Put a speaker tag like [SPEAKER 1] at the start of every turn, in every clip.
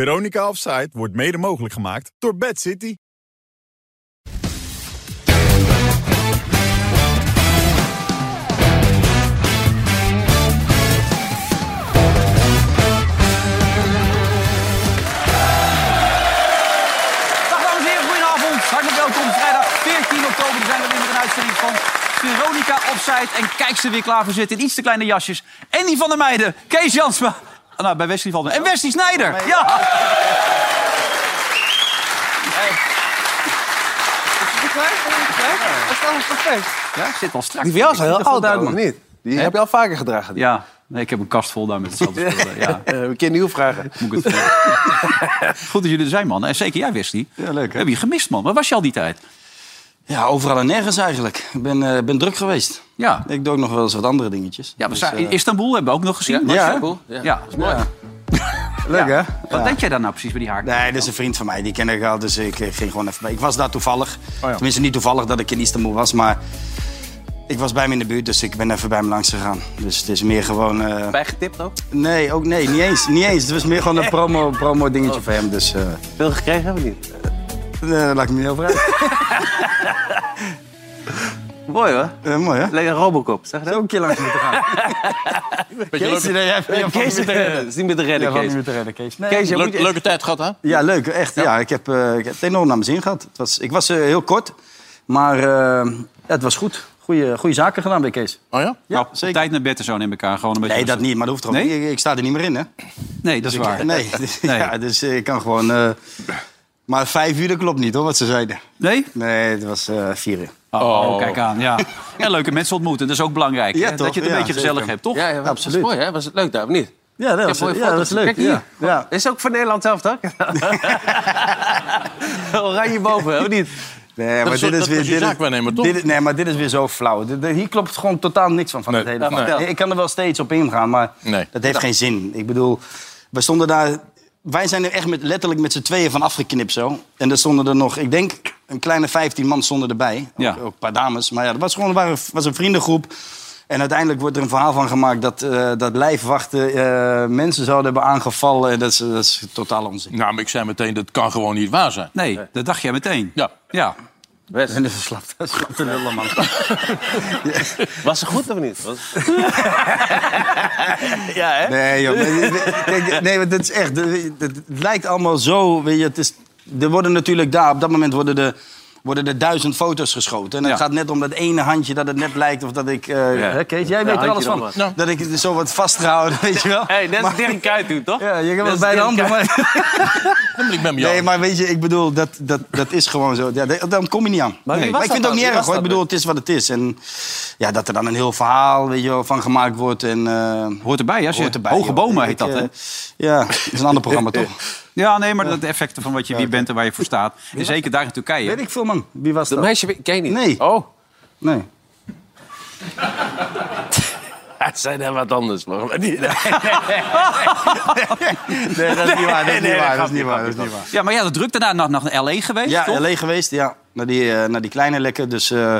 [SPEAKER 1] Veronica Offside wordt mede mogelijk gemaakt door Bad City.
[SPEAKER 2] Dag dames en heren, goedenavond. Hartelijk welkom. Vrijdag 14 oktober zijn we weer met een uitzending van Veronica Offside. En kijk ze weer klaar voor zitten in iets te kleine jasjes. En die van de meiden, Kees Jansma. Ah, Nou, bij Wesley valt me. En Wesley Snijder. Ja. Ja, zit al strak.
[SPEAKER 3] Die van jou is
[SPEAKER 2] Ik
[SPEAKER 3] heel
[SPEAKER 2] vind het
[SPEAKER 3] oud,
[SPEAKER 2] wel duidelijk.
[SPEAKER 3] duidelijk niet. Die heb je al vaker gedragen. die.
[SPEAKER 2] Ja, nee, ik heb een kast vol daar met hetzelfde spullen. dus Ja,
[SPEAKER 3] Eh, we kunnen nieuw vragen.
[SPEAKER 2] moet ik het vertellen. Goed dat jullie er zijn, man. En zeker jij, Wesley.
[SPEAKER 4] Ja, leuk, hè?
[SPEAKER 2] Heb je gemist, man. Waar was je al die tijd?
[SPEAKER 4] Ja, overal en nergens eigenlijk. Ik ben, eh, ben druk geweest.
[SPEAKER 2] Ja.
[SPEAKER 4] Ik doe ook nog wel eens wat andere dingetjes.
[SPEAKER 2] Ja, maar
[SPEAKER 4] Dus,
[SPEAKER 2] Sa-
[SPEAKER 4] eh,
[SPEAKER 2] in Istanbul hebben we ook nog gezien.
[SPEAKER 4] ja,
[SPEAKER 2] Was je?
[SPEAKER 4] Istanbul, ja.
[SPEAKER 2] ja.
[SPEAKER 4] ja.
[SPEAKER 3] Leuk, hè?
[SPEAKER 2] Wat deed jij daar nou precies bij die haak?
[SPEAKER 4] Nee, dat is een vriend van mij. Die ken ik al, dus ik eh, ging gewoon even bij. Ik was daar toevallig. Tenminste, niet toevallig dat ik in Istanbul was, maar... Ik was bij hem in de buurt, dus ik ben even bij hem langs gegaan. Dus het is meer gewoon... eh,
[SPEAKER 5] Bijgetipt ook?
[SPEAKER 4] Nee, ook nee, niet eens. Niet eens. Het was meer gewoon een promo, promo dingetje voor hem, dus... eh
[SPEAKER 5] Veel gekregen of niet?
[SPEAKER 4] eh, laat ik me niet over uit.
[SPEAKER 5] Mooi hoor.
[SPEAKER 4] Eh, mooi, hè?
[SPEAKER 5] Lekker Robocop, zeg je
[SPEAKER 4] Ook
[SPEAKER 5] dat?
[SPEAKER 4] een keer langs moeten gaan. Kees, nee, jij- jij valt
[SPEAKER 5] Kees eh,
[SPEAKER 4] niet
[SPEAKER 5] is niet te redden. Dat
[SPEAKER 4] meer te redden.
[SPEAKER 5] is niet meer te redden,
[SPEAKER 4] Jij valt
[SPEAKER 5] Kees.
[SPEAKER 4] niet meer te redden, Kees. Nee,
[SPEAKER 5] Kees, jij moet...
[SPEAKER 6] Leuk, leuke tijd gehad, hè?
[SPEAKER 4] Ja, leuk, echt. Ja. ik, heb, eh, ik heb het enorm naar mijn zin gehad. Het was, ik was eh, heel kort, maar eh, ja, het was goed. Goede, goede zaken gedaan bij Kees.
[SPEAKER 6] Oh ja?
[SPEAKER 4] Ja,
[SPEAKER 2] nou, op tijd naar bed en zo neem ik aan. Gewoon een beetje
[SPEAKER 4] Nee, dat niet, maar dat hoeft toch
[SPEAKER 2] Nee?
[SPEAKER 4] niet. Ik, ik sta er niet meer in, hè? Dus
[SPEAKER 2] Nee, dat is waar.
[SPEAKER 4] Nee,
[SPEAKER 2] Nee.
[SPEAKER 4] Ja, dus eh, ik kan gewoon... eh, maar vijf uur, dat klopt niet, hoor, wat ze zeiden.
[SPEAKER 2] Nee?
[SPEAKER 4] Nee, het was eh, vier uur.
[SPEAKER 2] Oh, kijk aan, ja. En leuke mensen ontmoeten, dat is ook belangrijk.
[SPEAKER 4] Ja,
[SPEAKER 2] hè?
[SPEAKER 4] toch?
[SPEAKER 2] Dat je het een
[SPEAKER 4] Ja,
[SPEAKER 2] beetje
[SPEAKER 4] zeker.
[SPEAKER 2] gezellig hebt, toch?
[SPEAKER 6] Ja, ja
[SPEAKER 4] Absoluut.
[SPEAKER 6] absoluut. Was mooi, hè? Was het leuk daar, of niet?
[SPEAKER 4] Ja, dat was, eh,
[SPEAKER 6] mooie
[SPEAKER 4] ja,
[SPEAKER 6] foto's.
[SPEAKER 4] dat was leuk.
[SPEAKER 6] Kijk hier.
[SPEAKER 4] ja. Ja.
[SPEAKER 5] Is ook voor Nederland zelf, toch? Oranje boven, of niet?
[SPEAKER 4] Nee, maar
[SPEAKER 6] is
[SPEAKER 4] dit
[SPEAKER 6] zo-
[SPEAKER 4] is
[SPEAKER 6] dat
[SPEAKER 4] weer...
[SPEAKER 6] was je
[SPEAKER 4] dit is-
[SPEAKER 6] zaakwaarnemer, toch?
[SPEAKER 4] dit is- nee, maar dit is weer zo flauw. Dit- dit- hier klopt gewoon totaal niks van, van
[SPEAKER 6] Nee.
[SPEAKER 4] het hele verhaal.
[SPEAKER 6] Nee.
[SPEAKER 4] Ik- Ik kan er wel steeds op ingaan, maar
[SPEAKER 6] Nee.
[SPEAKER 4] dat heeft geen zin. Ik bedoel, we stonden daar... Wij zijn er echt met, letterlijk met z'n tweeën van afgeknipt zo. En er stonden er nog, ik denk, een kleine 15 man stonden erbij.
[SPEAKER 2] Ja.
[SPEAKER 4] Ook, ook een paar dames. Maar ja, dat was gewoon waren, was een vriendengroep. En uiteindelijk wordt er een verhaal van gemaakt dat, eh, dat lijfwachten eh, mensen zouden hebben aangevallen. En Dat is, dat is totaal onzin.
[SPEAKER 6] Nou, maar ik zei meteen, dat kan gewoon niet waar zijn.
[SPEAKER 2] Nee, dat dacht jij meteen.
[SPEAKER 6] Ja.
[SPEAKER 2] Ja.
[SPEAKER 5] Wes,
[SPEAKER 4] En dat slapt, dat slapt de lullen, man.
[SPEAKER 5] was ze goed of niet? Was- ja, hè?
[SPEAKER 4] Nee, joh. Kijk, nee, maar dit is echt. Het lijkt allemaal zo. Weet je, het is, er worden natuurlijk daar, op dat moment worden de. Worden er duizend foto's geschoten. En het
[SPEAKER 2] Ja.
[SPEAKER 4] gaat net om dat ene handje dat het net lijkt. Of dat ik. eh, hè, Kees, jij
[SPEAKER 5] Ja,
[SPEAKER 4] weet er
[SPEAKER 5] handje
[SPEAKER 4] alles van.
[SPEAKER 5] nog
[SPEAKER 6] wat.
[SPEAKER 4] Dat ik het zo wat vastgehouden, weet je wel.
[SPEAKER 5] hey, net als
[SPEAKER 4] Maar-
[SPEAKER 5] Dirk Kuyt doet, toch?
[SPEAKER 4] Ja, je
[SPEAKER 5] Dat
[SPEAKER 4] kan wel
[SPEAKER 5] is
[SPEAKER 4] bij de hand
[SPEAKER 5] Dirk
[SPEAKER 4] doen, maar-
[SPEAKER 6] Dan ben ik met me
[SPEAKER 4] Nee,
[SPEAKER 6] jou.
[SPEAKER 4] maar weet je, ik bedoel, dat, dat, dat is gewoon zo. Ja, dat- dan kom je niet aan.
[SPEAKER 5] Maar wie was
[SPEAKER 4] Maar ik
[SPEAKER 5] dat
[SPEAKER 4] vind het ook
[SPEAKER 5] dan?
[SPEAKER 4] niet
[SPEAKER 5] Wie
[SPEAKER 4] erg
[SPEAKER 5] was
[SPEAKER 4] hoor. Ik
[SPEAKER 5] dat
[SPEAKER 4] bedoel, het is wat het is. En ja, dat er dan een heel verhaal weet je, wel, van gemaakt wordt. En, eh,
[SPEAKER 2] Hoort erbij, hè? als je-
[SPEAKER 4] hoort erbij,
[SPEAKER 2] Hoge
[SPEAKER 4] joh.
[SPEAKER 2] bomen
[SPEAKER 4] Ik,
[SPEAKER 2] heet dat,
[SPEAKER 4] eh,
[SPEAKER 2] hè?
[SPEAKER 4] Ja, dat is een ander programma toch?
[SPEAKER 2] Ja, nee, maar dat de effecten van wat je, wie bent en waar je voor staat. En zeker daar in Turkije.
[SPEAKER 4] Weet ik veel, man. Wie was
[SPEAKER 6] Dat
[SPEAKER 4] dat?
[SPEAKER 6] meisje weet- ken je niet?
[SPEAKER 4] Nee.
[SPEAKER 6] Oh,
[SPEAKER 4] Nee.
[SPEAKER 5] Het zijn er wat anders, man. Maar die-
[SPEAKER 4] Nee, dat is niet waar. Dat is niet waar. Dat is niet waar.
[SPEAKER 2] Ja, maar ja, dat druk daarna nog naar L.A. geweest,
[SPEAKER 4] Ja,
[SPEAKER 2] toch?
[SPEAKER 4] LA geweest, ja. Naar die, eh, naar die kleine lekker. Dus eh,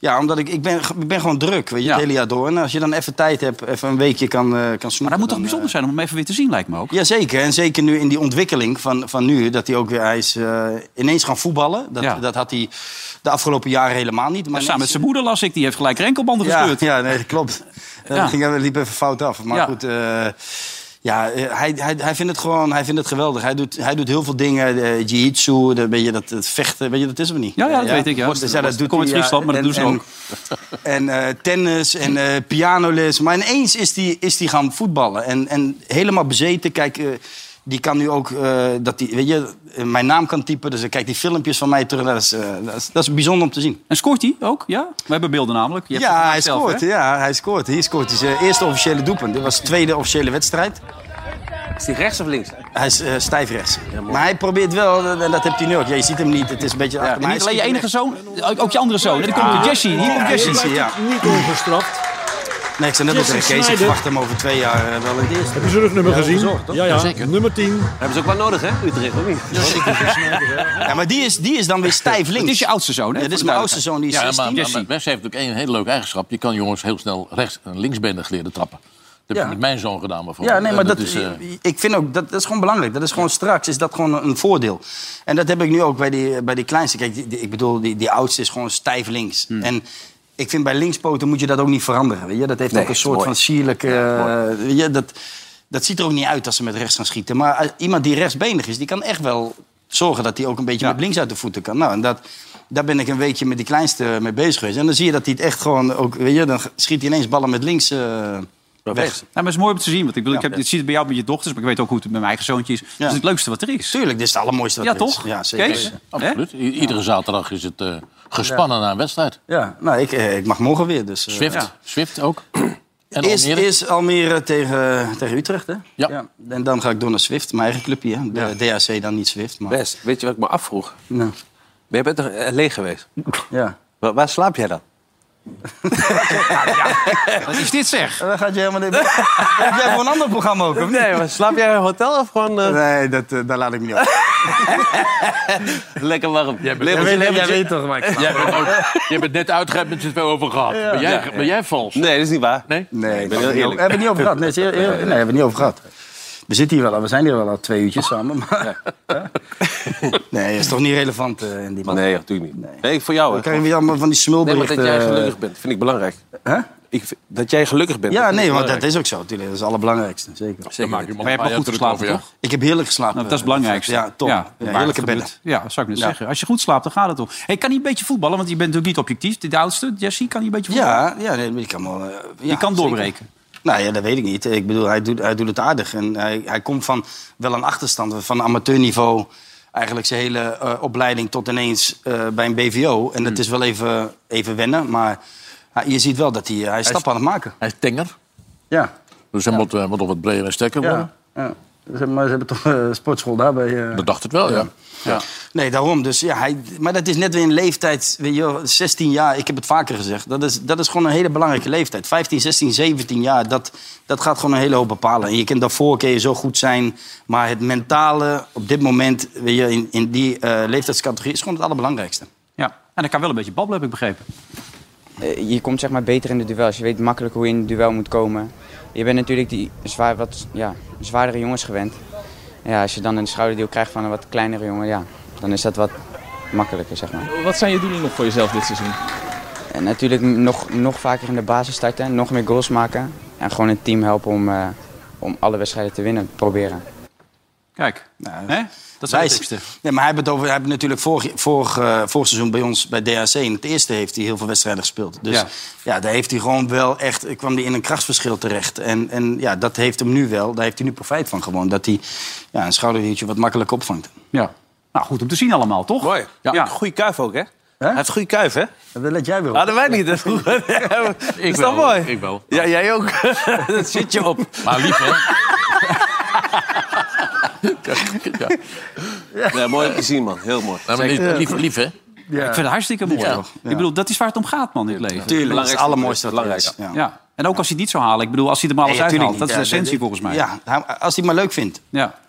[SPEAKER 4] ja, omdat ik, ik, ben, ik ben gewoon druk, weet je,
[SPEAKER 2] Ja.
[SPEAKER 4] het hele jaar door. En als je dan even tijd hebt, even een weekje kan, eh, kan snoepen.
[SPEAKER 2] Maar dat moet toch
[SPEAKER 4] dan,
[SPEAKER 2] bijzonder zijn om hem even weer te zien, lijkt me ook.
[SPEAKER 4] eh, Jazeker, en zeker nu in die ontwikkeling van, van nu, dat hij ook weer, hij is eh, ineens gaan voetballen. Dat,
[SPEAKER 2] Ja.
[SPEAKER 4] dat had hij de afgelopen jaren helemaal niet.
[SPEAKER 2] Samen
[SPEAKER 4] Maar
[SPEAKER 2] met
[SPEAKER 4] ineens-
[SPEAKER 2] zijn moeder las ik, die heeft gelijk renkelbanden gescheurd.
[SPEAKER 4] Ja, ja nee, dat klopt. Eh,
[SPEAKER 2] Ja.
[SPEAKER 4] Dat ging, dat liep even fout af. Maar
[SPEAKER 2] Ja.
[SPEAKER 4] goed, eh, ja, eh, hij, hij, hij vindt het gewoon hij vindt het geweldig. Hij doet, hij doet heel veel dingen. eh jiu-jitsu, dat, weet je, dat, dat vechten, weet je, dat is hem niet.
[SPEAKER 2] Ja, ja, dat weet ik, ja.
[SPEAKER 4] Dus
[SPEAKER 2] Worstelen, worstelen. Kom uit
[SPEAKER 4] hij, ja,
[SPEAKER 2] Friesland, maar dat
[SPEAKER 4] en-
[SPEAKER 2] doen ze ook.
[SPEAKER 4] En, en, eh, tennis en eh, pianoles. Maar ineens is hij is die gaan voetballen. En, en helemaal bezeten. Kijk, eh, die kan nu ook, eh, dat die, weet je, eh, mijn naam kan typen. Dus dan kijkt die filmpjes van mij terug. Dat is, eh, dat is, dat is bijzonder om te zien.
[SPEAKER 2] En scoort hij ook, ja? We hebben beelden namelijk. Je hebt het
[SPEAKER 4] Ja, hij
[SPEAKER 2] zelf,
[SPEAKER 4] scoort.
[SPEAKER 2] hè?
[SPEAKER 4] Ja, hij scoort. Hier scoort hij zijn eerste officiële doelpunt. Dit was de tweede officiële wedstrijd.
[SPEAKER 5] Is die rechts of links?
[SPEAKER 4] Hij is eh, stijf rechts. maar hij probeert wel, eh, en dat heeft hij nu ook. Ja, je ziet hem niet, het is een beetje achter.
[SPEAKER 2] En
[SPEAKER 4] maar
[SPEAKER 2] niet
[SPEAKER 4] hij
[SPEAKER 2] alleen je enige
[SPEAKER 4] schiet
[SPEAKER 2] zoon, ook ook je andere zoon. En dan komt de Jesse. Hier komt
[SPEAKER 4] hem echt.
[SPEAKER 2] Jesse.
[SPEAKER 4] Jesse, ja.
[SPEAKER 7] Niet ongestraft.
[SPEAKER 4] Nee, ik zei net al tegen Kees, ik
[SPEAKER 7] Sneijder.
[SPEAKER 4] verwacht hem over twee jaar eh, wel in het eerste.
[SPEAKER 7] Heb je zijn rugnummer gezien? ja, ja. Nummer 10.
[SPEAKER 5] Hebben ze ook wel nodig, hè? Utrecht, of niet?
[SPEAKER 4] Ja, maar die is, die is dan weer stijf links.
[SPEAKER 2] Het is je oudste zoon, hè?
[SPEAKER 4] Ja, dit is
[SPEAKER 2] voor de
[SPEAKER 4] mijn oudste zoon, die is
[SPEAKER 6] Ja, maar,
[SPEAKER 4] 16.
[SPEAKER 6] maar,
[SPEAKER 2] Jesse.
[SPEAKER 6] maar Wes heeft ook één hele leuke eigenschap. Je kan jongens heel snel rechts en linksbendig leren trappen. heb
[SPEAKER 4] Ja.
[SPEAKER 6] je met mijn zoon gedaan bijvoorbeeld.
[SPEAKER 4] Ja, nee,
[SPEAKER 6] En
[SPEAKER 4] maar dat,
[SPEAKER 6] is, eh,
[SPEAKER 4] ik vind ook, dat, dat is gewoon belangrijk. Dat is gewoon straks, is dat gewoon een voordeel. En dat heb ik nu ook bij die, bij die kleinste. Kijk, die- die- ik bedoel, die, die oudste is gewoon stijf links.
[SPEAKER 6] Hmm.
[SPEAKER 4] En ik vind bij linkspoten moet je dat ook niet veranderen. Weet je? Dat heeft
[SPEAKER 3] Nee,
[SPEAKER 4] ook een
[SPEAKER 3] is
[SPEAKER 4] soort
[SPEAKER 3] mooi.
[SPEAKER 4] van sierlijke... eh, weet je, dat, dat ziet er ook niet uit als ze met rechts gaan schieten. Maar als iemand die rechtsbenig is, die kan echt wel zorgen dat hij ook een beetje met links uit de voeten kan. Nou, en dat... Daar ben ik een weekje met die kleinste mee bezig geweest. En dan zie je dat hij het echt gewoon ook... Weet je, dan schiet hij ineens ballen met links eh,
[SPEAKER 2] Nou,
[SPEAKER 4] weg.
[SPEAKER 2] maar het is mooi om te zien. Want ik, bedoel, ik, heb,
[SPEAKER 4] Ja.
[SPEAKER 2] ik zie het bij jou met je dochters, maar ik weet ook hoe het met mijn eigen zoontje is. Dat is het leukste wat er is.
[SPEAKER 4] Tuurlijk, dit is het allermooiste wat
[SPEAKER 2] Ja,
[SPEAKER 4] er is.
[SPEAKER 2] toch?
[SPEAKER 4] Ja, zeker.
[SPEAKER 2] Kees? Hè?
[SPEAKER 6] eh, absoluut. I- Iedere zaterdag is het eh, gespannen na een wedstrijd.
[SPEAKER 4] Ja, nou, ik, eh, ik mag morgen weer. Dus, eh,
[SPEAKER 6] Swift,
[SPEAKER 2] ja.
[SPEAKER 6] Swift ook. En
[SPEAKER 4] Eerst
[SPEAKER 6] Almere.
[SPEAKER 4] eerst Almere tegen, eh, tegen Utrecht, hè?
[SPEAKER 6] Ja.
[SPEAKER 4] En dan ga ik door naar Swift, mijn eigen clubje. Hè? De DHC dan niet Swift, maar...
[SPEAKER 5] Wes, weet je wat ik me afvroeg?
[SPEAKER 4] Nou,
[SPEAKER 5] Maar jij bent toch eh, leeg geweest?
[SPEAKER 4] ja.
[SPEAKER 5] Waar, waar slaap jij dan?
[SPEAKER 2] Wat is dit zeg?
[SPEAKER 4] Dan gaat je helemaal niet... Heb jij voor een ander programma ook, of niet?
[SPEAKER 5] Nee, maar slaap jij in een hotel of gewoon eh,
[SPEAKER 4] Nee, dat, eh, daar laat ik niet op.
[SPEAKER 5] lekker warm? Jij bent
[SPEAKER 4] toch, Mike?
[SPEAKER 6] Jij bent, ook, jij bent net uitgered met het wel over gehad. Ben, jij, ben jij vals?
[SPEAKER 5] Nee, dat is niet waar.
[SPEAKER 6] Nee?
[SPEAKER 4] Nee, ik
[SPEAKER 5] ben
[SPEAKER 4] ben
[SPEAKER 5] heel
[SPEAKER 4] niet op-
[SPEAKER 5] eerlijk.
[SPEAKER 4] hebben we niet over gehad. Nee, zeer- heel- nee, hebben we niet over gehad. We zitten hier wel, al- we zijn hier wel al twee uurtjes samen. Maar, nee, is toch niet relevant eh, in die man.
[SPEAKER 5] Nee, joh, natuurlijk niet. Nee, voor jou.
[SPEAKER 4] Dan
[SPEAKER 2] Oh,
[SPEAKER 5] hè.
[SPEAKER 4] krijgen we allemaal van die
[SPEAKER 5] Nee, maar
[SPEAKER 4] smulberichten.
[SPEAKER 5] dat jij
[SPEAKER 4] eh,
[SPEAKER 5] gelukkig bent, vind ik belangrijk.
[SPEAKER 4] hè?
[SPEAKER 5] Ik vind- dat jij gelukkig bent.
[SPEAKER 4] Ja,
[SPEAKER 5] dat vind
[SPEAKER 4] nee,
[SPEAKER 5] ik
[SPEAKER 4] want dat
[SPEAKER 5] belangrijk.
[SPEAKER 4] is ook zo. Natuurlijk. Dat is het allerbelangrijkste, zeker.
[SPEAKER 6] Dan maak je hem al
[SPEAKER 2] Maar je
[SPEAKER 6] een
[SPEAKER 2] hebt wel goed
[SPEAKER 6] paar jaar
[SPEAKER 2] geslapen,
[SPEAKER 6] terug over,
[SPEAKER 2] toch?
[SPEAKER 4] Ik heb heerlijk geslapen.
[SPEAKER 2] Nou, dat is het belangrijkste.
[SPEAKER 4] Ja, top. Ja,
[SPEAKER 2] waar
[SPEAKER 4] heerlijke
[SPEAKER 2] het
[SPEAKER 4] bedden.
[SPEAKER 2] gebeurt. Ja, dat zou ik net
[SPEAKER 4] Ja.
[SPEAKER 2] zeggen. Als je goed slaapt, dan gaat het toch. Hey, kan hij een beetje voetballen? Want je bent natuurlijk niet objectief. De oudste, Jesse, kan hij een beetje voetballen?
[SPEAKER 4] Ja, ja nee, die kan wel... eh, ja,
[SPEAKER 2] Die kan
[SPEAKER 4] zeker.
[SPEAKER 2] doorbreken.
[SPEAKER 4] Nou ja, dat weet ik niet. Ik bedoel, hij doet, hij doet het aardig. En hij, hij komt van wel een achterstand. Van amateurniveau, eigenlijk zijn hele eh, opleiding tot ineens eh, bij een BVO. En dat
[SPEAKER 2] Hmm.
[SPEAKER 4] is wel even, even wennen, maar... hij- je ziet wel dat hij, hij is stappen aan het maken.
[SPEAKER 6] joh. Hij is tenger.
[SPEAKER 4] Ja.
[SPEAKER 6] Dus hij moet, eh, moet nog wat breder en sterker worden.
[SPEAKER 4] ja. ja. Ze- Maar ze hebben toch eh, sportschool daarbij. eh,
[SPEAKER 6] Dat dacht het wel, ja. ja.
[SPEAKER 4] Nee, daarom. Dus, ja, hij, maar dat is net weer een leeftijd, weet je, wel, 16 jaar, ik heb het vaker gezegd. Dat is, dat is gewoon een hele belangrijke leeftijd. 15, 16, 17 jaar, dat, dat gaat gewoon een hele hoop bepalen. En je kunt daarvoor kun je zo goed zijn, maar het mentale op dit moment, weet je, in, in die eh, leeftijdscategorie, is gewoon het allerbelangrijkste.
[SPEAKER 2] Ja. En hij kan wel een beetje babbelen, heb ik begrepen.
[SPEAKER 8] Eh, je komt zeg maar beter in de duels. Je weet makkelijk hoe je in het duel moet komen. Je bent natuurlijk die zwaar, wat ja, zwaardere jongens gewend. Ja, als je dan een schouderdeal krijgt van een wat kleinere jongen, ja, dan is dat wat makkelijker, zeg maar.
[SPEAKER 9] Wat zijn je doelen nog voor jezelf dit seizoen?
[SPEAKER 8] En natuurlijk nog, nog vaker in de basis starten, nog meer goals maken. En gewoon het team helpen om, eh, om alle wedstrijden te winnen, proberen.
[SPEAKER 2] Kijk.
[SPEAKER 4] Nou,
[SPEAKER 2] Hè? Dat zijn de
[SPEAKER 4] Wijs.
[SPEAKER 2] teksten.
[SPEAKER 4] Nee, maar hij heeft, het over, hij heeft natuurlijk vorig, vorig, eh, vorig seizoen bij ons bij DHC... in het eerste heeft hij heel veel wedstrijden gespeeld. Dus
[SPEAKER 2] Ja.
[SPEAKER 4] ja, daar heeft hij gewoon wel echt... eh, kwam hij in een krachtsverschil terecht. En, en ja, dat heeft hem nu wel. Daar heeft hij nu profijt van gewoon. Dat hij ja, een schouderwiertje wat makkelijk opvangt.
[SPEAKER 2] Ja. Nou, goed om te zien allemaal, toch?
[SPEAKER 5] Mooi. Ja.
[SPEAKER 2] Ja.
[SPEAKER 5] Goeie kuif ook, hè? Hij heeft goede kuif, hè?
[SPEAKER 4] Dat let jij weer op.
[SPEAKER 5] Hadden wij niet. Dat is dat
[SPEAKER 6] wel,
[SPEAKER 5] mooi?
[SPEAKER 6] ik wel.
[SPEAKER 5] Ja, jij ook. dat zit je op.
[SPEAKER 6] Maar lief, hè? ja. Ja.
[SPEAKER 5] Ja, mooi om te zien, man. Heel mooi.
[SPEAKER 6] maar lief,
[SPEAKER 4] eh,
[SPEAKER 6] lief, lief, hè?
[SPEAKER 2] Ik vind het hartstikke mooi. toch? Ik bedoel, dat is waar het om gaat, man, in het leven.
[SPEAKER 4] Tuurlijk, dat is het allermooiste wat er is.
[SPEAKER 5] Belangrijkste.
[SPEAKER 4] Ja.
[SPEAKER 2] Ja. En ook als hij het niet zou halen. Ik bedoel, als hij het er maar
[SPEAKER 4] Nee,
[SPEAKER 2] alles
[SPEAKER 4] ja, tuurlijk
[SPEAKER 2] uithaalt.
[SPEAKER 4] niet.
[SPEAKER 2] Dat is de essentie,
[SPEAKER 4] Ja, dat-
[SPEAKER 2] volgens mij.
[SPEAKER 4] Ja, hij- als hij het maar leuk vindt.
[SPEAKER 2] Ja.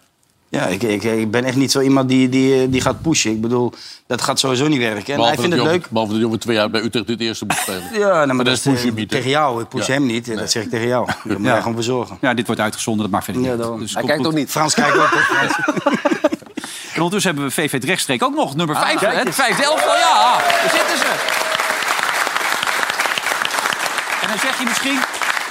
[SPEAKER 4] Ja, ik, ik, ik ben echt niet zo iemand die, die, die gaat pushen. Ik bedoel, dat gaat sowieso niet werken. En hij
[SPEAKER 6] Behalve
[SPEAKER 4] vindt
[SPEAKER 6] dat
[SPEAKER 4] het
[SPEAKER 6] hij
[SPEAKER 4] leuk.
[SPEAKER 6] over- Behalve dat hij over twee jaar bij Utrecht dit eerste moet spelen.
[SPEAKER 4] Ja, nou, maar dat,
[SPEAKER 6] dat push je
[SPEAKER 4] eh,
[SPEAKER 6] niet, hè?
[SPEAKER 4] tegen jou. Ik push
[SPEAKER 6] Ja.
[SPEAKER 4] hem niet. eh, Dat zeg ik tegen jou. Daar moet
[SPEAKER 2] Ja.
[SPEAKER 4] jij gewoon voor zorgen.
[SPEAKER 2] Ja, dit wordt uitgezonden, dat maakt verder niet
[SPEAKER 4] Ja,
[SPEAKER 2] uit.
[SPEAKER 4] daarom.
[SPEAKER 2] Dus
[SPEAKER 5] Hij
[SPEAKER 2] komt
[SPEAKER 5] kijkt
[SPEAKER 2] goed.
[SPEAKER 5] ook niet.
[SPEAKER 4] Frans, kijk op.
[SPEAKER 2] En ondertussen hebben we VV het rechtstreek ook nog. Nummer 5, hè? Het vijfde elftal, ja. ah, Daar zitten ze. En dan zeg je misschien...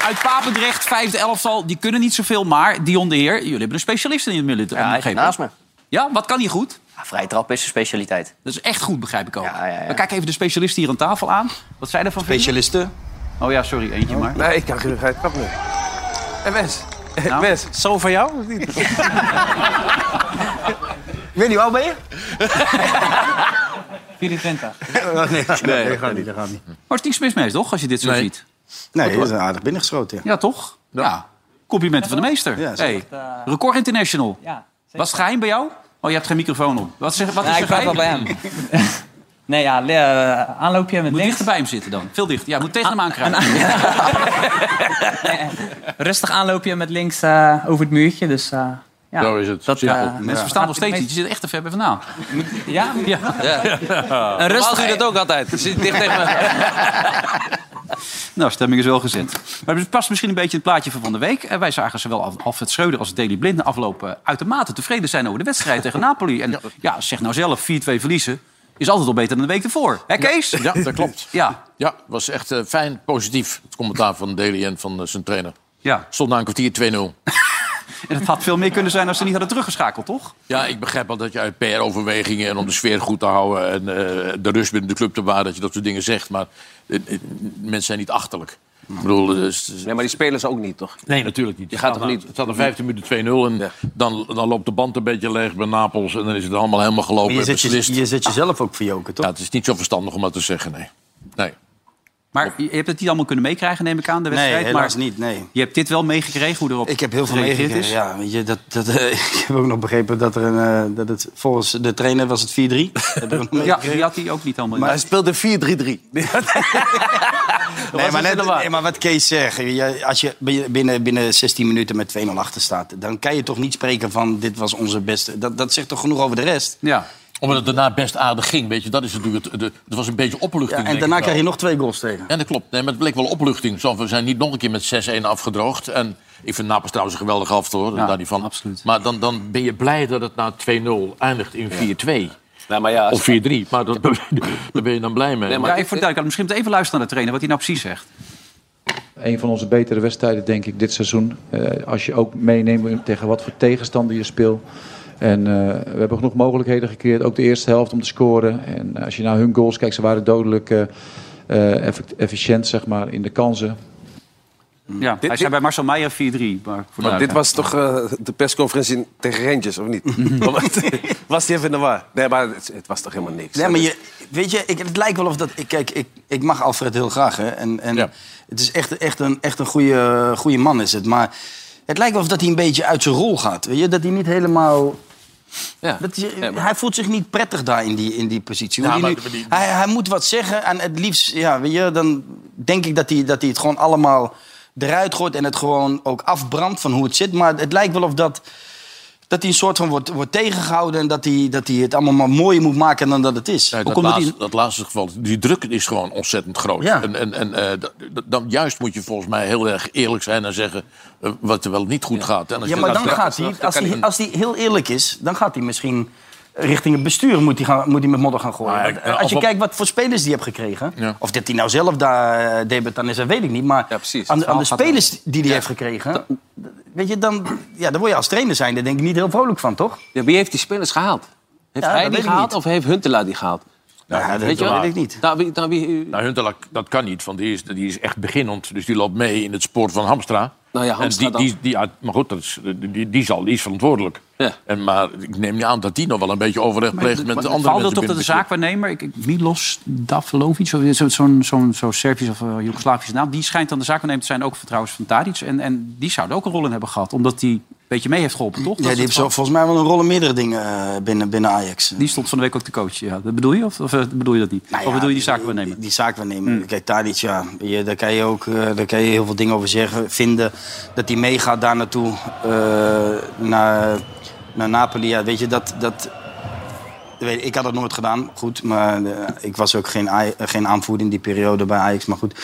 [SPEAKER 2] Uit Papendrecht, vijfde elftal, die kunnen niet zoveel. Maar Dion de Heer, jullie hebben een specialist in het midden.
[SPEAKER 10] Ja, hij zit naast me.
[SPEAKER 2] Ja, wat kan hij goed?
[SPEAKER 10] Ja, vrije trap is zijn specialiteit.
[SPEAKER 2] Dat is echt goed, begrijp ik ook.
[SPEAKER 10] Ja, ja, ja.
[SPEAKER 2] We kijken even de specialisten hier aan tafel aan. Wat zij ervan vinden?
[SPEAKER 4] Specialisten.
[SPEAKER 2] Oh ja, sorry, eentje maar.
[SPEAKER 5] Nee, ik kan geen geen trap meer. En Wes.
[SPEAKER 2] Nou?
[SPEAKER 5] Wes, zo van jou of niet?
[SPEAKER 4] Ik weet niet, hoe oud ben je?
[SPEAKER 2] 24. Maar
[SPEAKER 4] nee,
[SPEAKER 5] Nee.
[SPEAKER 4] dat gaat niet. Dat gaat niet.
[SPEAKER 2] er is niks mis mee, toch? Als je dit zo
[SPEAKER 6] Nee.
[SPEAKER 2] ziet.
[SPEAKER 4] Nee, dat is een aardig binnengeschoten. Ja.
[SPEAKER 2] Ja, toch? Ja. Complimenten van de meester.
[SPEAKER 4] Ja,
[SPEAKER 2] hey.
[SPEAKER 4] zeker.
[SPEAKER 2] Record International.
[SPEAKER 10] Ja,
[SPEAKER 2] Was het geheim bij jou? Oh, je hebt geen microfoon op. Wat, zeg, wat is er geheim?
[SPEAKER 10] hem. nee, ja, le- eh, aanloopje met
[SPEAKER 2] Moet
[SPEAKER 10] links.
[SPEAKER 2] dichter bij hem zitten dan. Veel dichter. Ja, moet tegen hem aankruipen.
[SPEAKER 10] Rustig aanloopje met links eh, over het muurtje. Dus, eh, ja.
[SPEAKER 6] Zo is het.
[SPEAKER 10] Dat,
[SPEAKER 6] Simpel.
[SPEAKER 10] eh,
[SPEAKER 2] Mensen verstaan nog steeds
[SPEAKER 10] Ja.
[SPEAKER 2] niet. Je zit echt te ver bij vandaan.
[SPEAKER 10] ja,
[SPEAKER 2] Ja.
[SPEAKER 10] een
[SPEAKER 5] Normaal
[SPEAKER 10] rustig,
[SPEAKER 5] doe je dat ook altijd. Je zit dicht tegen me.
[SPEAKER 2] Nou, stemming is wel gezet. Maar het past misschien een beetje in het plaatje van van de week. Eh, wij zagen zowel Alfred Schreuder als Daley Blind na afloop eh, uitermate tevreden zijn over de wedstrijd tegen Napoli. En ja, zeg nou zelf, 4-2 verliezen is altijd al beter dan de week ervoor. Hè, Kees?
[SPEAKER 6] Ja, dat klopt.
[SPEAKER 2] Ja.
[SPEAKER 6] Ja, was echt eh, fijn, positief. Het commentaar van Deli en van eh, zijn trainer.
[SPEAKER 2] Ja.
[SPEAKER 6] Stond na een kwartier 2-0.
[SPEAKER 2] En het had veel meer kunnen zijn als ze niet hadden teruggeschakeld, toch?
[SPEAKER 6] Ja, ik begrijp wel dat je uit PR-overwegingen en om de sfeer goed te houden... en eh, de rust binnen de club te bewaren, dat je dat soort dingen zegt. Maar eh, eh, mensen zijn niet achterlijk. Ik bedoel, eh, nee, maar die spelers ook niet, toch? Nee, natuurlijk niet.
[SPEAKER 5] Je gaat toch
[SPEAKER 6] Het staat-
[SPEAKER 5] niet-
[SPEAKER 6] Het staat er 15 minuten 2-0 en dan, dan loopt de band een beetje leeg bij Napels... en dan is het allemaal helemaal gelopen.
[SPEAKER 4] Maar je
[SPEAKER 6] en
[SPEAKER 4] zet je-
[SPEAKER 6] beslist.
[SPEAKER 4] je zet jezelf ook verjoken, toch?
[SPEAKER 6] Ja, het is niet zo verstandig om dat te zeggen, nee. nee.
[SPEAKER 2] Maar je hebt het niet allemaal kunnen meekrijgen, neem ik aan, de wedstrijd.
[SPEAKER 4] Nee, helaas
[SPEAKER 2] maar
[SPEAKER 4] niet, nee.
[SPEAKER 2] Je hebt dit wel meegekregen, hoe erop
[SPEAKER 4] Ik heb heel veel
[SPEAKER 2] gereageerd
[SPEAKER 4] meegekregen.
[SPEAKER 2] is.
[SPEAKER 4] Ja, weet je, dat, dat, eh, ik heb ook nog begrepen dat, er een, eh, dat het volgens de trainer was het 4-3. Heb ik nog
[SPEAKER 2] Ja,
[SPEAKER 4] meegekregen.
[SPEAKER 2] die had hij ook niet allemaal.
[SPEAKER 4] Maar-
[SPEAKER 2] in.
[SPEAKER 4] Hij
[SPEAKER 3] speelde 4-3-3.
[SPEAKER 4] Nee, maar, net, nee, maar wat Kees zegt, je- als je bi- binnen, binnen 16 minuten met 2-0 achter staat... dan kan je toch niet spreken van dit was onze beste. Dat, dat zegt toch genoeg over de rest?
[SPEAKER 2] Ja.
[SPEAKER 6] Omdat het daarna best aardig ging, weet je. Dat is natuurlijk het, de- het was een beetje opluchting.
[SPEAKER 4] Ja, en
[SPEAKER 6] denk
[SPEAKER 4] daarna
[SPEAKER 6] ik wel.
[SPEAKER 4] krijg je nog twee goals tegen.
[SPEAKER 6] Ja, dat klopt. Nee, maar het bleek wel opluchting. Zo, we zijn niet nog een keer met 6-1 afgedroogd. En ik vind Napels trouwens een geweldig af, hoor. daar niet van. Maar dan, dan ben je blij dat het na 2-0 eindigt in 4-2.
[SPEAKER 5] Nou, maar ja,
[SPEAKER 6] Of 4-3. Maar dat, daar ben je dan blij mee.
[SPEAKER 5] Nee, maar
[SPEAKER 2] Ja, ik voor het duidelijk, misschien moet even luisteren naar de trainer, wat hij nou precies zegt.
[SPEAKER 11] Een van onze betere wedstrijden, denk ik, dit seizoen. Eh, als je ook meeneemt tegen wat voor tegenstander je speelt. En eh, we hebben genoeg mogelijkheden gecreëerd, ook de eerste helft om te scoren. En eh, als je naar hun goals kijkt, ze waren dodelijk eh, eh, effe- efficiënt zeg maar, in de kansen.
[SPEAKER 4] Hmm.
[SPEAKER 2] Ja, hij zei bij Marcel Meijer 4-3. Maar, voor
[SPEAKER 11] Maar
[SPEAKER 4] Oh,
[SPEAKER 2] de-
[SPEAKER 11] dit
[SPEAKER 2] ja.
[SPEAKER 5] was toch eh, de persconferentie in- tegen Rangers, of niet? Want- was die even in de war? Nee, maar het, het was toch helemaal niks?
[SPEAKER 4] Nee, maar je, weet je, ik, het lijkt wel of dat... ik- Kijk, ik, ik mag Alfred heel graag, hè. En, en het is echt, echt een, echt een goede, goede man, is het. Maar het lijkt wel of dat hij een beetje uit zijn rol gaat, weet je. Dat hij niet helemaal...
[SPEAKER 5] Ja.
[SPEAKER 4] Dat je-
[SPEAKER 5] Ja, maar-
[SPEAKER 4] Hij voelt zich niet prettig daar in die, in die positie. Hoe
[SPEAKER 5] Ja,
[SPEAKER 4] die
[SPEAKER 5] maar-
[SPEAKER 4] nu-
[SPEAKER 5] maar die-
[SPEAKER 4] hij, hij moet wat zeggen en het liefst... Ja, weet je, dan denk ik dat hij, dat hij het gewoon allemaal eruit gooit... en het gewoon ook afbrandt van hoe het zit. Maar het lijkt wel of dat... Dat hij een soort van wordt, wordt tegengehouden en dat hij, dat hij het allemaal maar mooier moet maken dan dat het is.
[SPEAKER 6] Nee,
[SPEAKER 4] Hoe
[SPEAKER 6] dat,
[SPEAKER 4] komt dat hij-
[SPEAKER 6] laatste, dat laatste geval, die druk is gewoon ontzettend groot.
[SPEAKER 4] Ja.
[SPEAKER 6] En, en, en eh, d- d- dan juist moet je volgens mij heel erg eerlijk zijn en zeggen eh, wat er wel niet goed gaat. En als
[SPEAKER 4] Ja,
[SPEAKER 6] je
[SPEAKER 4] maar
[SPEAKER 6] Nou, dat
[SPEAKER 4] dan gaat
[SPEAKER 6] zegt,
[SPEAKER 4] hij,
[SPEAKER 6] dan
[SPEAKER 4] als
[SPEAKER 6] kan
[SPEAKER 4] hij, als hij heel eerlijk is, dan gaat hij misschien richting het bestuur moet hij, gaan, moet hij met modder gaan gooien.
[SPEAKER 6] Maar,
[SPEAKER 4] Want,
[SPEAKER 6] eh,
[SPEAKER 4] eh, als je
[SPEAKER 6] op-
[SPEAKER 4] kijkt wat voor spelers die hebt gekregen,
[SPEAKER 6] Ja.
[SPEAKER 4] of dat hij nou zelf daar eh, debutant is, dat weet ik niet. Maar aan, de- aan de spelers die hij heeft gekregen, d- weet je, dan, ja, dan word je als trainer zijn, daar denk ik niet heel vrolijk van, toch?
[SPEAKER 5] Ja, wie heeft die spelers gehaald? Heeft
[SPEAKER 4] Ja,
[SPEAKER 5] hij
[SPEAKER 4] dat
[SPEAKER 5] die
[SPEAKER 4] weet ik
[SPEAKER 5] gehaald
[SPEAKER 4] niet.
[SPEAKER 5] of heeft Huntelaar die gehaald?
[SPEAKER 4] Ja, dat
[SPEAKER 5] je wel?
[SPEAKER 4] weet ik niet.
[SPEAKER 5] Nou, wie, nou, wie,
[SPEAKER 6] Nou, Huntelaar, dat kan niet, want die is, die is echt beginnend. Dus die loopt mee in het spoor van Hamstra.
[SPEAKER 5] Nou ja,
[SPEAKER 6] En
[SPEAKER 5] Hamstra
[SPEAKER 6] die, die, die, maar goed, dat is, die, die, zal, die is verantwoordelijk.
[SPEAKER 5] Ja.
[SPEAKER 6] En, maar ik neem niet aan dat die nog wel een beetje overleg pleegt met de andere
[SPEAKER 2] Valt dat
[SPEAKER 6] mensen
[SPEAKER 2] toch dat
[SPEAKER 6] binnen
[SPEAKER 2] de
[SPEAKER 6] het club.
[SPEAKER 2] zaakwaarnemer, ik, ik, Milos Davlovic, zo- zo'n zo, zo, zo Servisch of eh, Joegoslavische naam... die schijnt dan de zaakwaarnemer te zijn ook van, trouwens van Tadic. En, en die zou er ook een rol in hebben gehad, omdat die een beetje mee heeft geholpen, toch? Dat
[SPEAKER 4] Ja, die
[SPEAKER 2] is
[SPEAKER 4] heeft
[SPEAKER 2] het
[SPEAKER 4] zo,
[SPEAKER 2] van-
[SPEAKER 4] volgens mij wel een rol in meerdere dingen eh, binnen, binnen Ajax.
[SPEAKER 2] die stond van de week ook te coachen, ja. Dat bedoel je? Of, of eh, bedoel je dat niet?
[SPEAKER 4] Nou
[SPEAKER 2] of
[SPEAKER 4] ja,
[SPEAKER 2] bedoel je die zaakwaarnemer?
[SPEAKER 4] Die zaak we nemen.
[SPEAKER 2] Hmm.
[SPEAKER 4] Kijk, Tadic, ja, je, daar, kan je ook, eh, daar kan je heel veel dingen over zeggen, vinden. Dat hij meegaat daar naartoe, eh, naar, naar Napoli. Ja, weet je, dat... dat weet, je, ik had dat nooit gedaan, goed. Maar eh, ik was ook geen, Aj- eh, geen aanvoerder in die periode bij Ajax. Maar goed,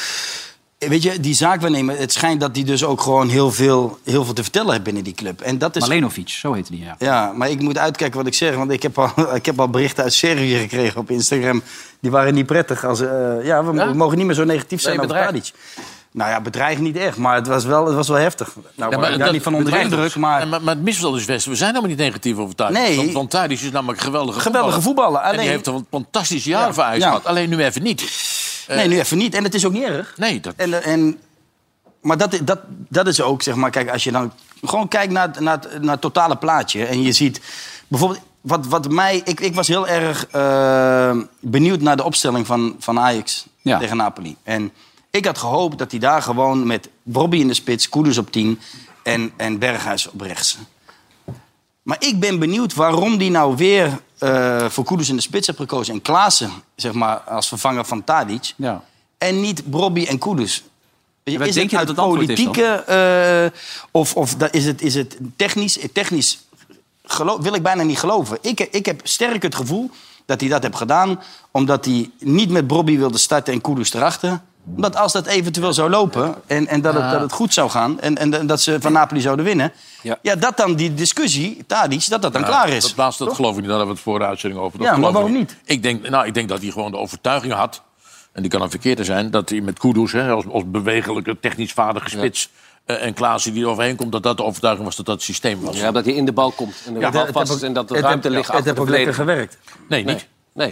[SPEAKER 4] weet je, die zaak we nemen. Het schijnt dat hij dus ook gewoon heel veel, heel veel te vertellen heeft binnen die club. En dat is...
[SPEAKER 2] Malenovic, zo heette die, ja.
[SPEAKER 4] Ja, maar ik moet uitkijken wat ik zeg. Want ik heb al, ik heb al berichten uit Servië gekregen op Instagram. Die waren niet prettig. Als, eh, ja, we, mo-
[SPEAKER 5] Ja?
[SPEAKER 4] we mogen niet meer zo negatief zijn
[SPEAKER 5] je
[SPEAKER 4] over
[SPEAKER 5] bedreigt.
[SPEAKER 4] Tadic. Nou ja, bedreig niet echt. Maar het was wel, het was wel heftig. Nou,
[SPEAKER 6] maar
[SPEAKER 4] ik
[SPEAKER 6] dat
[SPEAKER 4] ben niet van onder de
[SPEAKER 6] bedreigt
[SPEAKER 4] indruk,
[SPEAKER 6] ons.
[SPEAKER 4] maar...
[SPEAKER 6] En maar, maar het misverstand is best, we zijn helemaal niet negatief over Tadic.
[SPEAKER 4] Nee.
[SPEAKER 6] Want, want Tadic is namelijk een geweldige,
[SPEAKER 4] Geweldige voetballer,
[SPEAKER 6] En die
[SPEAKER 4] alleen-
[SPEAKER 6] heeft er een fantastisch jaar voor Ajax
[SPEAKER 4] ja.
[SPEAKER 6] gehad. Alleen nu even niet.
[SPEAKER 4] Nee,
[SPEAKER 6] eh,
[SPEAKER 4] nu even niet. En het is ook niet erg.
[SPEAKER 6] Nee, dat,
[SPEAKER 4] En, eh, en, maar dat, dat, dat is ook, zeg maar, kijk, als je dan gewoon kijkt naar, het- naar, het- naar het totale plaatje. En je ziet bijvoorbeeld, wat, wat mij, ik, ik was heel erg eh, benieuwd naar de opstelling van, van Ajax
[SPEAKER 2] Ja.
[SPEAKER 4] tegen Napoli. En ik had gehoopt dat hij daar gewoon met Bobby in de spits, Koeders op 10 en, en Berghuis op rechts. Maar ik ben benieuwd waarom die nou weer eh, voor Koeders in de spits heeft gekozen. En Klaassen, zeg maar, als vervanger van Tadic.
[SPEAKER 2] ja.
[SPEAKER 4] En niet Bobby en Koeders. Is
[SPEAKER 2] wat denk je
[SPEAKER 4] uit
[SPEAKER 2] dat het antwoord is dan?
[SPEAKER 4] politieke eh, of, of da- is, het, is het technisch? Technisch gelo- wil ik bijna niet geloven. Ik, ik heb sterk het gevoel dat hij dat heeft gedaan omdat hij niet met Bobby wilde starten en Koeders erachter. Omdat als dat eventueel zou lopen en, en dat, het,
[SPEAKER 5] Ah.
[SPEAKER 4] dat het goed zou gaan... en, en dat ze van Napoli zouden winnen... Ja. dat dan die discussie, Tadic, dat dat dan
[SPEAKER 6] Nou,
[SPEAKER 4] klaar is.
[SPEAKER 6] Dat laatste, dat
[SPEAKER 4] Toch?
[SPEAKER 6] geloof ik niet. Daar hebben we het voor de uitzending over. Dat
[SPEAKER 4] Ja, maar
[SPEAKER 6] geloof ik
[SPEAKER 4] waarom
[SPEAKER 6] Ik denk, nou, ik denk dat hij gewoon de overtuiging had... en die kan dan verkeerd zijn... dat hij met Kudus, hè, als, als bewegelijke, technisch vaardige spits... eh, en Klaassen die er overheen komt... dat dat de overtuiging was dat dat het systeem was.
[SPEAKER 5] Ja, dat hij in de bal komt en de
[SPEAKER 6] Ja,
[SPEAKER 5] bal
[SPEAKER 6] het
[SPEAKER 5] vast
[SPEAKER 6] heb-
[SPEAKER 5] is en dat de
[SPEAKER 6] het
[SPEAKER 5] ruimte
[SPEAKER 6] heb-
[SPEAKER 5] ligt
[SPEAKER 6] het
[SPEAKER 5] achter
[SPEAKER 6] heb
[SPEAKER 5] de
[SPEAKER 6] ook lekker
[SPEAKER 5] verdediging.
[SPEAKER 6] Nee,
[SPEAKER 5] Nee.
[SPEAKER 6] niet.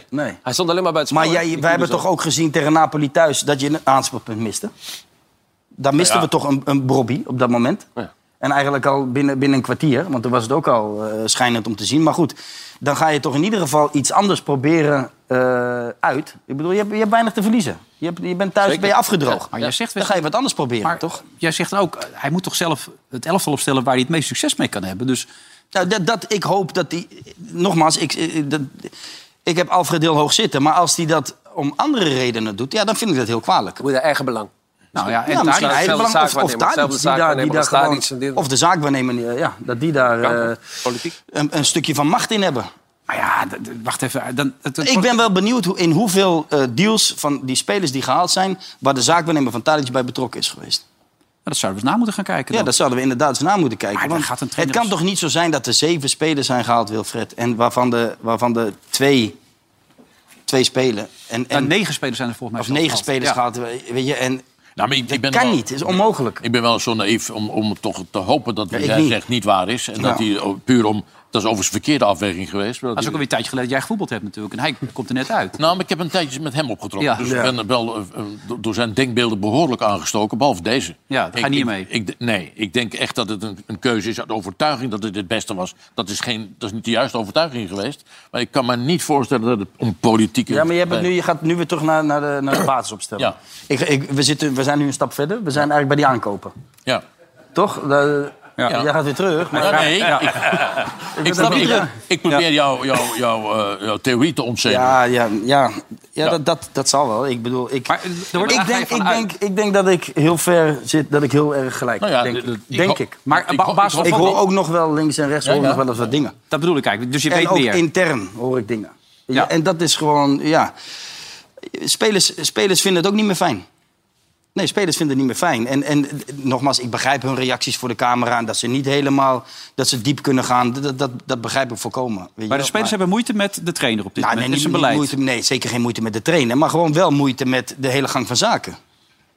[SPEAKER 5] Nee. Hij stond alleen maar bij het
[SPEAKER 4] Maar
[SPEAKER 5] spoor,
[SPEAKER 4] jij,
[SPEAKER 5] hè, die
[SPEAKER 4] wij hebben
[SPEAKER 5] Kudus
[SPEAKER 4] toch ook gezien tegen Napoli thuis... dat je een aanspelpunt miste? Daar misten
[SPEAKER 5] Ja.
[SPEAKER 4] we toch een, een Brobby op dat moment? En eigenlijk al binnen, binnen een kwartier, want dan was het ook al eh, schijnend om te zien. Maar goed, dan ga je toch in ieder geval iets anders proberen eh, uit. Ik bedoel, je hebt, je hebt weinig te verliezen. Je, hebt, je bent thuis,
[SPEAKER 2] Zeker.
[SPEAKER 4] ben je afgedroogd.
[SPEAKER 2] Ja, maar jij zegt
[SPEAKER 4] dan ga je wat anders proberen, toch?
[SPEAKER 2] Jij zegt ook, eh, hij moet toch zelf het elftal opstellen waar hij het meest succes mee kan hebben. Dus
[SPEAKER 4] Nou, dat, dat, ik hoop dat die... Nogmaals, ik, eh, dat, ik heb Alfred heel hoog zitten. Maar als hij dat om andere redenen doet, ja, dan vind ik dat heel kwalijk.
[SPEAKER 5] Moet je eigen belang.
[SPEAKER 4] Nou ja, en
[SPEAKER 5] Ja,
[SPEAKER 4] daar
[SPEAKER 5] misschien
[SPEAKER 4] eigen
[SPEAKER 5] hetzelfde
[SPEAKER 4] belang, of, of
[SPEAKER 5] zaakwaarnemer, hetzelfde
[SPEAKER 4] Tadic,
[SPEAKER 5] zaakwaarnemer,
[SPEAKER 4] die daar, die daar
[SPEAKER 5] als Tadic
[SPEAKER 4] gewoon,
[SPEAKER 5] en dit-
[SPEAKER 4] of de zaakwaarnemer, ja, dat die daar eh, een, een stukje van macht in hebben.
[SPEAKER 2] Maar ja, d- d- wacht even. Dan, het- het-
[SPEAKER 4] Ik ben wel benieuwd hoe, in hoeveel eh, deals van die spelers die gehaald zijn... waar de zaakwaarnemer van Tadic bij betrokken is geweest.
[SPEAKER 2] dat zouden we eens na moeten gaan kijken.
[SPEAKER 4] Ja, dat zouden we inderdaad eens na moeten kijken.
[SPEAKER 2] Maar dan
[SPEAKER 4] want
[SPEAKER 2] gaat een
[SPEAKER 4] het
[SPEAKER 2] trainer-
[SPEAKER 4] kan toch niet zo zijn dat er zeven spelers zijn gehaald, Wilfred... en waarvan de, waarvan de twee, twee spelen. En, en,
[SPEAKER 2] Nou, negen spelers zijn er volgens
[SPEAKER 4] of
[SPEAKER 2] mij.
[SPEAKER 4] negen spelers
[SPEAKER 2] gaat.
[SPEAKER 4] gehaald, weet je. En
[SPEAKER 6] Nou, maar ik, ik ben
[SPEAKER 4] kan
[SPEAKER 6] wel-
[SPEAKER 4] niet, is onmogelijk.
[SPEAKER 6] Ik ben wel zo naïef om, om toch te hopen dat wat
[SPEAKER 4] ik
[SPEAKER 6] jij
[SPEAKER 4] niet. Nou.
[SPEAKER 6] zegt niet waar is. En dat
[SPEAKER 2] Ja.
[SPEAKER 6] hij oh, puur om... Dat is overigens verkeerde afweging geweest. maar
[SPEAKER 2] Dat is ook alweer een tijdje geleden dat jij gevoetbald hebt natuurlijk. En hij komt er net uit.
[SPEAKER 6] Nou, maar ik heb een tijdje met hem opgetrokken.
[SPEAKER 2] Ja.
[SPEAKER 6] Dus
[SPEAKER 2] Ja.
[SPEAKER 6] ik ben wel eh, eh, do- door zijn denkbeelden behoorlijk aangestoken. Behalve deze.
[SPEAKER 2] Ja, daar ga je niet mee.
[SPEAKER 6] Ik, d- nee, ik denk echt dat het een, een keuze is uit overtuiging dat het het beste was. Dat is, geen, dat is niet de juiste overtuiging geweest. Maar ik kan me niet voorstellen dat het om politieke...
[SPEAKER 4] Ja, maar je, hebt het
[SPEAKER 6] Nee.
[SPEAKER 4] nu, je gaat nu weer terug naar, naar, de, naar de basisopstelling.
[SPEAKER 6] Ja.
[SPEAKER 4] Ik, ik, we, zitten, we zijn nu een stap verder. We zijn eigenlijk bij die aankopen.
[SPEAKER 6] Ja.
[SPEAKER 4] Toch? De-
[SPEAKER 6] Ja.
[SPEAKER 4] Jij gaat weer terug. Maar
[SPEAKER 6] Ja, nee, ik,
[SPEAKER 4] ben
[SPEAKER 6] ik,
[SPEAKER 4] daar niet
[SPEAKER 6] probeer, ik,
[SPEAKER 4] terug.
[SPEAKER 6] ik probeer jouw jouw jouw, eh, jouw theorie te ontzeggen.
[SPEAKER 4] Ja, ja, ja. ja, Dat, dat, dat zal wel. Ik bedoel, ik,
[SPEAKER 6] eh,
[SPEAKER 2] wordt
[SPEAKER 4] ik, denk,
[SPEAKER 2] eigenlijk
[SPEAKER 4] ik,
[SPEAKER 2] van
[SPEAKER 4] denk, ik denk dat ik heel ver zit, dat ik heel erg gelijk
[SPEAKER 6] Nou ja,
[SPEAKER 4] heb, denk,
[SPEAKER 6] dat-
[SPEAKER 4] ik.
[SPEAKER 6] ik
[SPEAKER 4] denk
[SPEAKER 6] hoop-
[SPEAKER 4] ik.
[SPEAKER 2] Maar
[SPEAKER 4] ik,
[SPEAKER 2] op ba- basis
[SPEAKER 4] ik
[SPEAKER 2] van-
[SPEAKER 4] hoor ook nog wel links en rechts
[SPEAKER 2] Ja,
[SPEAKER 4] hoor ik
[SPEAKER 2] ja.
[SPEAKER 4] nog wel eens wat dingen.
[SPEAKER 2] Dat bedoel ik eigenlijk. Dus je
[SPEAKER 4] en
[SPEAKER 2] weet
[SPEAKER 4] ook
[SPEAKER 2] meer.
[SPEAKER 4] intern hoor ik dingen.
[SPEAKER 2] Ja.
[SPEAKER 4] En dat is gewoon, ja... Spelers, spelers vinden het ook niet meer fijn. Nee, spelers vinden het niet meer fijn. En, en eh, nogmaals, ik begrijp hun reacties voor de camera... en dat ze niet helemaal, dat ze diep kunnen gaan. Dat, dat, dat begrijp ik volkomen. Weet je
[SPEAKER 2] Maar de
[SPEAKER 4] wel.
[SPEAKER 2] spelers hebben moeite met de trainer op dit
[SPEAKER 4] Nou,
[SPEAKER 2] moment.
[SPEAKER 4] nee,
[SPEAKER 2] dat is
[SPEAKER 4] niet-
[SPEAKER 2] een beleid.
[SPEAKER 4] niet moeite- nee, zeker geen moeite met de trainer. Maar gewoon wel moeite met de hele gang van zaken.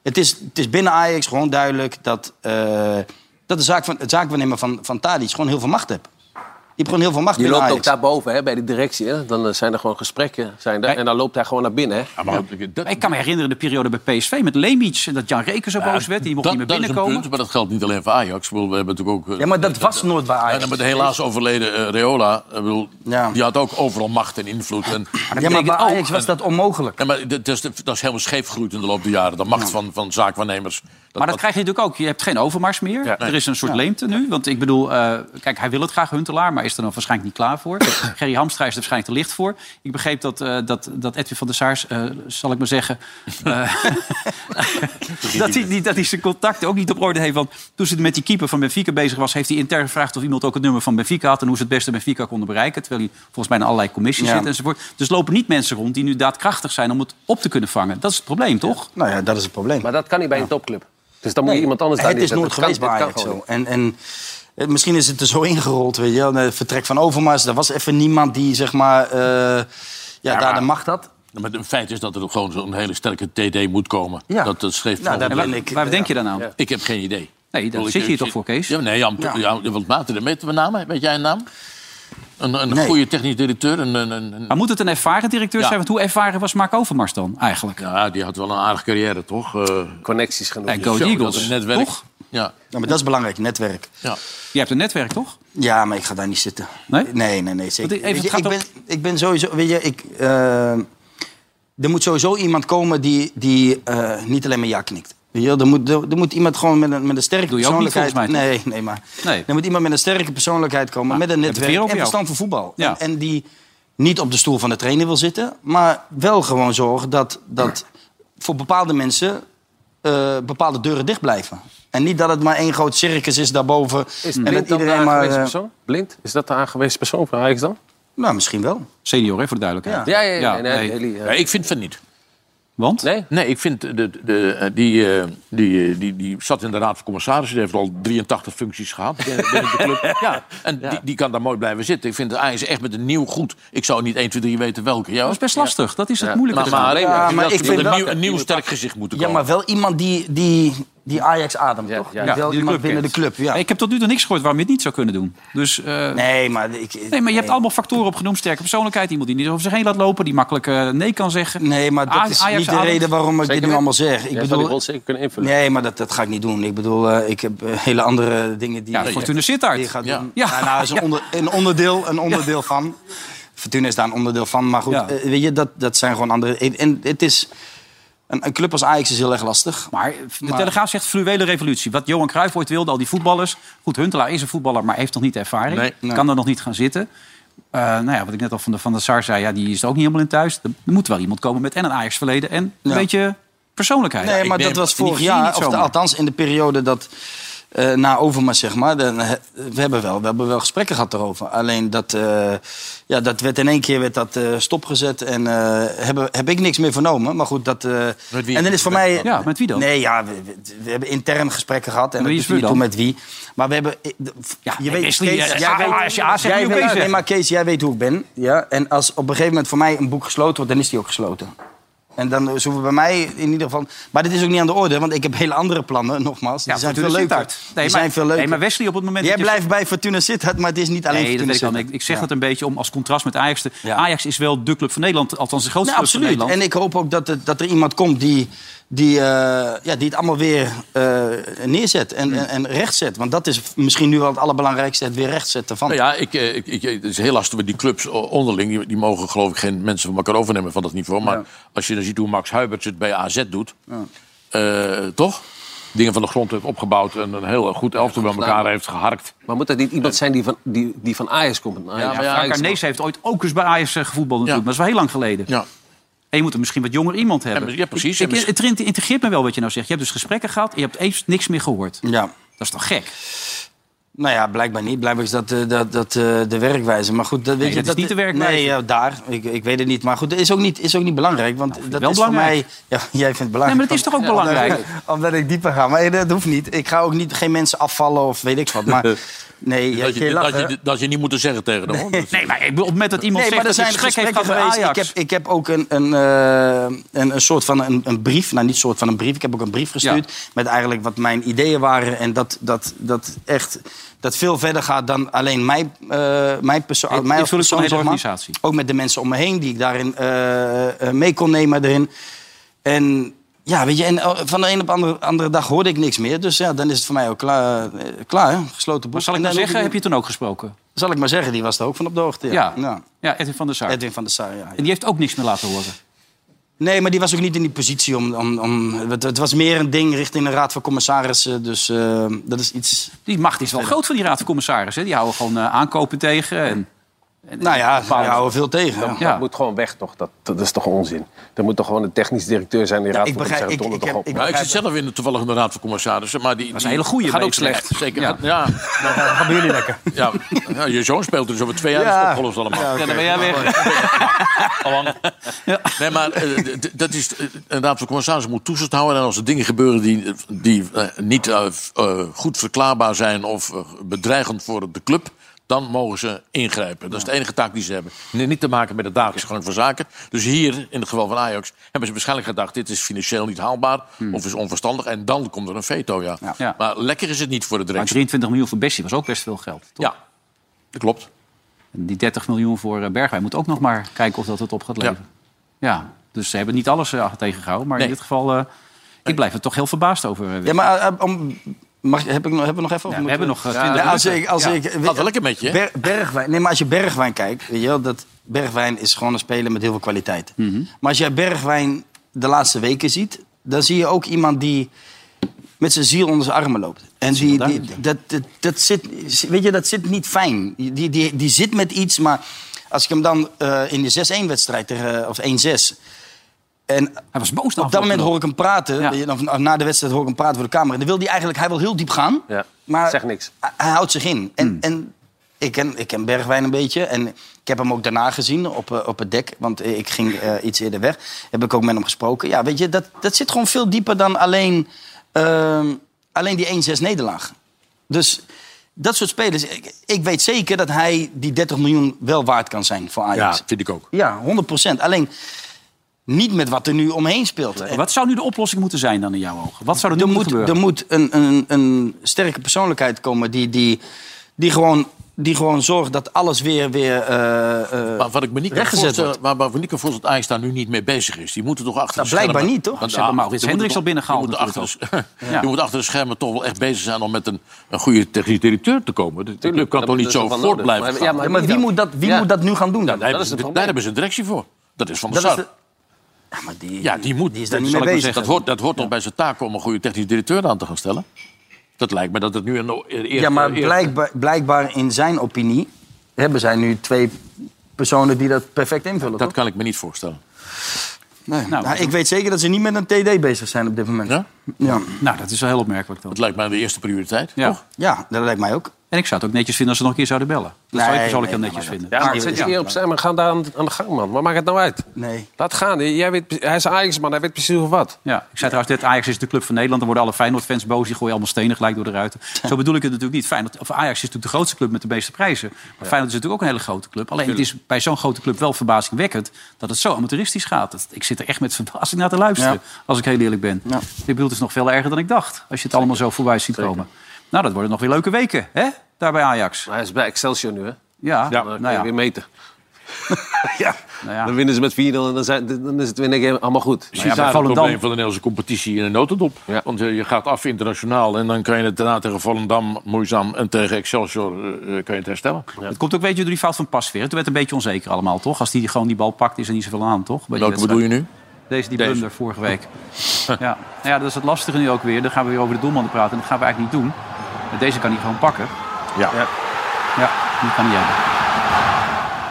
[SPEAKER 4] Het is, het is binnen Ajax gewoon duidelijk dat, eh, dat de zaak van, het zaakwaarnemer van, van Tadic gewoon heel veel macht heeft. Die heeft gewoon heel veel macht
[SPEAKER 5] Je
[SPEAKER 4] binnen
[SPEAKER 5] loopt ook
[SPEAKER 4] Ajax.
[SPEAKER 5] daarboven hè, bij die directie. Hè. Dan eh, zijn er gewoon gesprekken. Zijn er, en dan loopt hij gewoon naar binnen. Hè.
[SPEAKER 2] Maar Ik kan me herinneren de periode bij PSV met Lemic. en Dat Jan Reker zo boos werd. Die mocht
[SPEAKER 6] dat,
[SPEAKER 2] niet meer
[SPEAKER 6] dat is een
[SPEAKER 2] binnenkomen.
[SPEAKER 6] punt, maar dat geldt niet alleen voor Ajax. Ik bedoel, We hebben natuurlijk ook... eh,
[SPEAKER 4] Ja, maar dat was nooit bij
[SPEAKER 6] En
[SPEAKER 4] Ajax.
[SPEAKER 6] dan met de helaas overleden eh, Reola, ik bedoel, die had ook overal macht en invloed. En,
[SPEAKER 4] Ja, maar bij Ajax
[SPEAKER 5] oh,
[SPEAKER 4] was dat onmogelijk.
[SPEAKER 6] Ja, maar dat is, dat is helemaal scheef gegroeid in de loop der jaren. De macht van, van zaakwaarnemers.
[SPEAKER 2] maar dat krijg je natuurlijk ook. Je hebt geen overmars meer. Er is een soort leemte nu. Want ik bedoel, eh, kijk, hij wil het graag, Huntelaar... maar is er dan waarschijnlijk niet klaar voor. Gerry Hamstra is er waarschijnlijk te licht voor. Ik begreep dat, eh, dat, dat Edwin van der Saars, eh, zal ik maar zeggen... eh, dat, hij, niet- dat hij zijn contacten ook niet op orde heeft. Want toen ze met die keeper van Benfica bezig was... heeft hij intern gevraagd of iemand ook het nummer van Benfica had... en hoe ze het beste Benfica konden bereiken. Terwijl hij volgens mij in allerlei commissies
[SPEAKER 4] Ja.
[SPEAKER 2] zit enzovoort. Dus lopen niet mensen rond die nu daadkrachtig zijn... om het op te kunnen vangen. Dat is het probleem, toch?
[SPEAKER 4] Nou ja, dat is het probleem.
[SPEAKER 5] Maar dat kan niet bij een topclub. Dus dan moet je
[SPEAKER 4] Nee,
[SPEAKER 5] iemand anders
[SPEAKER 4] Het
[SPEAKER 5] daarin
[SPEAKER 4] is nooit
[SPEAKER 5] zetten. Dat
[SPEAKER 4] geweest bij
[SPEAKER 5] kan-
[SPEAKER 4] Ajax
[SPEAKER 5] dat kan
[SPEAKER 4] zo. En, en eh, misschien is het er zo ingerold, weet je wel. Het vertrek van Overmars, er was even niemand die, zeg maar, eh, ja, daar
[SPEAKER 6] maar-
[SPEAKER 4] de macht had.
[SPEAKER 6] Maar het feit is dat er gewoon zo'n hele sterke TD moet komen.
[SPEAKER 4] Ja.
[SPEAKER 6] Dat, dat schreef
[SPEAKER 4] Nou, daar
[SPEAKER 6] Van-
[SPEAKER 4] ben ik-
[SPEAKER 2] Waar denk je dan aan?
[SPEAKER 6] Ik heb geen idee.
[SPEAKER 2] Nee,
[SPEAKER 6] Ik bedoel,
[SPEAKER 2] dan
[SPEAKER 6] ik-
[SPEAKER 2] zit je hier
[SPEAKER 6] ik-
[SPEAKER 2] toch voor, Kees?
[SPEAKER 6] Ja, nee, Jan,
[SPEAKER 2] Ja.
[SPEAKER 6] ja. want Maarten, weet, we namen, weet jij een naam? Een, een
[SPEAKER 2] Nee.
[SPEAKER 6] goede technisch directeur? Een, een, een, een-
[SPEAKER 2] Maar moet het een ervaren directeur
[SPEAKER 6] Ja.
[SPEAKER 2] zijn? Want hoe ervaren was Mark Overmars dan eigenlijk?
[SPEAKER 6] ja, die had wel een aardige carrière, toch? Eh,
[SPEAKER 5] Connecties genoeg.
[SPEAKER 2] En Go
[SPEAKER 6] Zo, dat
[SPEAKER 2] Eagles,
[SPEAKER 6] is netwerk.
[SPEAKER 2] toch?
[SPEAKER 6] Ja.
[SPEAKER 4] Ja, maar dat is belangrijk, netwerk.
[SPEAKER 6] Ja.
[SPEAKER 2] Je hebt een netwerk, toch?
[SPEAKER 4] Ja, maar ik ga daar niet zitten.
[SPEAKER 2] Nee?
[SPEAKER 4] Nee, nee, nee, zeker.
[SPEAKER 2] Want even,
[SPEAKER 4] Weet je,
[SPEAKER 2] het
[SPEAKER 4] ik,
[SPEAKER 2] gaat
[SPEAKER 4] ben, ik ben sowieso... Weet je, ik, eh, er moet sowieso iemand komen die, die eh, niet alleen maar ja knikt. Weet je, wel, er, moet, er, er moet iemand gewoon met een, met een sterke
[SPEAKER 2] Doe je ook niet,
[SPEAKER 4] persoonlijkheid...
[SPEAKER 2] volgens mij,
[SPEAKER 4] nee, nee, maar...
[SPEAKER 2] Nee.
[SPEAKER 4] Er moet iemand met een sterke persoonlijkheid komen, met een
[SPEAKER 2] we het
[SPEAKER 4] netwerk
[SPEAKER 2] weer
[SPEAKER 4] en
[SPEAKER 2] over jou.
[SPEAKER 4] verstand van voetbal.
[SPEAKER 2] Ja.
[SPEAKER 4] En, en die niet op de stoel van de trainer wil zitten, maar wel gewoon zorgen dat, dat voor bepaalde mensen eh, bepaalde deuren dicht blijven. En niet dat het maar één groot circus is daarboven.
[SPEAKER 5] Is
[SPEAKER 4] en
[SPEAKER 5] Blind
[SPEAKER 4] dat
[SPEAKER 5] dan de
[SPEAKER 4] iedereen maar.
[SPEAKER 5] aangewezen
[SPEAKER 4] eh,
[SPEAKER 5] persoon? Blind? Is dat de aangewezen persoon voor Ajax dan?
[SPEAKER 4] nou, misschien wel.
[SPEAKER 2] Senior, hè, voor de duidelijkheid.
[SPEAKER 5] Ja, ja, ja.
[SPEAKER 2] Ja,
[SPEAKER 5] nee, eh,
[SPEAKER 2] nee.
[SPEAKER 5] Eli, ja.
[SPEAKER 6] Ja, ik vind van niet.
[SPEAKER 2] Want?
[SPEAKER 6] Nee, nee ik vind de, de, de- die, eh, die, eh, die, die zat in de Raad van Commissarissen. Die heeft al 83 functies gehad binnen, binnen de club. Ja, en Die, die kan daar mooi blijven zitten. Ik vind het Ajax echt met een nieuw goed. Ik zou niet 1, 2, 3 weten welke. Ja,
[SPEAKER 2] Dat is best lastig. Dat is het
[SPEAKER 6] Ja,
[SPEAKER 2] moeilijke.
[SPEAKER 6] Maar, maar,
[SPEAKER 2] eraan.
[SPEAKER 6] alleen, ik vind dat er een
[SPEAKER 4] wel-
[SPEAKER 6] nieuw, een nieuw sterk gezicht moeten
[SPEAKER 4] Ja,
[SPEAKER 6] komen.
[SPEAKER 4] maar wel iemand die, die, die Ajax ademt, toch?
[SPEAKER 2] Ja,
[SPEAKER 4] Wel
[SPEAKER 2] die de
[SPEAKER 4] iemand
[SPEAKER 2] club
[SPEAKER 4] binnen
[SPEAKER 2] kent.
[SPEAKER 4] de club, ja.
[SPEAKER 2] Nee, Ik heb tot nu toe niks gehoord waarom je het niet zou kunnen doen. Dus,
[SPEAKER 4] nee, maar ik,
[SPEAKER 2] nee, maar je hebt allemaal factoren opgenoemd. Sterke persoonlijkheid, iemand die niet over zich heen laat lopen... die makkelijk eh, nee kan zeggen.
[SPEAKER 4] Nee, maar dat
[SPEAKER 2] A-
[SPEAKER 4] is
[SPEAKER 2] Ajax
[SPEAKER 4] niet de
[SPEAKER 2] ademt.
[SPEAKER 4] reden waarom ik dit nu
[SPEAKER 2] weten.
[SPEAKER 4] allemaal zeg.
[SPEAKER 2] Jij zou die rol zeker
[SPEAKER 5] kunnen invullen.
[SPEAKER 4] Nee, maar dat, dat ga ik niet doen. Ik bedoel, eh, ik heb eh, hele andere dingen die...
[SPEAKER 2] Ja, Fortuna Sittard.
[SPEAKER 4] Die ik ga
[SPEAKER 2] Ja.
[SPEAKER 4] doen.
[SPEAKER 2] Ja.
[SPEAKER 4] Ja. nou, is een, onder, een onderdeel, een onderdeel van. Fortuna is daar een onderdeel van. Maar goed,
[SPEAKER 2] Ja.
[SPEAKER 4] eh, weet je, dat, dat zijn gewoon andere... En het is... Een, een club als Ajax is heel erg lastig.
[SPEAKER 2] Maar eh, De Telegraaf zegt fluwele revolutie. Wat Johan Cruijff ooit wilde, al die voetballers. Goed, Huntelaar is een voetballer, maar heeft nog niet ervaring.
[SPEAKER 4] Nee, nee.
[SPEAKER 2] Kan er nog niet gaan zitten. Eh, nou ja, wat ik net al van de, van de Sar zei, ja, die is er ook niet helemaal in thuis. Er er moet wel iemand komen met en een Ajax-verleden en een
[SPEAKER 4] Ja.
[SPEAKER 2] beetje persoonlijkheid.
[SPEAKER 4] Nee, maar dat was vorig jaar. Of de- althans, in de periode dat... eh, na Overmars, zeg maar. dan, eh, we, hebben wel, we hebben wel gesprekken gehad daarover. Alleen dat, eh, ja, dat werd in één keer werd dat, eh, stopgezet. En eh, hebben, heb ik niks meer vernomen. Maar goed, dat... eh, en dan is voor mij...
[SPEAKER 2] Ja, met wie dan?
[SPEAKER 4] Nee, ja, we, we- we hebben intern gesprekken gehad. En
[SPEAKER 2] Wie
[SPEAKER 4] dat
[SPEAKER 2] is
[SPEAKER 4] doet er
[SPEAKER 2] wie
[SPEAKER 4] niet
[SPEAKER 2] dan?
[SPEAKER 4] toe met wie. Maar we hebben... Ja, je weet,
[SPEAKER 2] Wesley,
[SPEAKER 4] Kees,
[SPEAKER 2] eh,
[SPEAKER 4] jij
[SPEAKER 2] ah,
[SPEAKER 4] weet-
[SPEAKER 2] als je A zegt, moet
[SPEAKER 4] jij
[SPEAKER 2] je B
[SPEAKER 4] weet-
[SPEAKER 2] zeggen.
[SPEAKER 4] Nee, maar Kees, jij weet hoe ik ben. Ja? En als op een gegeven moment voor mij een boek gesloten wordt, dan is die ook gesloten. En dan eh, zoeken we bij mij in ieder geval... Maar dit is ook niet aan de orde, want ik heb hele andere plannen, nogmaals. Die zijn veel leuker.
[SPEAKER 2] Nee,
[SPEAKER 4] die
[SPEAKER 2] maar,
[SPEAKER 4] zijn veel leuker.
[SPEAKER 2] Nee, maar Wesley op het moment...
[SPEAKER 4] Jij
[SPEAKER 2] dat je-
[SPEAKER 4] blijft bij Fortuna Sittard, maar het is niet alleen
[SPEAKER 2] Nee, dat
[SPEAKER 4] Fortuna
[SPEAKER 2] weet ik wel.
[SPEAKER 4] Sittard.
[SPEAKER 2] Ik, ik zeg
[SPEAKER 4] Ja.
[SPEAKER 2] dat een beetje om als contrast met Ajax. te- Ajax is wel de club van Nederland, althans de grootste
[SPEAKER 4] Nee,
[SPEAKER 2] club van
[SPEAKER 4] Nou, absoluut.
[SPEAKER 2] Nederland.
[SPEAKER 4] En ik hoop ook dat, het- dat er iemand komt die, die, eh, ja, die het allemaal weer eh, neerzet en, en, en rechtzet. Want dat is misschien nu wel het allerbelangrijkste, het weer rechtzetten van.
[SPEAKER 6] Nou ja, ik, eh, ik, ik, het is heel lastig met die clubs o- onderling. Die, die mogen geloof ik geen mensen van elkaar overnemen van dat niveau. Maar als je dan ziet hoe Max Huiberts het bij AZ doet... eh, toch? Dingen van de grond heeft opgebouwd en een heel goed elftal bij elkaar heeft geharkt.
[SPEAKER 5] Maar moet dat niet iemand zijn die van, die, die van Ajax komt?
[SPEAKER 2] Ja, maar ja, Nees heeft ooit ook eens bij Ajax eh, gevoetbald natuurlijk, maar dat is wel heel lang geleden.
[SPEAKER 6] Ja.
[SPEAKER 2] En je moet er misschien wat jonger iemand hebben.
[SPEAKER 6] Ja, maar- ja, precies.
[SPEAKER 2] Ik,
[SPEAKER 6] Ja,
[SPEAKER 2] ik, het inter- integreert me wel wat je nou zegt. Je hebt dus gesprekken gehad en je hebt eens niks meer gehoord.
[SPEAKER 4] Ja.
[SPEAKER 2] Dat is toch gek?
[SPEAKER 4] Nou ja, blijkbaar niet. Blijkbaar is dat, eh, dat, dat eh, de werkwijze. Maar goed, dat, weet
[SPEAKER 2] Nee,
[SPEAKER 4] je,
[SPEAKER 2] dat is niet de werkwijze.
[SPEAKER 4] Nee, ja, daar. Ik, ik weet het niet. Maar goed, dat is ook niet, is ook niet belangrijk. Want dat
[SPEAKER 2] wel
[SPEAKER 4] is voor mij...
[SPEAKER 2] belangrijk.
[SPEAKER 4] Ja, jij vindt het belangrijk.
[SPEAKER 2] Nee, maar dat is toch ook
[SPEAKER 4] Omdat-
[SPEAKER 2] belangrijk?
[SPEAKER 4] Omdat, ik dieper ga. Maar eh, dat hoeft niet. Ik ga ook niet, geen mensen afvallen of weet ik wat. Maar nee, jij
[SPEAKER 6] Dat
[SPEAKER 4] je
[SPEAKER 6] je,
[SPEAKER 4] lacht,
[SPEAKER 6] dat,
[SPEAKER 4] hè?
[SPEAKER 6] je, dat je niet moet zeggen tegen hem. hoor.
[SPEAKER 2] Nee, maar ik bedoel, op het moment dat iemand zegt dat hij een gesprek heeft gehad bij Ajax...
[SPEAKER 4] Ik heb, ik heb ook een, een, eh, een, een soort van een, een brief. Nou, niet soort van een brief. Ik heb ook een brief gestuurd. Met eigenlijk wat mijn ideeën waren. En dat, dat, dat echt dat veel verder gaat dan alleen mijn, eh mijn persoon.
[SPEAKER 2] Ik-
[SPEAKER 4] mijn
[SPEAKER 2] ik vul het van de hele
[SPEAKER 4] persoon, zeg maar.
[SPEAKER 2] organisatie.
[SPEAKER 4] Ook met de mensen om me heen die ik daarin eh, eh, mee kon nemen. Erin. En ja, weet je, en eh, van de een op de andere, andere dag hoorde ik niks meer. Dus ja, dan is het voor mij ook klaar. eh, klaar hè? Gesloten boek.
[SPEAKER 2] Maar zal ik nou
[SPEAKER 4] En dan hoef
[SPEAKER 2] zeggen, heb
[SPEAKER 4] niet-
[SPEAKER 2] je toen ook gesproken?
[SPEAKER 4] Zal ik maar zeggen, die was er ook van op de hoogte.
[SPEAKER 2] Ja.
[SPEAKER 4] Ja. ja.
[SPEAKER 2] Ja, Edwin van der Sar.
[SPEAKER 4] Edwin van der Sar, ja.
[SPEAKER 2] En die heeft ook niks meer laten horen.
[SPEAKER 4] Nee, maar die was ook niet in die positie om... om, om het, het was meer een ding richting de Raad van Commissarissen. Dus eh, dat is iets...
[SPEAKER 2] Die macht is wel groot van die raad van commissarissen. hè? Die houden gewoon eh, aankopen tegen. En,
[SPEAKER 4] nou ja, die
[SPEAKER 2] bepaalde-
[SPEAKER 4] houden veel tegen.
[SPEAKER 5] Dat,
[SPEAKER 4] ja.
[SPEAKER 5] dat moet gewoon weg, toch? Dat, dat is toch onzin? Er moet toch gewoon een technisch directeur zijn die raad
[SPEAKER 4] ik
[SPEAKER 5] van
[SPEAKER 4] begrijp-
[SPEAKER 5] commissarissen
[SPEAKER 4] ik-
[SPEAKER 5] donder
[SPEAKER 4] ik
[SPEAKER 5] toch op.
[SPEAKER 4] heb-
[SPEAKER 6] Nou, ik
[SPEAKER 4] begrijp
[SPEAKER 6] zit zelf in de toevallig in de Raad van Commissarissen, maar die, dat
[SPEAKER 2] is een hele goede
[SPEAKER 6] gaat ook
[SPEAKER 2] betere.
[SPEAKER 6] slecht. Zeker.
[SPEAKER 2] Ja.
[SPEAKER 6] Ja. Ja,
[SPEAKER 4] gaan jullie lekker.
[SPEAKER 6] ja, je zoon speelt er dus over twee jaar
[SPEAKER 4] Ja.
[SPEAKER 6] ja. opgelost allemaal.
[SPEAKER 4] Ja,
[SPEAKER 2] Ja,
[SPEAKER 4] oké.
[SPEAKER 2] dan ben jij weer.
[SPEAKER 6] Nee, maar eh, d- d- dat is, eh, een raad van commissarissen moet toezicht houden. En als er dingen gebeuren die, die eh, niet eh, f- eh, goed verklaarbaar zijn of eh, bedreigend voor de club, dan mogen ze ingrijpen. Dat is de enige taak die ze hebben. Nee, Niet te maken met de dagelijkse gang van zaken. Dus hier, in het geval van Ajax, hebben ze waarschijnlijk gedacht: dit is financieel niet haalbaar of is onverstandig. En dan komt er een veto, Hmm. ja.
[SPEAKER 2] Ja.
[SPEAKER 6] Maar lekker is het niet voor de
[SPEAKER 2] Maar
[SPEAKER 6] directie.
[SPEAKER 2] 23 miljoen voor Bessie was ook best veel geld. Toch?
[SPEAKER 6] Ja, dat klopt.
[SPEAKER 2] En die 30 miljoen voor eh, Bergwijn moet ook nog maar kijken of dat het op gaat
[SPEAKER 6] Ja.
[SPEAKER 2] leveren. Ja, dus ze hebben niet alles eh, tegengehouden. Maar in
[SPEAKER 6] Nee.
[SPEAKER 2] dit geval, eh, ik blijf er toch heel verbaasd over. eh, Wim.
[SPEAKER 4] Ja, maar eh, om, mag, heb ik, nog- hebben we nog even? of
[SPEAKER 2] Ja, we
[SPEAKER 4] moeten
[SPEAKER 2] hebben nog, eh, 20
[SPEAKER 4] Ja, als
[SPEAKER 2] minuten.
[SPEAKER 4] ik, als
[SPEAKER 2] Ja.
[SPEAKER 4] ik,
[SPEAKER 6] Gaat wel lekker met je, hè?
[SPEAKER 4] Ber- Bergwijn, nee, maar als je Bergwijn kijkt, weet je wel, dat Bergwijn is gewoon een speler met heel veel kwaliteit.
[SPEAKER 2] Mhm.
[SPEAKER 4] Maar als jij Bergwijn de laatste weken ziet, dan zie je ook iemand die met zijn ziel onder zijn armen loopt. En die, die, dat, dat, dat, zit, weet je, dat zit niet fijn. Die, die, die zit met iets, maar als ik hem dan eh, in de 6-1-wedstrijd, tegen- of 1-6... En
[SPEAKER 2] Hij was boos na
[SPEAKER 4] op
[SPEAKER 2] afloop
[SPEAKER 4] dat moment
[SPEAKER 2] nog.
[SPEAKER 4] hoor ik hem praten.
[SPEAKER 2] Ja.
[SPEAKER 4] weet je, dan- Na de wedstrijd hoor ik hem praten voor de camera. En dan wil hij eigenlijk, hij wil heel diep gaan.
[SPEAKER 5] Ja,
[SPEAKER 4] Maar
[SPEAKER 5] zeg niks.
[SPEAKER 4] hij- hij houdt zich in. En, en ik ken, ik ken Bergwijn een beetje. En ik heb hem ook daarna gezien op, eh, op het dek. Want ik ging eh, iets eerder weg. Heb ik ook met hem gesproken. Ja, weet je, dat, dat zit gewoon veel dieper dan alleen, ehm, alleen die 1-6 nederlaag. Dus dat soort spelers. Ik, ik weet zeker dat hij die 30 miljoen wel waard kan zijn voor Ajax.
[SPEAKER 6] Ja, vind ik ook.
[SPEAKER 4] Ja, 100 Alleen niet met wat er nu omheen speelt. En-
[SPEAKER 2] Wat zou nu de oplossing moeten zijn dan in jouw ogen? Wat zou er nu
[SPEAKER 4] er
[SPEAKER 2] moeten
[SPEAKER 4] moet,
[SPEAKER 2] gebeuren?
[SPEAKER 4] er moet een, een, een sterke persoonlijkheid komen die, die, die, gewoon, die gewoon zorgt dat alles weer, weer eh, eh,
[SPEAKER 6] Maar wat ik me niet kan
[SPEAKER 4] rechtgezet
[SPEAKER 6] voorstellen,
[SPEAKER 4] wordt.
[SPEAKER 6] waar, waar ik me niet kan voorstellen dat Ajax daar nu niet mee bezig is. Die moeten toch achter
[SPEAKER 4] Nou,
[SPEAKER 6] de schermen...
[SPEAKER 4] blijkbaar niet, toch?
[SPEAKER 6] Want
[SPEAKER 4] Ze hebben
[SPEAKER 6] ah,
[SPEAKER 4] Maurits
[SPEAKER 6] ze moeten
[SPEAKER 4] Hendricks
[SPEAKER 6] toch-
[SPEAKER 4] al binnengehaald
[SPEAKER 6] Die moeten achter, de,
[SPEAKER 4] Ja.
[SPEAKER 6] die moeten achter de schermen toch wel echt bezig zijn om met een, een goede technisch directeur te komen. De, de club kan
[SPEAKER 5] dat
[SPEAKER 6] toch niet
[SPEAKER 5] is
[SPEAKER 6] zo
[SPEAKER 5] toch wel
[SPEAKER 6] voort
[SPEAKER 5] nodig.
[SPEAKER 6] blijven
[SPEAKER 5] Maar-
[SPEAKER 6] gaan.
[SPEAKER 5] ja, maar
[SPEAKER 4] Ja, maar wie, moet dat, wie
[SPEAKER 5] Ja.
[SPEAKER 4] moet dat nu gaan doen dan?
[SPEAKER 6] daar,
[SPEAKER 5] dat is het
[SPEAKER 6] hebben-
[SPEAKER 5] probleem.
[SPEAKER 6] daar hebben ze een directie voor. Dat is van de
[SPEAKER 4] Dat is
[SPEAKER 6] Sar.
[SPEAKER 4] de- Ja, maar die,
[SPEAKER 6] Ja, die moet.
[SPEAKER 4] die is daar
[SPEAKER 6] dat
[SPEAKER 4] niet mee
[SPEAKER 6] zal ik maar
[SPEAKER 4] bezig.
[SPEAKER 6] zeggen, Dat hoort, dat hoort toch bij zijn taak om een goede technisch directeur aan te gaan stellen? Dat lijkt me dat het nu een eerste...
[SPEAKER 4] ja, maar
[SPEAKER 6] eerste-
[SPEAKER 4] blijkbaar, blijkbaar in zijn opinie hebben zij nu twee personen die dat perfect invullen.
[SPEAKER 6] Dat kan ik me niet voorstellen.
[SPEAKER 4] toch? Nee. Nou, ik weet zeker dat ze niet met een TD bezig zijn op dit moment.
[SPEAKER 6] Ja?
[SPEAKER 4] Ja,
[SPEAKER 2] Nou, dat is wel heel opmerkelijk dan.
[SPEAKER 6] Dat lijkt mij de eerste prioriteit,
[SPEAKER 2] Ja.
[SPEAKER 6] toch?
[SPEAKER 4] ja dat lijkt mij ook.
[SPEAKER 2] En ik zou het ook netjes vinden als ze nog een keer zouden bellen. Dat zou ik
[SPEAKER 4] Nee,
[SPEAKER 2] persoonlijk
[SPEAKER 4] nee,
[SPEAKER 2] heel netjes
[SPEAKER 4] maar
[SPEAKER 2] vinden.
[SPEAKER 5] Ja, maar
[SPEAKER 2] Maar-
[SPEAKER 5] zet je
[SPEAKER 2] ja.
[SPEAKER 5] eer op zijn, maar ga daar aan, aan de gang, man. Maar maak het nou uit.
[SPEAKER 4] Nee.
[SPEAKER 5] Laat gaan. Jij weet, pre- hij is Ajax-man, hij weet precies hoe wat.
[SPEAKER 2] Ja, ik zei trouwens net, Ajax is de club van Nederland. Dan worden alle Feyenoord-fans boos, die gooien allemaal stenen gelijk door de ruiten. Zo bedoel ik het natuurlijk niet. Feyenoord, of Ajax is natuurlijk de grootste club met de meeste prijzen. Maar Feyenoord is natuurlijk ook een hele grote club. Alleen het is bij zo'n grote club wel verbazingwekkend dat het zo amateuristisch gaat. Dat- ik zit er echt met verbazing naar te luisteren, als ik heel eerlijk ben.
[SPEAKER 4] Ja.
[SPEAKER 2] Ik bedoel, het is nog veel erger dan ik dacht, als je het allemaal zo voorbij ziet komen. Nou, dat worden nog weer leuke weken, hè? Daar bij Ajax.
[SPEAKER 5] Maar hij is bij Excelsior nu, hè?
[SPEAKER 2] Ja,
[SPEAKER 5] Dan kan
[SPEAKER 2] nou
[SPEAKER 5] je
[SPEAKER 2] ja.
[SPEAKER 5] weer meten.
[SPEAKER 2] Nou ja.
[SPEAKER 5] Dan winnen ze met 4-0 en dan, zijn, dan is het weer een keer allemaal goed.
[SPEAKER 6] Precies
[SPEAKER 2] bij
[SPEAKER 6] daar het
[SPEAKER 2] Volendam-
[SPEAKER 6] probleem van de Nederlandse competitie in een notendop. Want eh, je gaat af internationaal en dan kan je het daarna tegen Volendam moeizaam en tegen Excelsior eh, eh, kan je het herstellen.
[SPEAKER 2] Het komt ook weet je, door die fout van Pasveer. Toen werd het een beetje onzeker allemaal, toch? Als die gewoon die bal pakt, is er niet zoveel aan, toch? Bij die
[SPEAKER 6] Welke
[SPEAKER 2] wedstrijd.
[SPEAKER 6] bedoel je nu?
[SPEAKER 2] Deze die
[SPEAKER 6] Deze.
[SPEAKER 2] blunder vorige week. ja. Nou ja, dat is het lastige nu ook weer. Dan gaan we weer over de doelmannen praten. En dat gaan we eigenlijk niet doen. Maar deze kan hij gewoon pakken.
[SPEAKER 6] Ja.
[SPEAKER 2] Ja, die kan hij hebben.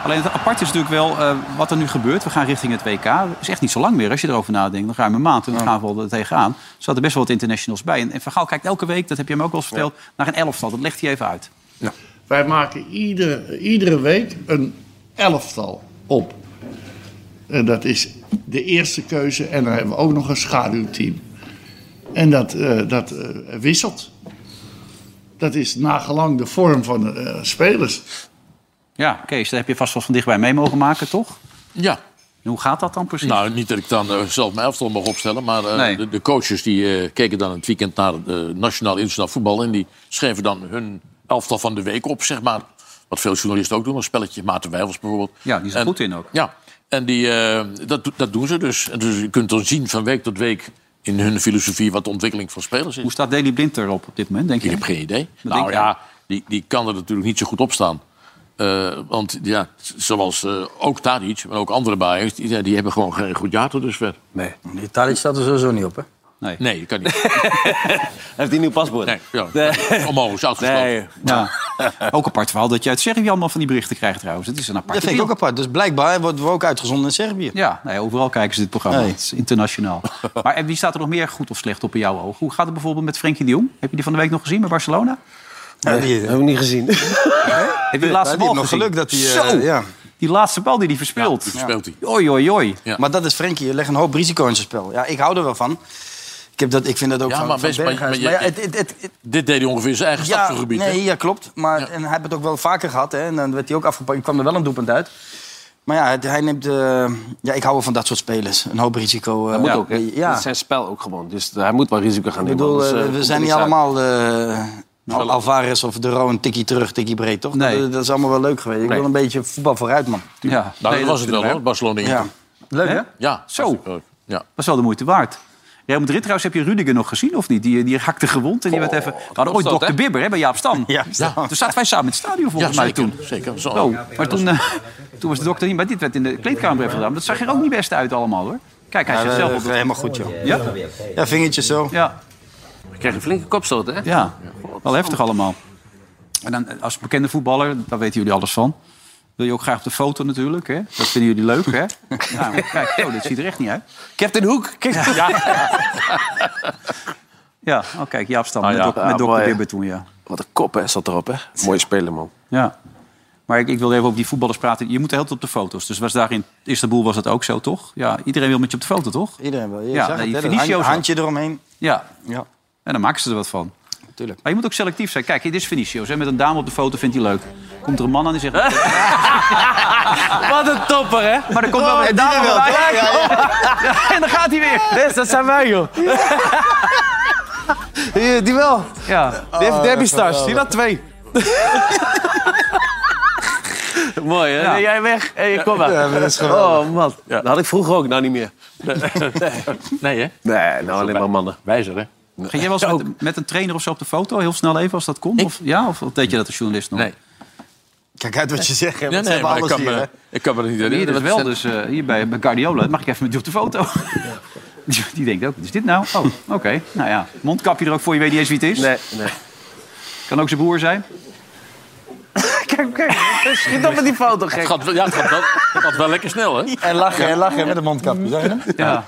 [SPEAKER 2] Alleen het apart is natuurlijk wel eh, wat er nu gebeurt. We gaan richting het WK. Het is echt niet zo lang meer als je erover nadenkt. Nog ruim een maand en dan gaan we er tegenaan. Er zaten best wel wat internationals bij. En, en Van Gaal kijkt elke week, dat heb je hem ook wel eens verteld, naar een elftal. Dat legt hij even uit.
[SPEAKER 12] Wij maken iedere, iedere week een elftal op. En dat is de eerste keuze. En dan hebben we ook nog een schaduwteam. En dat, eh, dat eh, wisselt. Dat is nagelang de vorm van de eh, spelers.
[SPEAKER 2] Ja, Kees, daar heb je vast wel van dichtbij mee mogen maken, toch?
[SPEAKER 6] Ja.
[SPEAKER 2] En hoe gaat dat dan precies?
[SPEAKER 6] Nou, niet dat ik dan eh, zelf mijn elftal mag opstellen. Maar eh,
[SPEAKER 2] Nee.
[SPEAKER 6] de, de coaches die eh, keken dan het weekend naar eh, nationaal internationaal voetbal. En die schreven dan hun elftal van de week op, zeg maar. Wat veel journalisten ook doen, een spelletje. Maarten Wijfels bijvoorbeeld.
[SPEAKER 2] ja, die is er
[SPEAKER 6] En-
[SPEAKER 2] goed in ook.
[SPEAKER 6] Ja, en die, eh, dat, do- dat doen ze dus. En dus je kunt dan zien van week tot week in hun filosofie wat de ontwikkeling van spelers is.
[SPEAKER 2] Hoe staat Daley Blind erop op dit moment, denk
[SPEAKER 6] Ik
[SPEAKER 2] je?
[SPEAKER 6] heb geen idee.
[SPEAKER 2] Wat
[SPEAKER 6] nou
[SPEAKER 2] denk
[SPEAKER 6] ja, die, die kan er natuurlijk niet zo goed op staan. Eh, want ja, z- zoals eh, ook Tadic, maar ook andere Bayerns... Die, ja, die hebben gewoon geen goed jaar tot dusver.
[SPEAKER 5] Nee.
[SPEAKER 4] Die Tadic staat er sowieso niet op, hè?
[SPEAKER 6] Nee, dat kan niet.
[SPEAKER 5] Heeft hij een nieuw paspoort?
[SPEAKER 6] Nee, ja, Onmogelijk, is uitgesloten.
[SPEAKER 5] Nee.
[SPEAKER 2] Ja. ook apart verhaal dat je uit Servië allemaal van die berichten krijgt trouwens. Het is een apart
[SPEAKER 4] Dat vind ik ook apart. Dus blijkbaar worden we ook uitgezonden in Servië.
[SPEAKER 2] Ja, nee, overal kijken ze dit programma.
[SPEAKER 4] Nee.
[SPEAKER 2] Het is internationaal. maar en wie staat er nog meer goed of slecht op in jouw ogen? Hoe gaat het bijvoorbeeld met Frenkie de Jong? Heb je die van de week nog gezien bij Barcelona?
[SPEAKER 4] Ja, die,
[SPEAKER 5] Dat heb ik niet gezien.
[SPEAKER 2] Heb je die laatste
[SPEAKER 4] die
[SPEAKER 2] bal
[SPEAKER 4] heeft nog
[SPEAKER 2] gezien?
[SPEAKER 4] geluk dat hij... eh,
[SPEAKER 2] Zo!
[SPEAKER 4] ja.
[SPEAKER 2] Die laatste bal die hij verspeelt.
[SPEAKER 6] Dus speelt hij.
[SPEAKER 2] Oi, oi, oi.
[SPEAKER 6] Ja.
[SPEAKER 4] Maar dat is Frenkie. Je legt een hoop risico in zijn spel. Ja, ik hou er wel van. Ik, heb dat, ik vind dat ook
[SPEAKER 6] Ja,
[SPEAKER 4] van,
[SPEAKER 6] maar
[SPEAKER 4] van
[SPEAKER 6] wees- maar-
[SPEAKER 4] Berghuis.
[SPEAKER 6] maar je-
[SPEAKER 4] ja, het, het, het, het-
[SPEAKER 6] Dit deed hij ongeveer in zijn eigen
[SPEAKER 4] ja,
[SPEAKER 6] stapsgebied. hè? Nou,
[SPEAKER 4] nee, ja, klopt. Maar en hij heeft het ook wel vaker gehad. Hè, en dan werd hij ook afgepakt. Ik kwam er wel een doelpunt uit. Maar ja, het- hij neemt... eh, ja, ik hou wel van dat soort spelers. Een hoop risico. eh,
[SPEAKER 5] Moet
[SPEAKER 4] ja.
[SPEAKER 5] ook, hè? Dat
[SPEAKER 4] Ja.
[SPEAKER 5] is zijn spel ook gewoon. Dus hij moet wel risico gaan
[SPEAKER 4] Ik
[SPEAKER 5] nemen.
[SPEAKER 4] bedoel,
[SPEAKER 5] anders,
[SPEAKER 4] eh,
[SPEAKER 5] eh, komt
[SPEAKER 4] we
[SPEAKER 5] er
[SPEAKER 4] zijn niet
[SPEAKER 5] niks uit.
[SPEAKER 4] allemaal... eh, Al- Alvarez of De Roo een tikkie terug, tikkie breed, toch?
[SPEAKER 2] Nee.
[SPEAKER 4] Dat, dat is allemaal wel leuk geweest. Ik wil een beetje voetbal vooruit, man.
[SPEAKER 2] Ja.
[SPEAKER 6] Nou, dat was het wel, hoor, Barcelona.
[SPEAKER 4] Ja.
[SPEAKER 6] Ja,
[SPEAKER 4] Leuk, hè?
[SPEAKER 6] ja
[SPEAKER 2] Zo.
[SPEAKER 6] hartstikke leuk. Ja.
[SPEAKER 2] was wel de moeite waard. Real Madrid trouwens, heb je Rudiger nog gezien of niet? Die, die hakte gewond en die werd even... We hadden ooit dokter Bibber hè, bij Jaap Stam.
[SPEAKER 4] Ja,
[SPEAKER 2] Ja. Toen zaten wij samen in het stadion
[SPEAKER 6] ja
[SPEAKER 2] volgens mij
[SPEAKER 6] zeker.
[SPEAKER 2] toen.
[SPEAKER 6] zeker. Zo.
[SPEAKER 2] Oh, maar toen, eh, toen was de dokter niet. Maar dit werd in de kleedkamer even gedaan. Dat zag er ook niet best uit allemaal hoor. Kijk, hij
[SPEAKER 4] Ja,
[SPEAKER 2] zit
[SPEAKER 4] dat-
[SPEAKER 2] zelf
[SPEAKER 4] dat
[SPEAKER 2] op.
[SPEAKER 4] gaat helemaal goed, joh.
[SPEAKER 2] Ja?
[SPEAKER 4] Ja, vingertjes zo.
[SPEAKER 2] Ja,
[SPEAKER 5] Je krijgt een flinke kopstoot, hè?
[SPEAKER 2] ja. Wel heftig allemaal. En dan eh, als bekende voetballer, daar weten jullie alles van. Wil je ook graag op de foto natuurlijk, hè? Dat vinden jullie leuk, hè? Nou, maar kijk, oh, dit ziet er echt niet uit.
[SPEAKER 5] Captain Hoek. Ja.
[SPEAKER 2] Ja, oh kijk, Jaap Stam
[SPEAKER 4] Nou
[SPEAKER 5] Ah,
[SPEAKER 2] met,
[SPEAKER 5] ja.
[SPEAKER 2] dok- met
[SPEAKER 5] Ah,
[SPEAKER 2] dokter
[SPEAKER 5] mooi.
[SPEAKER 2] Bibber toen, ja.
[SPEAKER 5] Wat een kop, hè? Zat erop, hè? Mooie speler, man.
[SPEAKER 2] Ja. Maar ik, ik wilde even over die voetballers praten. Je moet de hele tijd op de foto's. Dus was daar in Istanbul was dat ook zo, toch? Ja, iedereen wil met je op de foto, toch?
[SPEAKER 4] Iedereen wil. Je
[SPEAKER 2] Ja,
[SPEAKER 4] zag
[SPEAKER 2] nee,
[SPEAKER 4] het, hè, dat
[SPEAKER 2] Vinicio
[SPEAKER 4] hand-
[SPEAKER 2] zo.
[SPEAKER 4] handje eromheen.
[SPEAKER 2] Ja.
[SPEAKER 4] ja.
[SPEAKER 2] En dan maken ze er wat van. Tuurlijk. Maar je moet ook selectief zijn. Kijk, dit is Vinicius. Hè? Met een dame op de foto vindt hij leuk. Komt er een man aan die zegt...
[SPEAKER 13] Wat een topper, hè?
[SPEAKER 2] Maar er komt wel
[SPEAKER 13] Oh,
[SPEAKER 2] een
[SPEAKER 13] die
[SPEAKER 2] dame
[SPEAKER 13] wil,
[SPEAKER 2] bij.
[SPEAKER 13] toch? Ja,
[SPEAKER 2] En dan gaat hij weer.
[SPEAKER 13] Dus dat zijn wij, joh.
[SPEAKER 2] Die, wel. Ja.
[SPEAKER 13] Die heeft Debbie Stars. Zie dat twee. Mooi, hè?
[SPEAKER 5] Ja.
[SPEAKER 13] Nee, jij weg en je komt maar.
[SPEAKER 5] Ja, dat is geweldig.
[SPEAKER 13] oh, man.
[SPEAKER 5] Dat had ik vroeger ook, nou niet meer. Nee,
[SPEAKER 13] Nee, hè?
[SPEAKER 5] nee nou alleen maar mannen.
[SPEAKER 13] Wijzer, hè?
[SPEAKER 2] Ga jij wel eens met, met een trainer of zo op de foto? Heel snel even als dat kon? Of, ja, of deed je dat als journalist nog? Nee.
[SPEAKER 4] Kijk uit wat je zegt. hè,
[SPEAKER 6] Nee,
[SPEAKER 4] want ze
[SPEAKER 6] nee,
[SPEAKER 4] hebben
[SPEAKER 6] maar ik
[SPEAKER 4] alles
[SPEAKER 6] kan,
[SPEAKER 4] hier, hè.
[SPEAKER 6] me, ik kan me dat niet
[SPEAKER 2] Hier
[SPEAKER 6] herinneren.
[SPEAKER 2] dus
[SPEAKER 6] Dat
[SPEAKER 2] wel, dus eh, hier bij, bij Guardiola. Mag ik even met je op de foto? Die, die denkt ook, wat is dit nou? Oh, oké. Nou ja, mondkapje er ook voor, je weet niet eens wie het is. Nee, nee. Kan ook zijn broer zijn.
[SPEAKER 13] Kijk, kijk. Schiet op met die foto, gek.
[SPEAKER 6] Het gaat, wel- ja, het, gaat wel, het gaat wel lekker snel, hè?
[SPEAKER 4] En lachen, en lachen met een mondkapje. zag je dat?
[SPEAKER 2] Ja.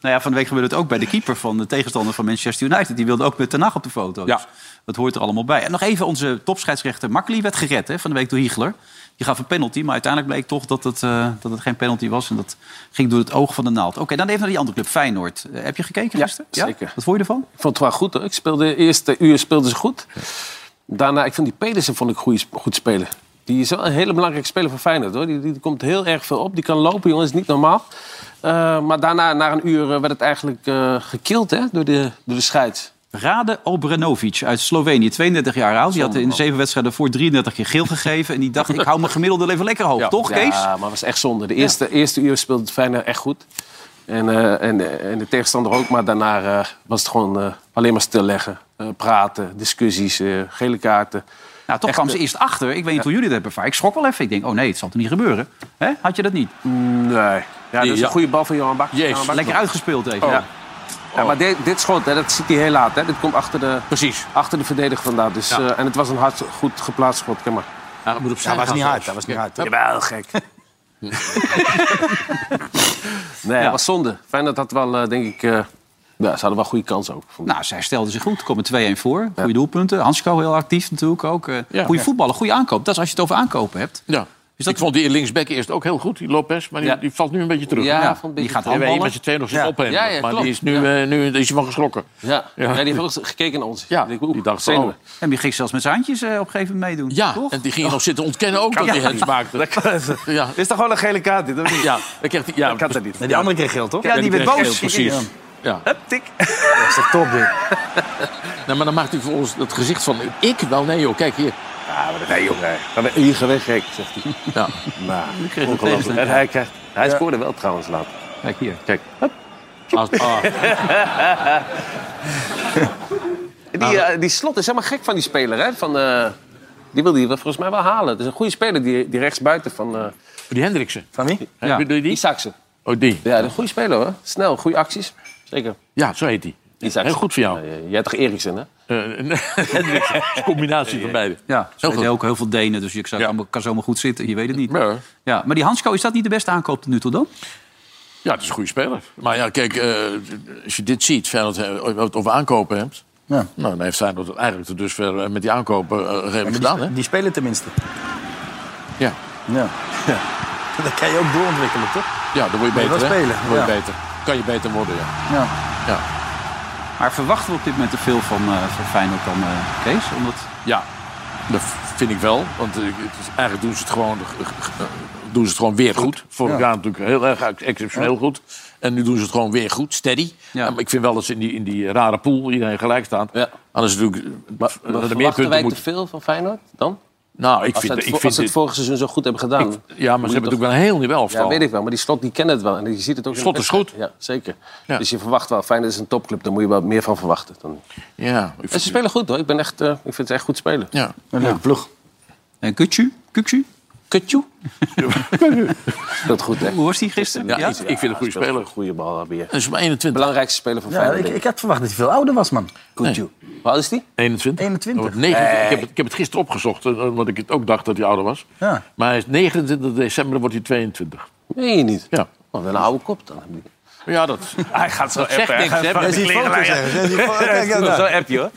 [SPEAKER 2] nou ja, van de week gebeurde het ook bij de keeper van de tegenstander van Manchester United. Die wilde ook met Ten Hag op de foto. Dus dat hoort er allemaal bij. En nog even, onze topscheidsrechter Makkeli werd gered hè, van de week door Hiegler. Die gaf een penalty, maar uiteindelijk bleek toch dat het, eh, dat het geen penalty was. En dat ging door het oog van de naald. Oké, dan even naar die andere club, Feyenoord. Eh, heb je gekeken gisteren?
[SPEAKER 5] zeker.
[SPEAKER 2] Wat vond je ervan?
[SPEAKER 5] Ik vond het wel goed hoor. Ik speelde de eerste uur speelde ze goed. Daarna, ik vond die Pedersen vond ik goeie- goed spelen. Die is wel een hele belangrijke speler voor Feyenoord hoor. Die, die komt heel erg veel op. Die kan lopen, jongens, niet normaal. Eh, maar daarna, na een uur, eh, werd het eigenlijk eh gekild hè, door, de, door de scheids.
[SPEAKER 2] Rade Obrenovic uit Slovenië, 32 jaar oud. Die had in de zeven wedstrijden voor 33 keer geel gegeven. En die dacht, ik hou mijn gemiddelde even lekker hoog, Oh, toch
[SPEAKER 5] ja,
[SPEAKER 2] Kees?
[SPEAKER 5] maar het was echt zonde. De eerste, eerste uur speelde het Feyenoord echt goed. En, eh, en, eh, en de tegenstander ook. Maar daarna eh, was het gewoon eh, alleen maar stilleggen. Eh, praten, discussies, eh, gele kaarten.
[SPEAKER 2] Nou, toch
[SPEAKER 5] Echt,
[SPEAKER 2] kwamen ze
[SPEAKER 5] eh,
[SPEAKER 2] eerst achter. Ik weet niet hoe jullie dat hebben ervaren. Ik schrok wel even. Ik denk, oh nee, het zal toch niet gebeuren? Hè? Had je dat niet?
[SPEAKER 5] Nee. Ja, dat is
[SPEAKER 2] Ja.
[SPEAKER 5] een goede bal van Johan Bak.
[SPEAKER 2] Jezus, lekker uitgespeeld even.
[SPEAKER 5] Ja. Ja, maar dit, dit schot, hè, dat ziet hij heel laat. Hè. Dit komt achter de, Precies. Achter de verdediger vandaan. Dus,
[SPEAKER 6] Ja.
[SPEAKER 5] eh, en het was een hard, goed geplaatst schot. Kijk maar.
[SPEAKER 6] Ja, dat moet opzij
[SPEAKER 5] Dat was
[SPEAKER 6] gaan
[SPEAKER 5] niet hard,
[SPEAKER 6] zelfs.
[SPEAKER 5] dat was niet
[SPEAKER 6] Ja.
[SPEAKER 5] hard. Jawel, gek. Nee, dat was zonde. Fijn dat dat wel, eh, denk ik... eh, ja, ze hadden wel goede kans ook.
[SPEAKER 2] Nou, zij stelden zich goed. Er komen 2-1 voor. Goede doelpunten. Hansko heel actief natuurlijk ook. Eh Goede voetballen, goede aankoop. Dat is als je het over aankopen hebt.
[SPEAKER 6] Ja. Ik vond die linksback eerst ook heel goed, die Lopez. Maar die,
[SPEAKER 2] Ja.
[SPEAKER 6] die valt nu een beetje terug.
[SPEAKER 2] Ja, vond een
[SPEAKER 6] die
[SPEAKER 2] beetje
[SPEAKER 6] gaat
[SPEAKER 2] terug.
[SPEAKER 6] handballen. Met je twee nog eens
[SPEAKER 5] Ja.
[SPEAKER 6] opnemen.
[SPEAKER 5] Ja, ja,
[SPEAKER 6] maar
[SPEAKER 5] klopt.
[SPEAKER 6] die is nu, eh, nu die is van geschrokken.
[SPEAKER 5] Ja. Ja, die heeft ook gekeken naar ons.
[SPEAKER 6] Ja, die dacht van...
[SPEAKER 5] zenuwen.
[SPEAKER 6] oh.
[SPEAKER 2] En die ging zelfs met zijn handjes eh, op een gegeven moment meedoen.
[SPEAKER 6] Ja,
[SPEAKER 2] toch?
[SPEAKER 6] en die ging nog zitten ontkennen ook dat
[SPEAKER 2] Ja.
[SPEAKER 6] hij hands maakte. Ja.
[SPEAKER 5] Is toch gewoon een gele kaart dit, of niet?
[SPEAKER 6] Ja, dat kreeg hij. Ja,
[SPEAKER 5] Dat kan dat niet.
[SPEAKER 6] Die andere kreeg geel,
[SPEAKER 5] toch?
[SPEAKER 2] Ja, die werd boos.
[SPEAKER 6] precies.
[SPEAKER 2] Ja.
[SPEAKER 6] Ja.
[SPEAKER 2] tik.
[SPEAKER 6] Dat is toch top, dit. nee, maar dan maakt hij voor ons dat gezicht van... Ik wel? Nee, joh. Kijk hier.
[SPEAKER 5] Ja, Ah, maar dat nee, jongen. Ga weer- Hier, ga weg, gek, zegt hij.
[SPEAKER 6] Ja.
[SPEAKER 5] Nou,
[SPEAKER 6] kreeg het
[SPEAKER 5] ongelooflijk.
[SPEAKER 6] tegenstander.
[SPEAKER 5] En hij krijgt... Hij
[SPEAKER 6] Ja.
[SPEAKER 5] scoorde wel trouwens laat.
[SPEAKER 2] Kijk hier.
[SPEAKER 5] Kijk.
[SPEAKER 6] Als, ah.
[SPEAKER 5] Die, eh, die slot is helemaal gek van die speler, hè? Van, eh, die wil die wel volgens mij wel halen. Het is een goede speler, die, die rechtsbuiten van... eh
[SPEAKER 6] die Hendriksen.
[SPEAKER 5] Van wie?
[SPEAKER 6] Ja. Bedoel je die?
[SPEAKER 5] Die Saxen.
[SPEAKER 6] Oh, die.
[SPEAKER 5] Ja, een goede speler, hoor. Snel, goede acties. Zeker.
[SPEAKER 6] Ja, zo heet hij. Eh, Heel goed voor jou.
[SPEAKER 5] jij hebt toch Eriksen, hè?
[SPEAKER 6] Hendriksen. Het is een combinatie van beide.
[SPEAKER 2] Ja, ze
[SPEAKER 6] Heel
[SPEAKER 2] weten
[SPEAKER 6] goed.
[SPEAKER 2] ook heel veel Denen. Dus je zou- kan zomaar goed zitten. Je weet het niet.
[SPEAKER 6] Ja.
[SPEAKER 2] Ja, maar die Hansko, is dat niet de beste aankoop tot nu toe dan?
[SPEAKER 6] Ja, het is een goede speler. Maar ja, kijk, eh, als je dit ziet, Feyenoord, eh, als je het over aankopen hebt...
[SPEAKER 4] Ja.
[SPEAKER 6] Nou, dan heeft Feyenoord het eigenlijk tot dusver eh, met die aankopen eh,
[SPEAKER 4] Ja,
[SPEAKER 6] redelijk
[SPEAKER 4] maar
[SPEAKER 6] gedaan, hè?
[SPEAKER 4] die, die spelen tenminste.
[SPEAKER 6] Ja.
[SPEAKER 4] Ja. Dat kan je ook doorontwikkelen, toch? Nou,
[SPEAKER 6] Ja, dan word je
[SPEAKER 4] Nee,
[SPEAKER 6] beter,
[SPEAKER 4] wel
[SPEAKER 6] hè?
[SPEAKER 4] spelen,
[SPEAKER 6] Dan word je
[SPEAKER 4] ja.
[SPEAKER 6] beter. Kan je beter worden, ja.
[SPEAKER 4] Ja.
[SPEAKER 6] Ja,
[SPEAKER 2] Maar verwachten we op dit moment te veel van, eh van Feyenoord dan, eh, Kees? Omdat...
[SPEAKER 6] ja. dat vind ik wel. Want eh, het is, eigenlijk doen ze het gewoon, eh, eh, doen ze het gewoon weer goed. Vorig
[SPEAKER 2] Ja.
[SPEAKER 6] jaar natuurlijk heel erg ex- exceptioneel goed. En nu doen ze het gewoon weer goed, steady.
[SPEAKER 2] Ja.
[SPEAKER 6] Ja. maar ik vind wel dat ze in die, in die rare pool iedereen gelijk staan. Anders natuurlijk eh, eh,
[SPEAKER 5] Maar
[SPEAKER 6] de
[SPEAKER 5] verwachten
[SPEAKER 6] meerpunten
[SPEAKER 5] wij
[SPEAKER 6] moeten...
[SPEAKER 5] te veel van Feyenoord dan?
[SPEAKER 6] Nou, ik
[SPEAKER 5] als
[SPEAKER 6] vind...
[SPEAKER 5] ze het,
[SPEAKER 6] ik
[SPEAKER 5] vo-
[SPEAKER 6] vind
[SPEAKER 5] als ze het
[SPEAKER 6] dit-
[SPEAKER 5] vorig seizoen zo goed hebben gedaan.
[SPEAKER 6] Ik- ja, maar
[SPEAKER 5] moet
[SPEAKER 6] ze
[SPEAKER 5] je
[SPEAKER 6] hebben
[SPEAKER 5] toch-
[SPEAKER 6] natuurlijk wel een heel nieuw elftal.
[SPEAKER 5] Ja, weet ik wel. Maar die slot die kent het wel. En je ziet het ook
[SPEAKER 6] Slot
[SPEAKER 5] de
[SPEAKER 6] is
[SPEAKER 5] wedstrijd. Ja, zeker. Dus je verwacht wel. Feyenoord is een topclub. Daar moet je wel meer van verwachten. Dan...
[SPEAKER 6] Ja,
[SPEAKER 5] En ze spelen goed hoor. Ik, ben echt, eh, ik vind ze echt goed spelen.
[SPEAKER 6] Ja.
[SPEAKER 5] Een leuke ploeg.
[SPEAKER 2] En Kutju? Kutju?
[SPEAKER 5] Kutju? Dat goed, hè?
[SPEAKER 2] Hoe was die gisteren?
[SPEAKER 6] Ja, ik- ik vind een goede speler.
[SPEAKER 5] Goede bal weer.
[SPEAKER 6] Dat is maar 21.
[SPEAKER 5] Belangrijkste speler van
[SPEAKER 6] Ja,
[SPEAKER 5] Feyenoord.
[SPEAKER 6] ik-
[SPEAKER 5] denk ik.
[SPEAKER 6] ik heb-
[SPEAKER 4] had verwacht dat hij veel ouder was, man.
[SPEAKER 6] Nee.
[SPEAKER 5] Hoe oud is die?
[SPEAKER 6] 21.
[SPEAKER 4] 21.
[SPEAKER 6] Nee. Oh, Ik, heb
[SPEAKER 4] Nee.
[SPEAKER 6] het, ik heb het gisteren opgezocht, eh, omdat ik het ook dacht dat hij ouder was.
[SPEAKER 4] Ja.
[SPEAKER 6] Maar hij is 29 december wordt hij 22.
[SPEAKER 5] Meen je niet?
[SPEAKER 6] Ja.
[SPEAKER 5] Oh, wel een oude kop dan.
[SPEAKER 6] Ja, dat...
[SPEAKER 2] Hij gaat zo
[SPEAKER 6] Dat zegt
[SPEAKER 2] appen, hij
[SPEAKER 6] niks,
[SPEAKER 2] gaat
[SPEAKER 6] hè?
[SPEAKER 2] van
[SPEAKER 6] Dat is
[SPEAKER 2] die
[SPEAKER 6] die
[SPEAKER 2] kleren
[SPEAKER 6] foto's,
[SPEAKER 2] leien.
[SPEAKER 6] hè? Dat is die foto's. Kijk,
[SPEAKER 2] Dat is
[SPEAKER 6] nou.
[SPEAKER 2] wel appje, hoor.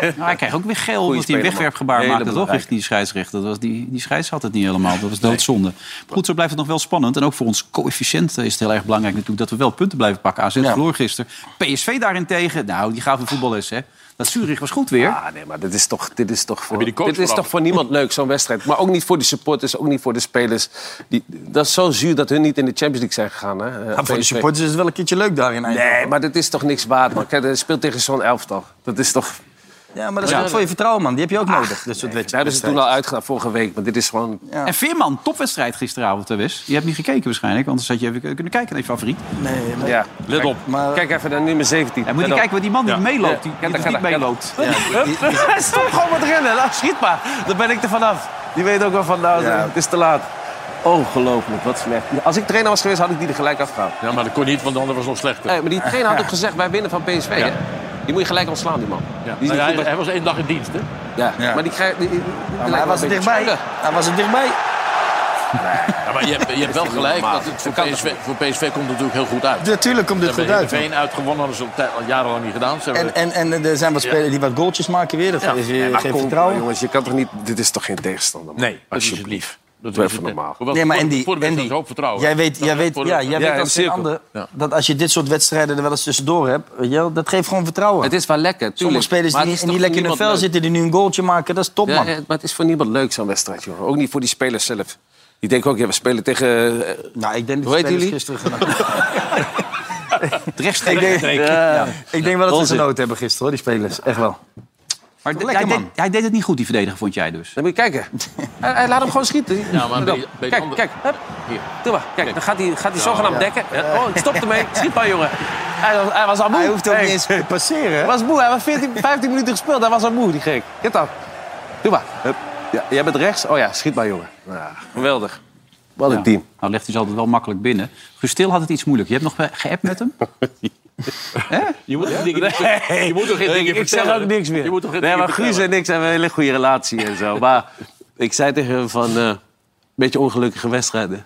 [SPEAKER 2] Nou, hij kreeg ook weer geel omdat hij een
[SPEAKER 6] speler, man.
[SPEAKER 2] wegwerpgebaar
[SPEAKER 6] Hele
[SPEAKER 2] maakte, toch?
[SPEAKER 6] belangrijke.
[SPEAKER 2] Richting die scheidsrechter. Dat was die, die scheids had het niet helemaal. Dat was doodzonde. Maar Goed, zo blijft het nog wel spannend. En ook voor ons coëfficiënt is het heel erg belangrijk natuurlijk... dat we wel punten blijven pakken. AZ verloor gisteren. PSV daarentegen, nou, die gaven voetballers, hè. Dat Zurich was goed weer.
[SPEAKER 5] Ah, nee, maar dit is toch, dit is toch voor,
[SPEAKER 2] je die coach
[SPEAKER 5] dit is
[SPEAKER 2] veranderd?
[SPEAKER 5] toch voor niemand leuk, zo'n wedstrijd. Maar ook niet voor de supporters, ook niet voor de spelers. Die, dat is zo zuur dat hun niet in de Champions League zijn gegaan. Hè? Eh,
[SPEAKER 4] voor de
[SPEAKER 5] PSV.
[SPEAKER 4] supporters is het wel een keertje leuk daar in Eindhoven.
[SPEAKER 5] Nee, maar dit is toch niks waard, man. Kijk, dat speelt tegen zo'n elftal. Dat is toch...
[SPEAKER 4] Ja, maar dat is goed voor je vertrouwen, man. Die heb je ook
[SPEAKER 6] Ah,
[SPEAKER 4] nodig. Dit soort wedstrijden.
[SPEAKER 5] Nou, dat is toen al uitgedaan vorige week, maar dit is gewoon...
[SPEAKER 2] En Veerman, topwedstrijd gisteravond, hè, Wes. Je hebt niet gekeken waarschijnlijk, want anders had je even kunnen kijken naar je favoriet.
[SPEAKER 4] Nee, maar...
[SPEAKER 5] Ja, let
[SPEAKER 2] op.
[SPEAKER 5] Kijk even naar nummer 17.
[SPEAKER 2] moet je
[SPEAKER 5] Let op.
[SPEAKER 2] kijken waar die man die meeloopt, die-
[SPEAKER 5] Ja,
[SPEAKER 2] die
[SPEAKER 5] dat-
[SPEAKER 2] niet
[SPEAKER 5] dat-
[SPEAKER 2] meeloopt.
[SPEAKER 5] Ja, die- die- die-
[SPEAKER 2] Stop gewoon met rennen, nou, schiet maar. Dan ben ik er vanaf.
[SPEAKER 5] Die weet ook wel van, nou, het is te laat. Ongelooflijk, wat slecht. Als ik trainer was geweest, had ik die er gelijk afgehaald.
[SPEAKER 6] Ja, maar dat kon niet, want de ander was nog slechter.
[SPEAKER 5] Hey, maar die trainer had ook gezegd, wij winnen van PSV,
[SPEAKER 6] Ja.
[SPEAKER 5] hè? Die moet je gelijk ontslaan, die man.
[SPEAKER 6] Ja.
[SPEAKER 5] Die is
[SPEAKER 6] Nou ja,
[SPEAKER 5] niet
[SPEAKER 6] hij,
[SPEAKER 5] goed bij-
[SPEAKER 6] hij was één dag in dienst, hè?
[SPEAKER 5] Ja,
[SPEAKER 6] Ja.
[SPEAKER 5] maar die krijgt... die- die- die lijkt
[SPEAKER 4] hij
[SPEAKER 5] wel
[SPEAKER 4] was er
[SPEAKER 5] een beetje
[SPEAKER 4] dichtbij.
[SPEAKER 5] schuldig.
[SPEAKER 4] Hij was er dichtbij.
[SPEAKER 6] Ja, maar je hebt, je hebt wel gelijk. Dat het voor, PSV, voor PSV komt het natuurlijk heel goed uit.
[SPEAKER 4] Natuurlijk komt dit
[SPEAKER 6] Ze hebben
[SPEAKER 4] goed uit,
[SPEAKER 6] Heerenveen uitgewonnen, hadden ze al tij- al jarenlang niet gedaan. Ze
[SPEAKER 4] En,
[SPEAKER 6] hebben-
[SPEAKER 4] en, en er zijn wat spelers die wat goaltjes maken weer. Dat
[SPEAKER 6] Ja.
[SPEAKER 4] is
[SPEAKER 6] Ja,
[SPEAKER 4] weer
[SPEAKER 6] maar
[SPEAKER 4] geen
[SPEAKER 6] kom,
[SPEAKER 4] vertrouwen.
[SPEAKER 5] Jongens, je kan toch niet... Dit is toch geen tegenstander, man?
[SPEAKER 6] Nee, dat is het
[SPEAKER 5] Alsjeblieft.
[SPEAKER 6] niet. Dat
[SPEAKER 5] Doe
[SPEAKER 6] is
[SPEAKER 5] even
[SPEAKER 6] het, hè.
[SPEAKER 5] normaal.
[SPEAKER 6] Hoewel,
[SPEAKER 4] Nee, maar
[SPEAKER 6] voor-
[SPEAKER 4] en die-
[SPEAKER 6] Voor de wedstrijd
[SPEAKER 4] en
[SPEAKER 6] is hoop vertrouwen.
[SPEAKER 4] Jij weet,
[SPEAKER 6] Dat
[SPEAKER 4] jij
[SPEAKER 6] is
[SPEAKER 4] weet,
[SPEAKER 6] voor de-
[SPEAKER 4] ja, jij weet
[SPEAKER 5] in
[SPEAKER 4] als
[SPEAKER 5] de
[SPEAKER 4] geen
[SPEAKER 5] cirkel.
[SPEAKER 4] ander dat als je dit soort wedstrijden er wel eens tussendoor hebt... weet je wel, dat geeft gewoon vertrouwen.
[SPEAKER 5] Het is wel lekker, tuurlijk.
[SPEAKER 4] Sommige spelers
[SPEAKER 5] Maar
[SPEAKER 4] die,
[SPEAKER 5] het
[SPEAKER 4] niet-
[SPEAKER 5] is
[SPEAKER 4] die
[SPEAKER 5] toch
[SPEAKER 4] niet lekker in hun
[SPEAKER 5] niemand
[SPEAKER 4] vel
[SPEAKER 5] leuk?
[SPEAKER 4] zitten... die nu een goaltje maken, dat is top, man.
[SPEAKER 5] Ja, maar het is voor niemand leuk, zo'n wedstrijd, jongen. Ook niet voor die spelers zelf. Die denken ook, ja, we spelen tegen... eh,
[SPEAKER 4] nou, ik denk
[SPEAKER 5] Hoe heet jullie?
[SPEAKER 4] gisteren
[SPEAKER 2] Rechtstreeks.
[SPEAKER 4] ik, denk, ja. ik denk wel dat ze
[SPEAKER 2] Onzin.
[SPEAKER 4] genoten hebben gisteren, hoor, die spelers. Echt wel.
[SPEAKER 2] Maar
[SPEAKER 4] Lekker,
[SPEAKER 2] hij, deed,
[SPEAKER 4] man.
[SPEAKER 2] hij deed het niet goed, die verdediger, vond jij dus?
[SPEAKER 5] Dan moet je kijken. hij, hij laat hem gewoon schieten.
[SPEAKER 6] Ja, maar bij-
[SPEAKER 5] Let op.
[SPEAKER 6] bij de
[SPEAKER 5] kijk,
[SPEAKER 6] andere-
[SPEAKER 5] kijk. Hup.
[SPEAKER 6] Hier.
[SPEAKER 5] Doe maar. Kijk, dan gaat hij, gaat hij zogenaamd
[SPEAKER 6] ja.
[SPEAKER 5] dekken. Oh, ik stop ermee. Schiet maar, jongen. Hij was, hij was al moe.
[SPEAKER 4] Hij hoeft ook
[SPEAKER 5] Hey.
[SPEAKER 4] niet eens te
[SPEAKER 5] Hij
[SPEAKER 4] passeren.
[SPEAKER 5] was moe. Hij was 14, 15 minuten gespeeld. Hij was al moe, die gek. Get dan. Doe maar. Hup. Ja, jij bent rechts. Oh ja, schiet maar, jongen. Ja, geweldig. Wat een
[SPEAKER 2] Ja.
[SPEAKER 5] team.
[SPEAKER 2] Nou, legt hij ze altijd wel makkelijk binnen. Gustil had het iets moeilijk. Je hebt nog geappt met hem?
[SPEAKER 6] Je moet, die dingen niet- je moet toch geen
[SPEAKER 5] ik
[SPEAKER 6] dingen
[SPEAKER 5] zeg
[SPEAKER 6] vertellen?
[SPEAKER 5] ook niks meer.
[SPEAKER 6] Je moet toch geen
[SPEAKER 5] nee,
[SPEAKER 6] dingen
[SPEAKER 5] maar Guus
[SPEAKER 6] vertellen?
[SPEAKER 5] en ik hebben een hele goede relatie en zo. Maar ik zei tegen hem van... eh, beetje ongelukkige wedstrijden.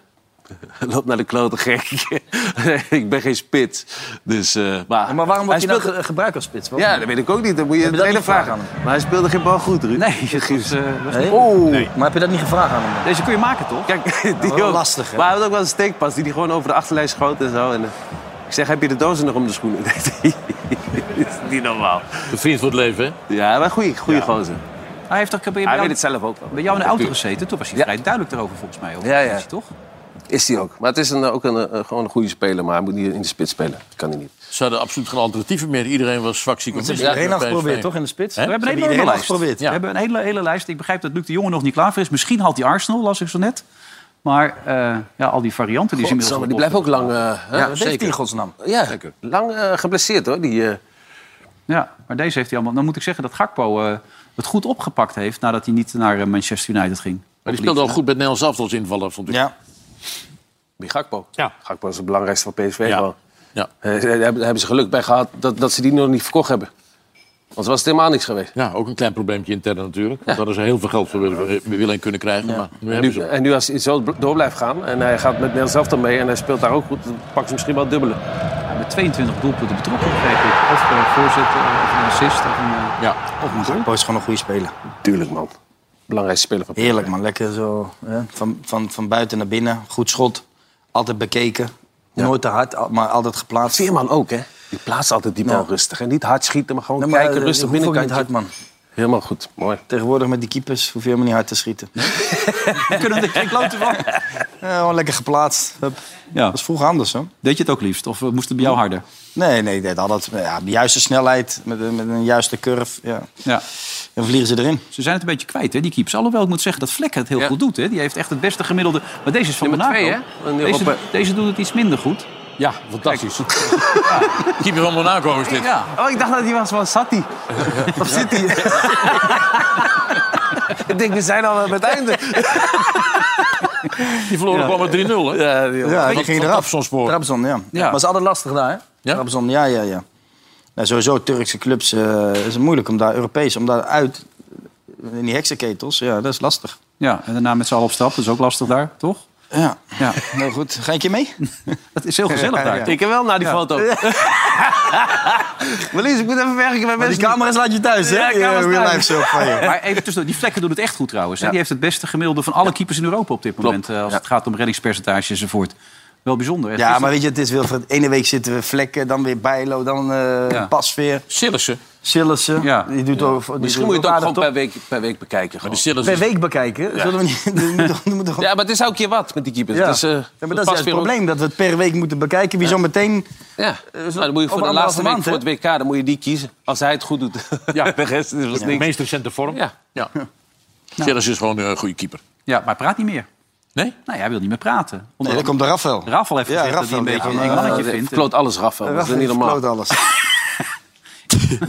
[SPEAKER 5] Loop naar de klote gek. ik ben geen spits. Dus, eh, maar,
[SPEAKER 4] Maar waarom wordt
[SPEAKER 5] hij
[SPEAKER 4] hij nou
[SPEAKER 5] speelde-
[SPEAKER 4] ge- gebruikt als spits? Waarom?
[SPEAKER 5] Ja, dat weet ik ook niet. Dat moet je
[SPEAKER 4] Heb je
[SPEAKER 5] de
[SPEAKER 4] dat
[SPEAKER 5] hele
[SPEAKER 4] niet gevraagd
[SPEAKER 5] vraag aan Maar hij speelde geen bal goed, Ruud.
[SPEAKER 2] Nee, dat was, eh, was-
[SPEAKER 4] Nee?
[SPEAKER 5] Oh.
[SPEAKER 4] Maar heb je dat niet gevraagd aan hem?
[SPEAKER 2] Deze kun je maken, toch?
[SPEAKER 5] Kijk, die
[SPEAKER 4] Wel
[SPEAKER 5] ook.
[SPEAKER 4] lastig, hè?
[SPEAKER 5] Maar hij had ook wel een steekpas die hij gewoon over de achterlijn schoot en zo. En, eh, ik zeg, heb je de dozen nog om de schoenen? Dat is niet normaal.
[SPEAKER 6] De vriend voor het leven, hè?
[SPEAKER 5] Ja, maar goeie, goeie gozer.
[SPEAKER 2] Hij heeft toch bij
[SPEAKER 5] Hij weet
[SPEAKER 2] jou,
[SPEAKER 5] het zelf ook wel.
[SPEAKER 2] bij jou in de auto
[SPEAKER 5] Natuurlijk.
[SPEAKER 2] gezeten? Toen was hij
[SPEAKER 5] Ja.
[SPEAKER 2] vrij duidelijk erover, volgens mij. Over
[SPEAKER 5] Ja,
[SPEAKER 2] ja,
[SPEAKER 5] ja.
[SPEAKER 2] toch?
[SPEAKER 5] Is hij ook. Maar het is een, ook een, eh, gewoon een goede speler. Maar hij moet niet in de spits spelen. Dat kan hij niet.
[SPEAKER 6] Ze hadden absoluut geen alternatieven meer. Iedereen was zwakziek.
[SPEAKER 4] Ze hebben iedereen al geprobeerd, toch, in de spits?
[SPEAKER 2] We hebben een
[SPEAKER 4] Ze
[SPEAKER 2] hele
[SPEAKER 4] iedereen al
[SPEAKER 2] lijst.
[SPEAKER 4] geprobeerd.
[SPEAKER 2] We hebben een hele, hele lijst. Ik begrijp dat Luc de Jonge nog niet klaar voor is. Misschien haalt hij Arsenal, las ik zo net. Maar eh, ja, al die varianten die zijn inmiddels
[SPEAKER 5] die blijft ook lang... eh, hè?
[SPEAKER 4] Ja, dat heeft
[SPEAKER 6] zeker.
[SPEAKER 4] hij in godsnaam.
[SPEAKER 5] Ja, lang eh, geblesseerd hoor. Die, eh,
[SPEAKER 2] Ja, maar deze heeft hij allemaal... Dan moet ik zeggen dat Gakpo eh, het goed opgepakt heeft... nadat hij niet naar eh, Manchester United ging.
[SPEAKER 6] Maar die speelde al goed met Nederlands Elftal als invaller, vond ik.
[SPEAKER 4] Ja.
[SPEAKER 5] die Gakpo.
[SPEAKER 6] Ja.
[SPEAKER 5] Gakpo is het belangrijkste van PSV
[SPEAKER 6] Ja.
[SPEAKER 5] gewoon.
[SPEAKER 6] Ja.
[SPEAKER 5] Eh, daar hebben daar hebben ze geluk bij gehad dat, dat ze die nog niet verkocht hebben. Anders was het helemaal niks geweest.
[SPEAKER 6] Ja, ook een klein probleempje intern natuurlijk. Want daar is heel veel geld voor willen, willen en kunnen krijgen. Maar nu
[SPEAKER 5] En
[SPEAKER 6] hebben
[SPEAKER 5] nu,
[SPEAKER 6] ze
[SPEAKER 5] en nu als hij zo door blijft gaan en hij gaat met Nederland zelf dan mee en hij speelt daar ook goed, dan pakken ze misschien wel het dubbele.
[SPEAKER 2] Ja, Met 22 doelpunten betrokken, begreep ik. Of eh, voorzitter, of een assist, of een, eh,
[SPEAKER 6] Ja.
[SPEAKER 2] of een goal.
[SPEAKER 4] Bo is gewoon een goede speler.
[SPEAKER 5] Tuurlijk man. Belangrijkste speler van PSV.
[SPEAKER 4] Heerlijk, man. Lekker zo. Hè? Van, van, van buiten naar binnen. Goed schot. Altijd bekeken. Nooit te hard, al- maar altijd geplaatst.
[SPEAKER 5] Veerman ook hè. Die plaatst altijd die bal
[SPEAKER 4] Ja.
[SPEAKER 5] rustig en niet hard schieten, maar gewoon
[SPEAKER 4] Nee, maar,
[SPEAKER 5] kijken
[SPEAKER 4] eh,
[SPEAKER 5] rustig
[SPEAKER 4] hoeft ook niet
[SPEAKER 5] binnenkant.
[SPEAKER 4] hard, man.
[SPEAKER 5] Helemaal goed, mooi.
[SPEAKER 4] Tegenwoordig met die keepers hoef je helemaal niet hard te schieten.
[SPEAKER 2] Kunnen we er geen klote van?
[SPEAKER 4] Ja, gewoon lekker geplaatst. Hup.
[SPEAKER 2] Ja.
[SPEAKER 4] Dat is vroeger anders, hoor.
[SPEAKER 2] Deed je het ook liefst? Of eh, moest het bij jou harder?
[SPEAKER 4] Nee, nee, dat altijd, ja, de juiste snelheid, met, een- met een juiste curve. Ja.
[SPEAKER 2] Ja.
[SPEAKER 4] Dan vliegen ze erin.
[SPEAKER 2] Ze zijn het een beetje kwijt, hè, die keeps. Alhoewel, ik moet zeggen dat Vlekken het heel
[SPEAKER 5] Ja.
[SPEAKER 2] goed doet. Hè. Die heeft echt het beste gemiddelde. Maar deze is van
[SPEAKER 5] Nummer
[SPEAKER 2] Monaco.
[SPEAKER 5] twee, hè? Een
[SPEAKER 2] Deze,
[SPEAKER 6] eh,
[SPEAKER 5] Europa-
[SPEAKER 2] deze doet het iets minder goed.
[SPEAKER 6] Ja, fantastisch. Keeper van Monaco is dit.
[SPEAKER 2] Oh, ik dacht dat die was van Satti.
[SPEAKER 5] Of zit hij? Ik denk, we zijn al aan het einde.
[SPEAKER 6] Die verloren gewoon met 3-0, hè?
[SPEAKER 5] Ja, die-
[SPEAKER 4] Ja, die ging
[SPEAKER 6] Van- van
[SPEAKER 4] eraf.
[SPEAKER 6] Trabzonspoor.
[SPEAKER 4] Trabzon, ja.
[SPEAKER 2] Ja.
[SPEAKER 4] Maar ze hadden lastig daar, hè?
[SPEAKER 6] Ja?
[SPEAKER 4] Trabzon, ja, ja, ja. Nou, sowieso, Turkse clubs, eh, is het moeilijk om daar, Europees, om daar uit, in die heksenketels, ja, dat is lastig.
[SPEAKER 2] Ja, en daarna met z'n allen op stap. Dat is ook lastig daar, toch?
[SPEAKER 4] Ja. ja, heel goed. Ga ik je mee?
[SPEAKER 2] Dat is heel gezellig daar.
[SPEAKER 5] Ik heb wel naar die foto.
[SPEAKER 4] Marlies, ik moet even werken bij
[SPEAKER 2] mensen
[SPEAKER 4] Die camera's laat je thuis, hè?
[SPEAKER 2] Ja,
[SPEAKER 4] Die, eh,
[SPEAKER 2] camera's
[SPEAKER 4] real
[SPEAKER 2] thuis.
[SPEAKER 4] life show van je.
[SPEAKER 2] Maar even tussendoor, die vlekken doen het echt goed trouwens. hè. Die heeft het beste gemiddelde van alle keepers in Europa op dit moment. eh, Als het gaat om reddingspercentages enzovoort. Wel bijzonder. hè.
[SPEAKER 4] Ja,
[SPEAKER 2] Gisteren-
[SPEAKER 4] maar weet je, het is Wilfred. Ene week zitten we vlekken, dan weer Bijlo, dan eh
[SPEAKER 2] Ja.
[SPEAKER 4] Pasveer.
[SPEAKER 6] Sillessen.
[SPEAKER 4] Oh. Sillessen. Die doet over, die
[SPEAKER 5] Misschien
[SPEAKER 4] doet
[SPEAKER 5] moet je het ook
[SPEAKER 4] aardig
[SPEAKER 5] gewoon
[SPEAKER 4] top.
[SPEAKER 5] per week, per week bekijken. gewoon.
[SPEAKER 4] per week bekijken.
[SPEAKER 5] Ja.
[SPEAKER 4] Zullen we niet...
[SPEAKER 5] Ja, maar het is elke keer wat met die keepers.
[SPEAKER 4] Ja.
[SPEAKER 5] Dus, eh,
[SPEAKER 4] Ja, maar dat is
[SPEAKER 5] past
[SPEAKER 4] juist het
[SPEAKER 5] weer op.
[SPEAKER 4] probleem, dat we het per week moeten bekijken. Wie zo meteen...
[SPEAKER 5] Ja, nou, dan moet je voor
[SPEAKER 4] over
[SPEAKER 5] de
[SPEAKER 4] anderhalve
[SPEAKER 5] laatste week,
[SPEAKER 4] maand,
[SPEAKER 5] voor het
[SPEAKER 4] hè?
[SPEAKER 5] WK, dan moet je die kiezen. Als hij het goed doet. Ja, de rest is
[SPEAKER 6] Ja.
[SPEAKER 5] niks.
[SPEAKER 6] De meest recente vorm.
[SPEAKER 5] Ja.
[SPEAKER 6] Ja. Sillessen is gewoon eh, een goede keeper.
[SPEAKER 2] Ja, maar hij praat niet meer.
[SPEAKER 6] Nee?
[SPEAKER 2] Nee, hij wil niet meer praten.
[SPEAKER 4] Nee, dan komt de Rafael.
[SPEAKER 2] Rafael heeft
[SPEAKER 4] Ja,
[SPEAKER 2] gezegd dat hij
[SPEAKER 4] Rafael,
[SPEAKER 2] een
[SPEAKER 4] die
[SPEAKER 2] beetje
[SPEAKER 4] heeft
[SPEAKER 2] een eng
[SPEAKER 4] een,
[SPEAKER 2] mannetje
[SPEAKER 4] eh,
[SPEAKER 2] vindt.
[SPEAKER 5] Kloot alles, Rafael. Dat is
[SPEAKER 4] Rafael
[SPEAKER 5] niet normaal.
[SPEAKER 4] verkloot alles.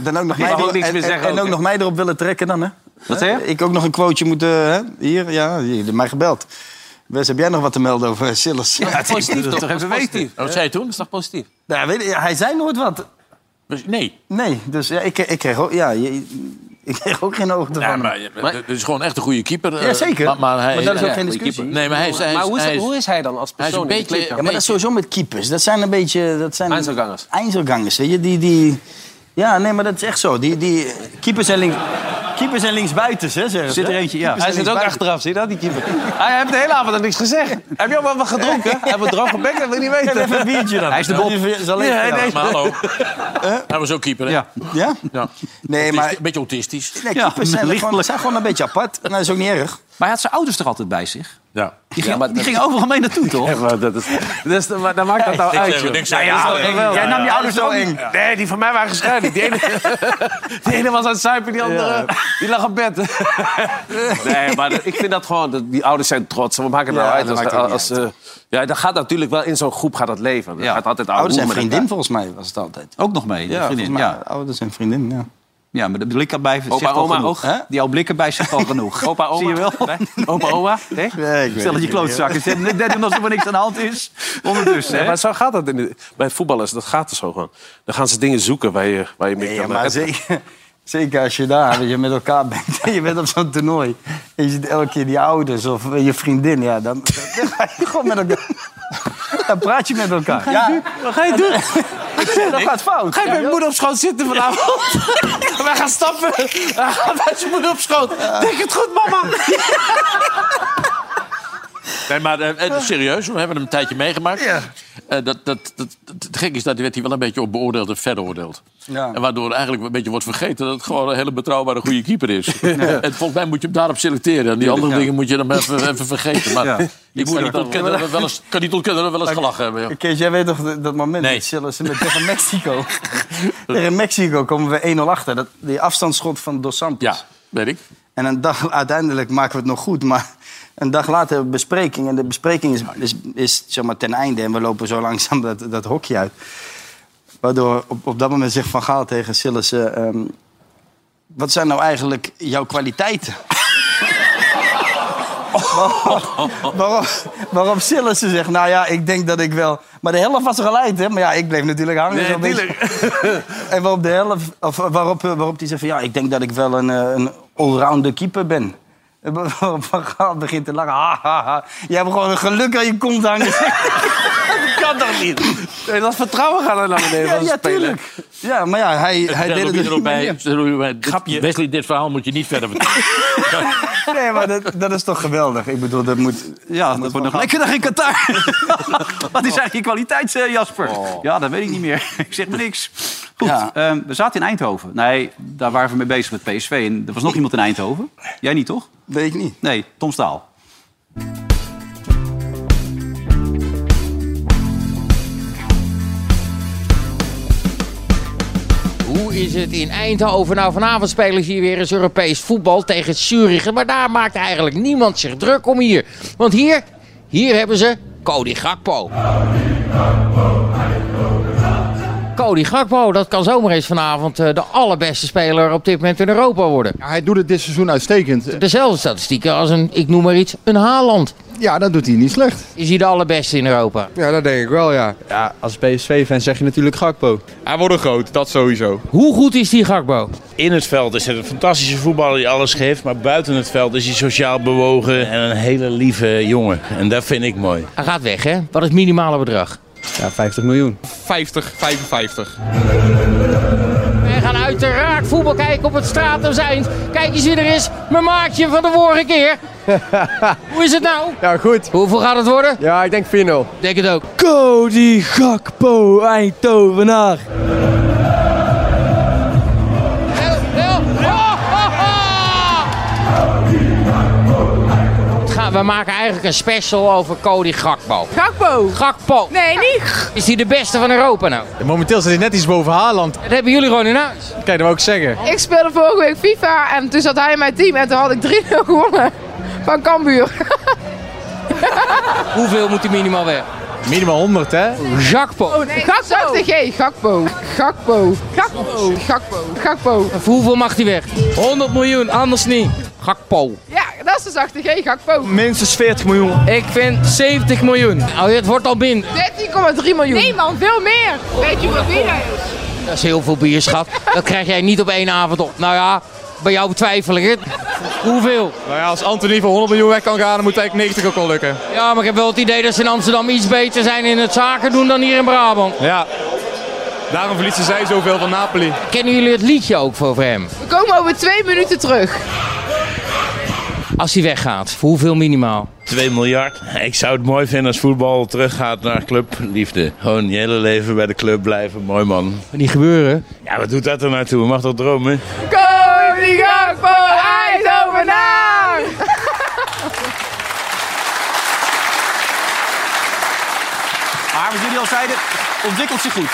[SPEAKER 4] dan ook nog
[SPEAKER 5] Die mag
[SPEAKER 4] mij,
[SPEAKER 5] ook
[SPEAKER 4] erop-
[SPEAKER 5] niks
[SPEAKER 4] en,
[SPEAKER 5] meer
[SPEAKER 4] en-
[SPEAKER 5] zeggen
[SPEAKER 4] en
[SPEAKER 5] ook,
[SPEAKER 4] ook
[SPEAKER 5] hè?
[SPEAKER 4] nog mij erop willen trekken dan, hè?
[SPEAKER 5] Wat zei je?
[SPEAKER 4] Ik ook nog een quoteje moeten... Hè? Hier, ja, hier, mij gebeld. Wes, heb jij nog wat te melden over Sillis?
[SPEAKER 6] Ja, het is
[SPEAKER 5] Positief
[SPEAKER 6] dat
[SPEAKER 5] toch?
[SPEAKER 6] toch even
[SPEAKER 5] Dat is
[SPEAKER 6] weten.
[SPEAKER 5] positief.
[SPEAKER 6] Wat zei je toen?
[SPEAKER 5] Dat is toch positief?
[SPEAKER 4] Nou, weet je, hij zei nooit wat.
[SPEAKER 6] nee.
[SPEAKER 4] Nee, dus ja, ik, ik, kreeg, ook, ja, je- ik kreeg ook geen ogen
[SPEAKER 6] Ja,
[SPEAKER 4] ervan.
[SPEAKER 6] maar,
[SPEAKER 4] Maar-
[SPEAKER 6] het is gewoon echt een goede keeper. eh,
[SPEAKER 4] Ja, zeker.
[SPEAKER 6] Maar, maar, hij,
[SPEAKER 4] Maar dat is ook
[SPEAKER 6] ja,
[SPEAKER 4] geen
[SPEAKER 6] goede
[SPEAKER 4] discussie.
[SPEAKER 6] keeper. Nee, maar hij is... Hij is
[SPEAKER 5] Maar hoe is,
[SPEAKER 6] hij is-
[SPEAKER 5] hoe is hij dan als
[SPEAKER 6] hij is
[SPEAKER 5] persoon? in
[SPEAKER 6] een
[SPEAKER 5] de
[SPEAKER 6] beetje-
[SPEAKER 5] kleedkamer?
[SPEAKER 4] Ja, maar dat is sowieso met keepers. Dat zijn een beetje... Dat zijn
[SPEAKER 5] Einzelgangers.
[SPEAKER 4] Einzelgangers, weet je. Die, die... Ja, nee, maar dat is echt zo. Die, die... Keepers en links... Keepers en linksbuitens, hè, zeggen ze.
[SPEAKER 2] Zit er eentje, ja.
[SPEAKER 4] Keepers
[SPEAKER 5] Hij
[SPEAKER 4] en
[SPEAKER 5] zit ook
[SPEAKER 4] linksbuitens.
[SPEAKER 5] achteraf, zie je dat, die keeper? Hij heeft de hele avond al niks gezegd. Heb je allemaal wat gedronken? Heb je droge bek? Dat wil je niet weten.
[SPEAKER 4] Geef even een biertje dan.
[SPEAKER 2] Hij is de Bob.
[SPEAKER 4] Ja, zal ik-
[SPEAKER 5] Ja,
[SPEAKER 4] ja.
[SPEAKER 5] nee.
[SPEAKER 6] Maar hallo. Hij was ook keeper, hè?
[SPEAKER 2] Ja.
[SPEAKER 4] Ja?
[SPEAKER 6] Ja.
[SPEAKER 4] Nee, maar...
[SPEAKER 6] Een beetje autistisch.
[SPEAKER 4] Nee, keepers zijn,
[SPEAKER 2] lichtelijk.
[SPEAKER 4] gewoon, zijn gewoon een beetje apart. En dat is ook niet erg.
[SPEAKER 2] Maar hij had zijn ouders er altijd bij zich.
[SPEAKER 6] Ja.
[SPEAKER 2] Die ging,
[SPEAKER 5] maar
[SPEAKER 2] die
[SPEAKER 5] dat-
[SPEAKER 2] gingen overal mee naartoe, toch?
[SPEAKER 5] dat is, dus, maar dan maakt dat nou
[SPEAKER 6] Niks
[SPEAKER 5] uit,
[SPEAKER 6] zeggen,
[SPEAKER 5] joh.
[SPEAKER 6] niks
[SPEAKER 5] Nou
[SPEAKER 6] zeggen.
[SPEAKER 5] ja,
[SPEAKER 6] Dat is wel
[SPEAKER 5] wel.
[SPEAKER 2] Jij nam je ouders ook mee.
[SPEAKER 5] Nee, die van mij waren gescheiden. Die ene, die ene was aan het zuipen, die andere die lag op bed. nee, maar dat- ik vind dat gewoon... dat- Die ouders zijn trots. Wat maakt het nou
[SPEAKER 4] Ja,
[SPEAKER 5] uit?
[SPEAKER 4] dat
[SPEAKER 5] Als,
[SPEAKER 4] maakt ook niet
[SPEAKER 5] als, eh, ja, dat gaat natuurlijk wel in zo'n groep gaat dat leven. Dat
[SPEAKER 2] Ja.
[SPEAKER 5] gaat altijd oude
[SPEAKER 4] Ouders en
[SPEAKER 5] hoeren met elkaar.
[SPEAKER 4] vriendin, volgens mij, was het altijd.
[SPEAKER 2] Ook nog mee, ja, vriendin.
[SPEAKER 4] volgens mij,
[SPEAKER 2] Ja.
[SPEAKER 4] Ouders en vriendin, ja.
[SPEAKER 2] ja, maar de blikken bij zegt
[SPEAKER 5] Opa,
[SPEAKER 2] al
[SPEAKER 5] oma
[SPEAKER 2] genoeg.
[SPEAKER 5] ook?
[SPEAKER 2] Hè? Die al blikken bij zegt al genoeg.
[SPEAKER 5] Opa, oma.
[SPEAKER 2] Zie je wel?
[SPEAKER 5] Nee? Opa, oma? Nee?
[SPEAKER 4] Ja, ik
[SPEAKER 2] Stel
[SPEAKER 4] weet
[SPEAKER 2] dat je
[SPEAKER 4] het niet.
[SPEAKER 2] klootzakken zit. Net doen alsof er niks aan de hand is. Ondertussen,
[SPEAKER 5] Nee,
[SPEAKER 2] hè?
[SPEAKER 5] maar zo gaat dat in de- bij voetballers. Dat gaat er zo gewoon. Dan gaan ze dingen zoeken waar je, waar je mee
[SPEAKER 4] Nee,
[SPEAKER 5] kan
[SPEAKER 4] maar
[SPEAKER 5] redden.
[SPEAKER 4] zeker, zeker als je daar weet je, met elkaar bent en je bent op zo'n toernooi. En je ziet elke keer die ouders of eh, je vriendin. Ja, dan, dan ga je gewoon met elkaar. Dan praat je met elkaar. Wat ja,
[SPEAKER 5] Wat ga je doen?
[SPEAKER 4] ik zeg, dat gaat fout.
[SPEAKER 5] Ga je bij je moeder op schoot zitten vanavond? Wij gaan stappen. Hij gaat bij zijn moeder op schoot. Denk het goed, mama.
[SPEAKER 6] Nee, maar eh, eh, serieus, we hebben hem een tijdje meegemaakt. Eh, dat, dat, dat, dat- het gek is dat hij werd hij wel een beetje op beoordeeld en veroordeeld.
[SPEAKER 4] Ja.
[SPEAKER 6] En waardoor eigenlijk een beetje wordt vergeten dat het gewoon een hele betrouwbare goede keeper is. En volgens mij moet je hem daarop selecteren. En die andere dingen moet je dan even, even vergeten. Maar ik moet niet ontkennen dat we wel eens, kan niet ontkennen dat we wel eens gelachen hebben. joh.
[SPEAKER 4] Kees, jij weet toch dat- dat moment
[SPEAKER 6] Nee.
[SPEAKER 4] met Sillissen met tegen Mexico. tegen Mexico komen we 1-0 achter. Dat, die afstandsschot van Dos Santos.
[SPEAKER 6] Ja, weet ik.
[SPEAKER 4] En een dag, uiteindelijk maken we het nog goed, maar een dag later hebben we bespreking. En de bespreking is, is, is zeg maar, ten einde en we lopen zo langzaam dat, dat hokje uit. Waardoor op, op dat moment zegt Van Gaal tegen Sillissen... ehm, wat zijn nou eigenlijk jouw kwaliteiten? Waarom- Waarop, waarop Sillissen zegt, nou ja, ik denk dat ik wel... Maar de helft was er al uit, hè? Maar ja, ik bleef natuurlijk hangen. zo'n beetje. En waarop, de helft, of waarop, eh, waarop die zegt van ja, ik denk dat ik wel een, eh, een allrounder keeper ben. En wa- Waarop Van Gaal begint te lachen. Ha, ha, ha. Jij hebt gewoon een geluk aan je kont hangen.
[SPEAKER 5] Dat kan toch niet? Nee, dat vertrouwen gaat er naar beneden.
[SPEAKER 4] ja,
[SPEAKER 5] van de
[SPEAKER 4] ja,
[SPEAKER 5] speler.
[SPEAKER 4] tuurlijk. Ja, maar ja, hij, hij
[SPEAKER 6] Daar
[SPEAKER 4] deed
[SPEAKER 6] roep
[SPEAKER 4] het
[SPEAKER 6] je
[SPEAKER 4] dus
[SPEAKER 6] er ook
[SPEAKER 4] niet
[SPEAKER 6] bij.
[SPEAKER 4] meer.
[SPEAKER 6] daar roep je bij, dit-
[SPEAKER 4] Grapje.
[SPEAKER 6] Wesley, dit verhaal moet je niet verder vertellen.
[SPEAKER 4] Nee, maar dat, dat is toch geweldig. Ik bedoel, dat moet...
[SPEAKER 2] Ja, Ah, dat wordt nog lekkerder in Qatar. Wat is eigenlijk je kwaliteit, eh, Jasper? Ja, dat weet ik niet meer. ik zeg maar niks. Goed,
[SPEAKER 4] Ja.
[SPEAKER 2] ehm, we zaten in Eindhoven. Nee, daar waren we mee bezig met PSV. En er was nog iemand in Eindhoven. Jij niet, toch?
[SPEAKER 4] Weet ik niet.
[SPEAKER 2] Nee, Tom Staal.
[SPEAKER 14] Hoe is het in Eindhoven? Nou, vanavond spelen ze hier weer eens Europees voetbal tegen Zurich. Maar daar maakt eigenlijk niemand zich druk om hier. Want hier, hier hebben ze Cody Gakpo. Cody Gakpo, dat kan zomaar eens vanavond eh, de allerbeste speler op dit moment in Europa worden.
[SPEAKER 15] hij doet het dit seizoen uitstekend.
[SPEAKER 14] Dezelfde statistieken als een, ik noem maar iets, een Haaland.
[SPEAKER 15] Ja, dat doet hij niet slecht.
[SPEAKER 14] Is hij de allerbeste in Europa?
[SPEAKER 15] Ja, dat denk ik wel, ja.
[SPEAKER 9] Ja, als PSV-fan zeg je natuurlijk Gakpo. Hij wordt een groot, dat sowieso.
[SPEAKER 14] Hoe goed is die Gakpo?
[SPEAKER 16] In het veld is het een fantastische voetballer die alles geeft. Maar buiten het veld is hij sociaal bewogen en een hele lieve jongen. En dat vind ik mooi.
[SPEAKER 14] Hij gaat weg, hè? Wat is het minimale bedrag?
[SPEAKER 16] Ja, 50 miljoen.
[SPEAKER 9] 50, 55.
[SPEAKER 14] Wij gaan uiteraard voetbal kijken op het Stratumseind. Kijk eens wie er is, mijn maatje van de vorige keer. Hoe is het nou?
[SPEAKER 9] Ja, goed.
[SPEAKER 14] Hoeveel gaat het worden?
[SPEAKER 9] Ja, ik denk 4-0.
[SPEAKER 14] Denk het ook.
[SPEAKER 17] Cody Gakpo, Eindhovenaar.
[SPEAKER 14] Het gaat- We maken eigenlijk een special over Cody Gakpo.
[SPEAKER 18] Gakpo.
[SPEAKER 14] Gakpo.
[SPEAKER 18] Nee, niet.
[SPEAKER 14] Is hij de beste van Europa nou?
[SPEAKER 9] momenteel zit hij net iets boven Haaland.
[SPEAKER 14] Dat hebben jullie gewoon in huis.
[SPEAKER 9] Kijk, dat wou ik zeggen.
[SPEAKER 18] Ik speelde vorige week FIFA en toen zat hij in mijn team en toen had ik 3-0 gewonnen van Cambuur.
[SPEAKER 14] Hoeveel moet hij minimaal weg?
[SPEAKER 9] Minimaal 100, hè?
[SPEAKER 14] Gakpo.
[SPEAKER 18] Gakpo. de G. Gakpo. Gakpo. Gakpo. Gakpo. Gakpo.
[SPEAKER 14] Voor hoeveel mag hij weg? 100 miljoen, anders niet. Gakpo.
[SPEAKER 18] Ja, dat is de zachte G. Gakpo.
[SPEAKER 14] Minstens 40 miljoen. Ik vind 70 miljoen. Oh, het wordt al min.
[SPEAKER 18] 13,3 miljoen. Nee man, veel meer. Weet je wat wie dat is?
[SPEAKER 14] Dat is heel veel bier, schat. Dat krijg jij niet op één avond op. Nou ja, bij jou betwijfel ik het. Hoeveel?
[SPEAKER 9] Nou ja, als Anthony voor 100 miljoen weg kan gaan, dan moet eigenlijk 90 ook al lukken.
[SPEAKER 14] Ja, maar ik heb wel het idee dat ze in Amsterdam iets beter zijn in het zaken doen dan hier in Brabant.
[SPEAKER 9] Ja. Daarom verliezen zij zoveel van Napoli.
[SPEAKER 14] Kennen jullie het liedje ook voor hem?
[SPEAKER 18] We komen over twee minuten terug.
[SPEAKER 14] Als hij weggaat, voor hoeveel minimaal?
[SPEAKER 16] 2 miljard. Ik zou het mooi vinden als voetbal teruggaat naar clubliefde. Gewoon je hele leven bij de club blijven. Mooi man.
[SPEAKER 14] Niet gebeuren.
[SPEAKER 16] Ja, wat doet dat er naartoe? Mag dat dromen?
[SPEAKER 18] Cody Gakpo. Eindhovenaar.
[SPEAKER 2] Maar wat jullie al zeiden, ontwikkelt zich goed.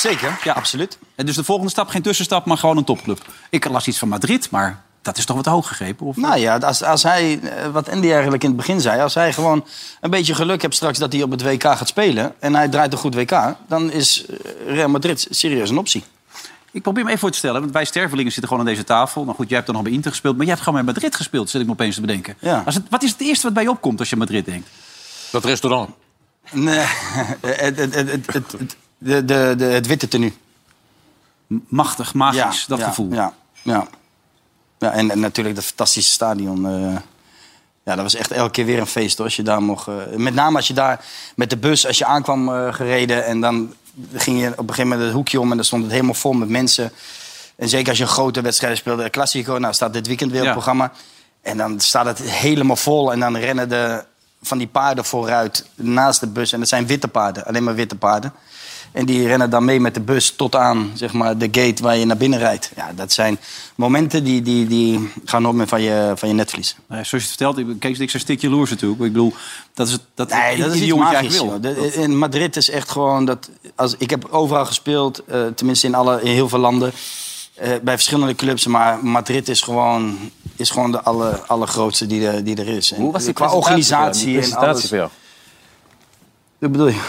[SPEAKER 4] Zeker,
[SPEAKER 2] ja.
[SPEAKER 4] absoluut.
[SPEAKER 2] En dus de volgende stap, geen tussenstap, maar gewoon een topclub. Ik las iets van Madrid, maar dat is toch wat hoog gegrepen? Of...
[SPEAKER 4] Nou ja, als, als hij, eh, wat Andy eigenlijk in het begin zei, als hij gewoon een beetje geluk hebt straks dat hij op het WK gaat spelen en hij draait een goed WK, dan is eh, Real Madrid serieus een optie.
[SPEAKER 2] Ik probeer me even voor te stellen, want wij stervelingen zitten gewoon aan deze tafel. Nou goed, jij hebt dan nog bij Inter gespeeld, maar jij hebt gewoon bij Madrid gespeeld, zit ik me opeens te bedenken.
[SPEAKER 4] Ja.
[SPEAKER 2] Als het, wat is het eerste wat bij je opkomt als je Madrid denkt?
[SPEAKER 6] Dat restaurant.
[SPEAKER 4] Nee, het, het, het, het, het, het- de, de, de, het witte tenue.
[SPEAKER 2] Machtig, magisch, dat
[SPEAKER 4] ja,
[SPEAKER 2] gevoel.
[SPEAKER 4] Ja, ja. ja en, en natuurlijk dat fantastische stadion. eh, ja, dat was echt elke keer weer een feest hoor, als je daar mocht. eh, met name als je daar met de bus, als je aankwam eh, gereden en dan ging je op een gegeven moment het hoekje om en dan stond het helemaal vol met mensen. En zeker als je een grote wedstrijd speelde, de Classico, nou staat dit weekend weer op
[SPEAKER 2] Ja.
[SPEAKER 4] het programma. En dan staat het helemaal vol en dan rennen de, van die paarden vooruit naast de bus. En dat zijn witte paarden, alleen maar witte paarden. En die rennen dan mee met de bus tot aan zeg maar, de gate waar je naar binnen rijdt. Ja, dat zijn momenten die, die, die gaan nooit meer van je, van je net verliezen.
[SPEAKER 2] Nou ja, zoals je het vertelt, ik- Kees Dix een stukje loers natuurlijk. Ik bedoel, dat is het dat,
[SPEAKER 4] Nee, dat is
[SPEAKER 2] die
[SPEAKER 4] iets
[SPEAKER 2] jongen die
[SPEAKER 4] magisch.
[SPEAKER 2] eigenlijk wil.
[SPEAKER 4] joh. De- in Madrid is echt gewoon dat... Als, ik heb overal gespeeld, eh, tenminste in, alle, in heel veel landen. eh, bij verschillende clubs, maar Madrid is gewoon, is gewoon de alle, allergrootste die er, die er is. En qua organisatie en alles. Wat bedoel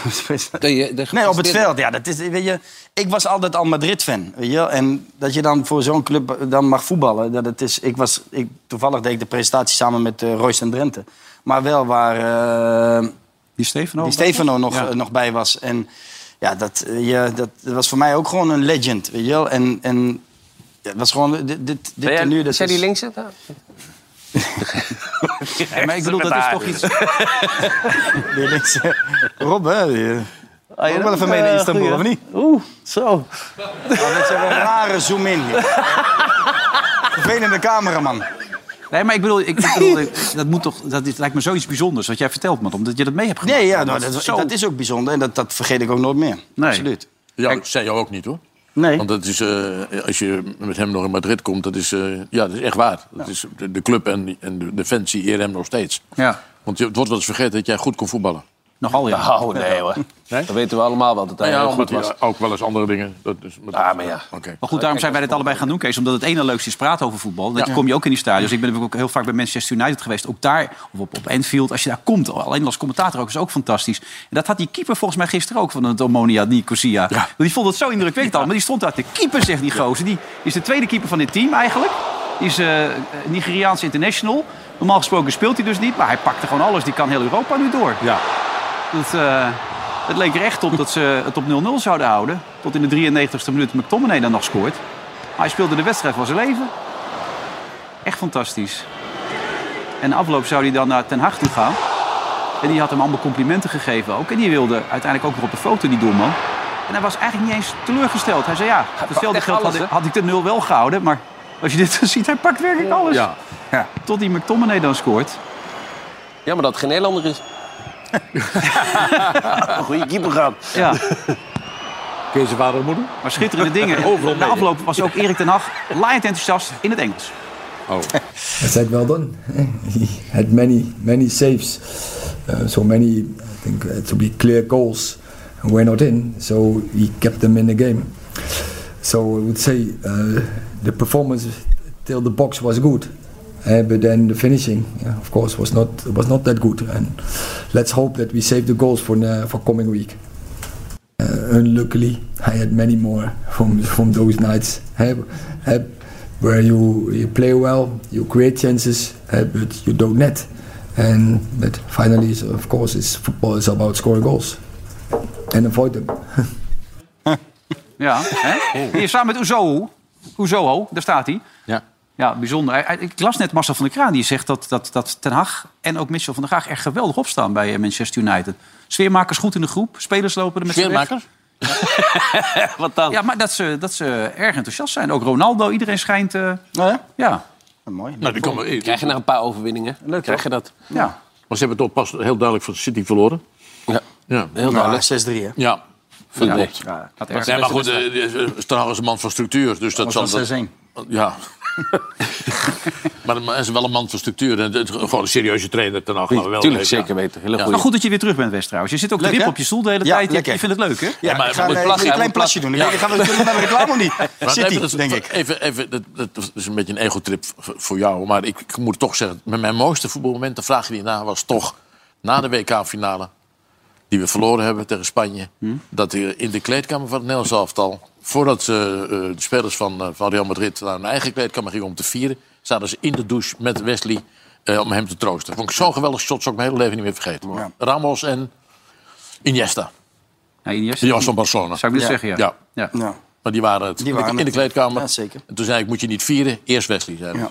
[SPEAKER 4] je? Nee, op het veld. Ja, dat is, weet je, ik was altijd al Madrid-fan. Weet je? wel. En dat je dan voor zo'n club dan mag voetballen. Dat het is, ik was, ik, toevallig deed ik de presentatie samen met eh Royce en Drenthe. Maar wel waar... eh,
[SPEAKER 2] Die Stefano?
[SPEAKER 5] Oh,
[SPEAKER 4] die Stefano nog, eh, nog bij was. En ja, dat, eh, je, dat, dat was voor mij ook gewoon een legend, weet je wel. En, en ja, het was gewoon... Dit, dit, dit
[SPEAKER 5] Ben jij-
[SPEAKER 4] tenue, dat
[SPEAKER 5] zijn
[SPEAKER 4] is-
[SPEAKER 5] die linkse? daar?
[SPEAKER 2] Ja, maar ik bedoel, dat is toch iets...
[SPEAKER 4] die linkse. Rob, hè? die-
[SPEAKER 5] Ah,
[SPEAKER 4] ook wel even mee naar
[SPEAKER 13] eh,
[SPEAKER 4] Istanbul,
[SPEAKER 13] goeie.
[SPEAKER 4] of niet?
[SPEAKER 13] Oeh, zo.
[SPEAKER 4] Ja, dat is een rare zoom-in hier. Vervelende cameraman.
[SPEAKER 2] Nee, maar ik bedoel, ik, ik bedoel ik- dat, moet toch, dat is, lijkt me zoiets bijzonders wat jij vertelt, man. Omdat je dat mee hebt gemaakt.
[SPEAKER 4] Nee, ja, nou, dat,
[SPEAKER 2] is
[SPEAKER 4] dat,
[SPEAKER 2] zo-
[SPEAKER 4] is ook bijzonder. En dat, dat vergeet ik ook nooit meer.
[SPEAKER 2] Nee.
[SPEAKER 4] Absoluut.
[SPEAKER 6] Ja, dat zei jou ook niet hoor.
[SPEAKER 4] Nee.
[SPEAKER 6] Want dat is, eh, als je met hem nog in Madrid komt, dat is, eh, ja, dat is echt waar. Dat is, de, de club en, en de, de fans die eren hem nog steeds.
[SPEAKER 2] Ja.
[SPEAKER 6] Want je- het wordt wel eens vergeten dat jij goed kon voetballen.
[SPEAKER 2] Nogal, ja.
[SPEAKER 5] Oh, nee hoor. Dat weten we allemaal wel, dat hij
[SPEAKER 6] Nou ja,
[SPEAKER 5] heel goed
[SPEAKER 6] omdat hij
[SPEAKER 5] was.
[SPEAKER 6] ook wel eens andere dingen... Dat is, ah, maar ja.
[SPEAKER 2] Maar goed, daarom zijn wij dit allebei gaan doen, Kees. Omdat het ene leukste is praten over voetbal. Dat
[SPEAKER 6] Ja.
[SPEAKER 2] kom je ook in die stadions. Ik ben natuurlijk ook heel vaak bij Manchester United geweest. Ook daar, of op, op Anfield. Als je daar komt, alleen als commentator ook, is ook fantastisch. En dat had die keeper volgens mij gisteren ook van het Omonia Nicosia. Want Die vond het zo indrukwekkend al. Maar die stond daar te keeper, zegt die gozer. Die is de tweede keeper van dit team eigenlijk. Die is eh Nigeriaans international. Normaal gesproken speelt hij dus niet. Maar hij pakte gewoon alles. Die kan heel Europa nu door. Ja. Dat, eh, het leek er echt op dat ze het op 0-0 zouden houden. Tot in de 93ste minuut McTominay dan nog scoort. Maar hij speelde de wedstrijd van zijn leven. Echt fantastisch. En de afloop zou hij dan naar Ten Hag toe gaan. En die had hem allemaal complimenten gegeven ook. En die wilde uiteindelijk ook nog op de foto, die doelman. En hij was eigenlijk niet eens teleurgesteld. Hij zei ja, voor hetzelfde
[SPEAKER 5] echt
[SPEAKER 2] geld had,
[SPEAKER 5] alles,
[SPEAKER 2] ik-
[SPEAKER 5] hè?
[SPEAKER 2] had ik de 0 wel gehouden. Maar als je dit ziet, hij pakt werkelijk alles. Ja. Tot die McTominay dan scoort.
[SPEAKER 5] Ja, maar dat het geen Nederlander is.
[SPEAKER 2] Goede keeper gehad. Ja.
[SPEAKER 19] Kees zijn vader en moeder.
[SPEAKER 2] Maar schitterende dingen.
[SPEAKER 19] Overal
[SPEAKER 2] Na
[SPEAKER 19] mee.
[SPEAKER 2] afloop was ook Erik ten Hag laaiend enthousiast in het Engels.
[SPEAKER 19] Oh.
[SPEAKER 20] I said, well done. he had many, many saves. Uh, so many, I think, uh, to be clear goals were not in. So he kept them in the game. So I would say uh, the performance till the box was good. Uh, but then the finishing, yeah, of course, was not was not that good. And let's hope that we save the goals for the, for coming week. Uh, unluckily, I had many more from from those nights. eh, eh, where you you play well, you create chances, eh, but you don't net. And but finally, so of course, it's football is about scoring goals and avoid them.
[SPEAKER 2] Ja, hè?
[SPEAKER 6] Oh.
[SPEAKER 2] Hier samen met Uzoho. Uzoho, daar staat hij. Ja. Ja, bijzonder. Hij- hij- Ik las net Marcel van der Kraan. Die zegt dat, dat, dat Ten Hag en ook Mitchell van der Graag... echt geweldig opstaan bij eh, Manchester United. Sfeermakers goed in de groep. Spelers lopen er met z'n weg.
[SPEAKER 6] Sfeermakers?
[SPEAKER 2] Wat dan? Ja, maar dat ze, dat ze erg enthousiast zijn. Ook Ronaldo, iedereen schijnt... eh, ja?
[SPEAKER 4] mooi.
[SPEAKER 6] Nou, die komen,
[SPEAKER 5] Krijg je na een paar overwinningen. Leuk, krijg je dat.
[SPEAKER 2] Ja.
[SPEAKER 6] Maar ze hebben toch pas heel duidelijk van City verloren. Ja, ja.
[SPEAKER 5] Heel duidelijk.
[SPEAKER 4] Ja, 6-3, hè?
[SPEAKER 6] Ja.
[SPEAKER 5] Vind
[SPEAKER 6] Ja,
[SPEAKER 5] ik.
[SPEAKER 6] klopt.
[SPEAKER 5] Ja, dat
[SPEAKER 6] maar,
[SPEAKER 5] erg.
[SPEAKER 6] nee, maar goed, Stenhag is een man van structuur. Dus dat
[SPEAKER 4] was
[SPEAKER 6] zal
[SPEAKER 4] wel 6-1.
[SPEAKER 6] Ja. maar hij is wel een man van structuur. En het- gewoon een serieuze trainer ten Hag, laten we wel
[SPEAKER 5] Tuurlijk,
[SPEAKER 6] weten.
[SPEAKER 5] zeker weten. Hele
[SPEAKER 6] Ja.
[SPEAKER 5] goeie.
[SPEAKER 2] Maar goed dat je weer terug bent, West, trouwens. Je zit ook te
[SPEAKER 6] Leuk,
[SPEAKER 2] wippen
[SPEAKER 6] hè?
[SPEAKER 2] op je stoel de hele
[SPEAKER 6] Ja,
[SPEAKER 2] tijd. Je,
[SPEAKER 6] lekker.
[SPEAKER 2] je vindt het leuk, hè?
[SPEAKER 6] Ja, maar
[SPEAKER 4] ik ga, eh, moet ik een klein plasje doen. Dan gaan we natuurlijk naar de reclame niet.
[SPEAKER 6] Maar
[SPEAKER 4] City,
[SPEAKER 6] even, dat is-
[SPEAKER 4] denk ik.
[SPEAKER 6] Even, even, dat, dat is een beetje een egotrip v- voor jou. Maar ik, ik moet toch zeggen, met mijn mooiste voetbalmoment, de vraag die na was toch na de WK-finale, die we verloren hebben tegen Spanje,
[SPEAKER 4] Hmm?
[SPEAKER 6] dat er in de kleedkamer van het Nederlands elftal, voordat ze, eh, de spelers van, eh, van Real Madrid naar hun eigen kleedkamer gingen om te vieren, zaten ze in de douche met Wesley eh, om hem te troosten. Vond ik zo'n geweldig shot, zou ik mijn hele leven niet meer vergeten. Ramos en Iniesta.
[SPEAKER 2] Ja, Iniesta.
[SPEAKER 6] Die was van Barcelona.
[SPEAKER 2] Zou ik net zeggen, ja.
[SPEAKER 6] ja.
[SPEAKER 2] Ja.
[SPEAKER 6] Maar die waren het.
[SPEAKER 4] Die waren
[SPEAKER 6] in,
[SPEAKER 4] het.
[SPEAKER 6] de, in de kleedkamer.
[SPEAKER 4] Ja, zeker.
[SPEAKER 6] En toen zei ik, moet je niet vieren, eerst Wesley. Zei hij.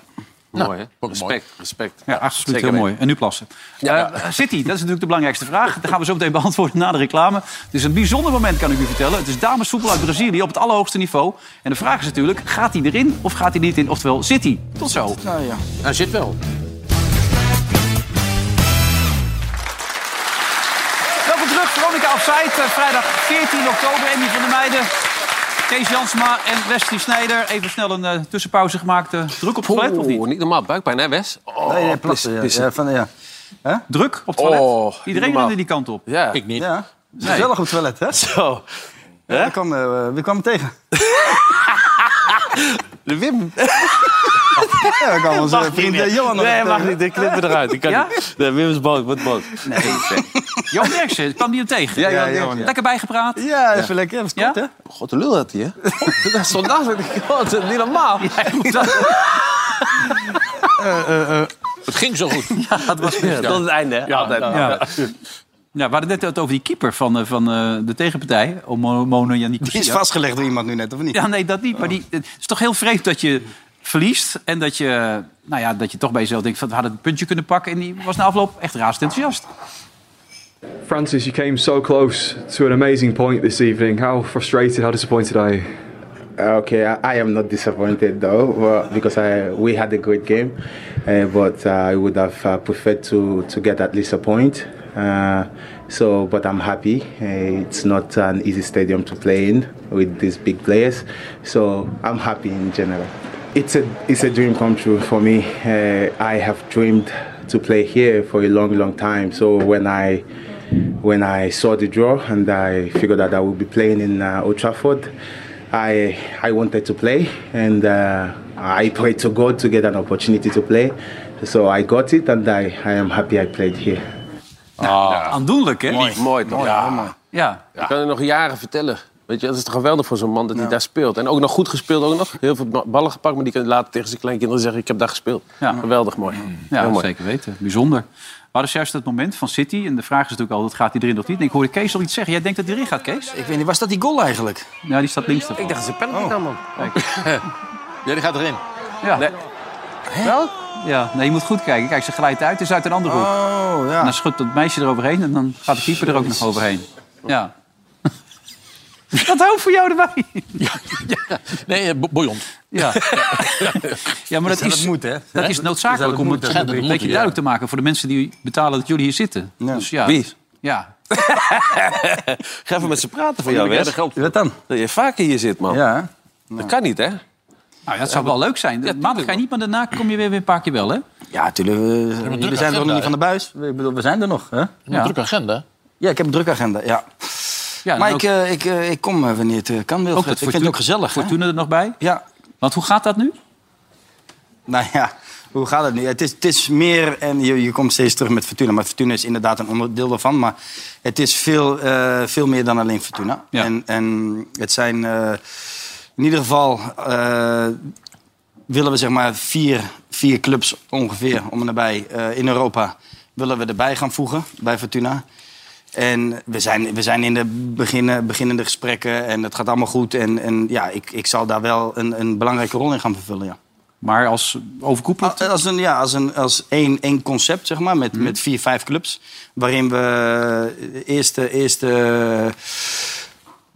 [SPEAKER 5] Mooi, hè?
[SPEAKER 6] vond ik mooi.
[SPEAKER 5] Respect, respect.
[SPEAKER 2] Ja, absoluut heel mooi. En nu plassen. Eh, City, dat is natuurlijk de belangrijkste vraag. Dat gaan we zo meteen beantwoorden na de reclame. Het is een bijzonder moment, kan ik u vertellen. Het is damesvoetbal uit Brazilië op het allerhoogste niveau. En de vraag is natuurlijk, gaat hij erin of gaat hij niet in? Oftewel, City. Tot zo.
[SPEAKER 4] Nou ja.
[SPEAKER 6] Hij zit wel.
[SPEAKER 2] Welkom terug, Veronica Offside. Eh, Vrijdag 14 oktober, Emmy van der Meijden. Kees Jansma en Wesley Snijder. Even snel een eh, tussenpauze gemaakt. eh, druk op het toilet, of niet?
[SPEAKER 5] Oeh, niet normaal. Buikpijn, hè, Wes? Oh,
[SPEAKER 4] Nee, nee, plassen, ja.
[SPEAKER 5] pissen.
[SPEAKER 4] Ja, van, ja.
[SPEAKER 2] Druk op het toilet?
[SPEAKER 5] Oh, niet
[SPEAKER 2] Iedereen
[SPEAKER 5] normaal.
[SPEAKER 2] wilde die kant op.
[SPEAKER 5] Ja.
[SPEAKER 6] Ik niet.
[SPEAKER 4] Ja, gezellig op het toilet, hè?
[SPEAKER 5] Zo.
[SPEAKER 4] Ja, we kwamen, eh, we kwamen tegen.
[SPEAKER 5] De Wim.
[SPEAKER 4] Ja, we kwamen onze
[SPEAKER 5] Mag
[SPEAKER 4] vriend
[SPEAKER 5] niet meer.
[SPEAKER 4] eh, Johan nog
[SPEAKER 5] Nee,
[SPEAKER 4] tegen.
[SPEAKER 5] mag niet. Ik knip me eruit. Ik kan
[SPEAKER 2] Ja?
[SPEAKER 5] niet. Nee, Wim is boos. Wordt boos.
[SPEAKER 2] Nee. Johan Derksen, kwam die hem tegen?
[SPEAKER 5] Ja, Johan Derksen, ja.
[SPEAKER 2] Lekker bijgepraat?
[SPEAKER 4] Ja, even lekker. Even kort, hè?
[SPEAKER 5] God, de lul had hij, hè? Dat is zondag. God, dat is niet normaal. Eh,
[SPEAKER 6] Het ging zo goed.
[SPEAKER 2] Ja, dat was
[SPEAKER 5] Ja, tot het einde, hè?
[SPEAKER 6] Ja,
[SPEAKER 5] Altijd.
[SPEAKER 6] ja.
[SPEAKER 2] Ja. Ja, we hadden het net over die keeper van, eh, van eh, de tegenpartij, Omo- Mono Yannick.
[SPEAKER 4] Die is vastgelegd door iemand nu net, of niet?
[SPEAKER 2] Ja, nee, dat niet. Maar die, het is toch heel vreemd dat je verliest en dat je, nou ja, dat je toch bij jezelf denkt van we hadden het puntje kunnen pakken en die was na afloop echt razend enthousiast.
[SPEAKER 21] Francis, you came so close to an amazing point this evening. How frustrated, how disappointed are you?
[SPEAKER 22] Okay, I, I am not disappointed though well, because I, we had a great game, uh, but uh, I would have uh, preferred to, to get at least a point. Uh, so, but I'm happy. Uh, it's not an easy stadium to play in with these big players, so I'm happy in general. It's a it's a dream come true for me. Uh, I have dreamed to play here for a long, long time. So when I
[SPEAKER 23] when I saw the draw and I figured that I would be playing in uh, Old Trafford, I I wanted to play and uh, I prayed to God to get an opportunity to play. So I got it and I, I am happy I played here.
[SPEAKER 2] Aandoenlijk, hè?
[SPEAKER 5] Mooi, mooi toch? Ja. man.
[SPEAKER 2] Ja.
[SPEAKER 5] Ik kan het nog jaren vertellen. Weet je, dat is toch geweldig voor zo'n man dat hij daar speelt. En ook nog goed gespeeld, ook nog. Heel veel ba- ballen gepakt, maar die kan later tegen zijn kleinkinderen zeggen... ik heb daar gespeeld. Geweldig mooi.
[SPEAKER 2] Ja,
[SPEAKER 5] Heel mooi.
[SPEAKER 2] zeker weten. Bijzonder. Maar dat is juist het moment van City. En de vraag is natuurlijk altijd, gaat hij erin of niet? En ik hoorde Kees al iets zeggen. Jij denkt dat hij erin gaat, Kees? Ik weet niet, was dat die goal eigenlijk? Ja, die staat links Ik dacht, dat is een penalty dan, man.
[SPEAKER 6] Ja, die gaat erin.
[SPEAKER 2] Ja. Wel? Ja, nee, je moet goed kijken. Kijk, ze glijdt uit. Het is uit een andere hoek. Oh, ja. En dan schudt dat meisje eroverheen en dan gaat de keeper er ook nog overheen. Ja. Dat hoofd voor jou erbij.
[SPEAKER 6] Nee, eh, bo- bouillon.
[SPEAKER 2] Ja. Ja, maar dat,
[SPEAKER 6] Dus
[SPEAKER 2] is,
[SPEAKER 6] dat moet, hè?
[SPEAKER 2] dat is
[SPEAKER 6] Ja,
[SPEAKER 2] noodzakelijk
[SPEAKER 6] dat
[SPEAKER 2] om
[SPEAKER 6] moet,
[SPEAKER 2] het
[SPEAKER 6] dat
[SPEAKER 2] een
[SPEAKER 6] moet,
[SPEAKER 2] beetje
[SPEAKER 6] ja.
[SPEAKER 2] duidelijk te maken voor de mensen die betalen dat jullie hier zitten. Dus ja.
[SPEAKER 4] Wie?
[SPEAKER 2] Ja.
[SPEAKER 5] Ga even met ze praten
[SPEAKER 2] voor jou, Wes.
[SPEAKER 5] Wat dan? Dat je vaker hier zit, man. Ja. Dat kan niet, hè?
[SPEAKER 2] Nou, dat zou wel leuk zijn. Maandag ga je niet, maar daarna kom je weer, weer een paar keer wel, hè?
[SPEAKER 4] Ja, natuurlijk. We,
[SPEAKER 2] druk
[SPEAKER 4] we zijn
[SPEAKER 2] agenda,
[SPEAKER 4] toch nog
[SPEAKER 2] hè?
[SPEAKER 4] niet van de buis? Ik bedoel, we zijn er nog. Hè?
[SPEAKER 2] een Ja. drukke
[SPEAKER 4] agenda. Ja, ik heb een drukke agenda, ja.
[SPEAKER 2] dan
[SPEAKER 4] maar
[SPEAKER 2] ook-
[SPEAKER 4] ik, eh, ik, eh, ik kom eh, wanneer het eh, kan, Wilfred. ik vind het ook gezellig. hè?
[SPEAKER 2] Fortuna er nog bij?
[SPEAKER 4] Ja.
[SPEAKER 2] Want hoe gaat dat nu?
[SPEAKER 4] Nou ja, hoe gaat het nu? Het is, het is meer, en je, je komt steeds terug met Fortuna, maar Fortuna is inderdaad een onderdeel daarvan. Maar het is veel, eh, veel meer dan alleen Fortuna. En, en het zijn eh, in ieder geval, eh, willen we zeg maar vier, vier clubs ongeveer om en nabij eh, in Europa, willen we erbij gaan voegen bij Fortuna. En we zijn, we zijn in de beginnen, beginnende gesprekken en het gaat allemaal goed. En, en ja, ik, ik zal daar wel een, een belangrijke rol in gaan vervullen, ja.
[SPEAKER 2] Maar als overkoepelend?
[SPEAKER 4] Ah, eh, Als een, ja, als een als één, één concept, zeg maar, met,
[SPEAKER 2] Mhm.
[SPEAKER 4] met vier, vijf clubs. Waarin we eerste, eerste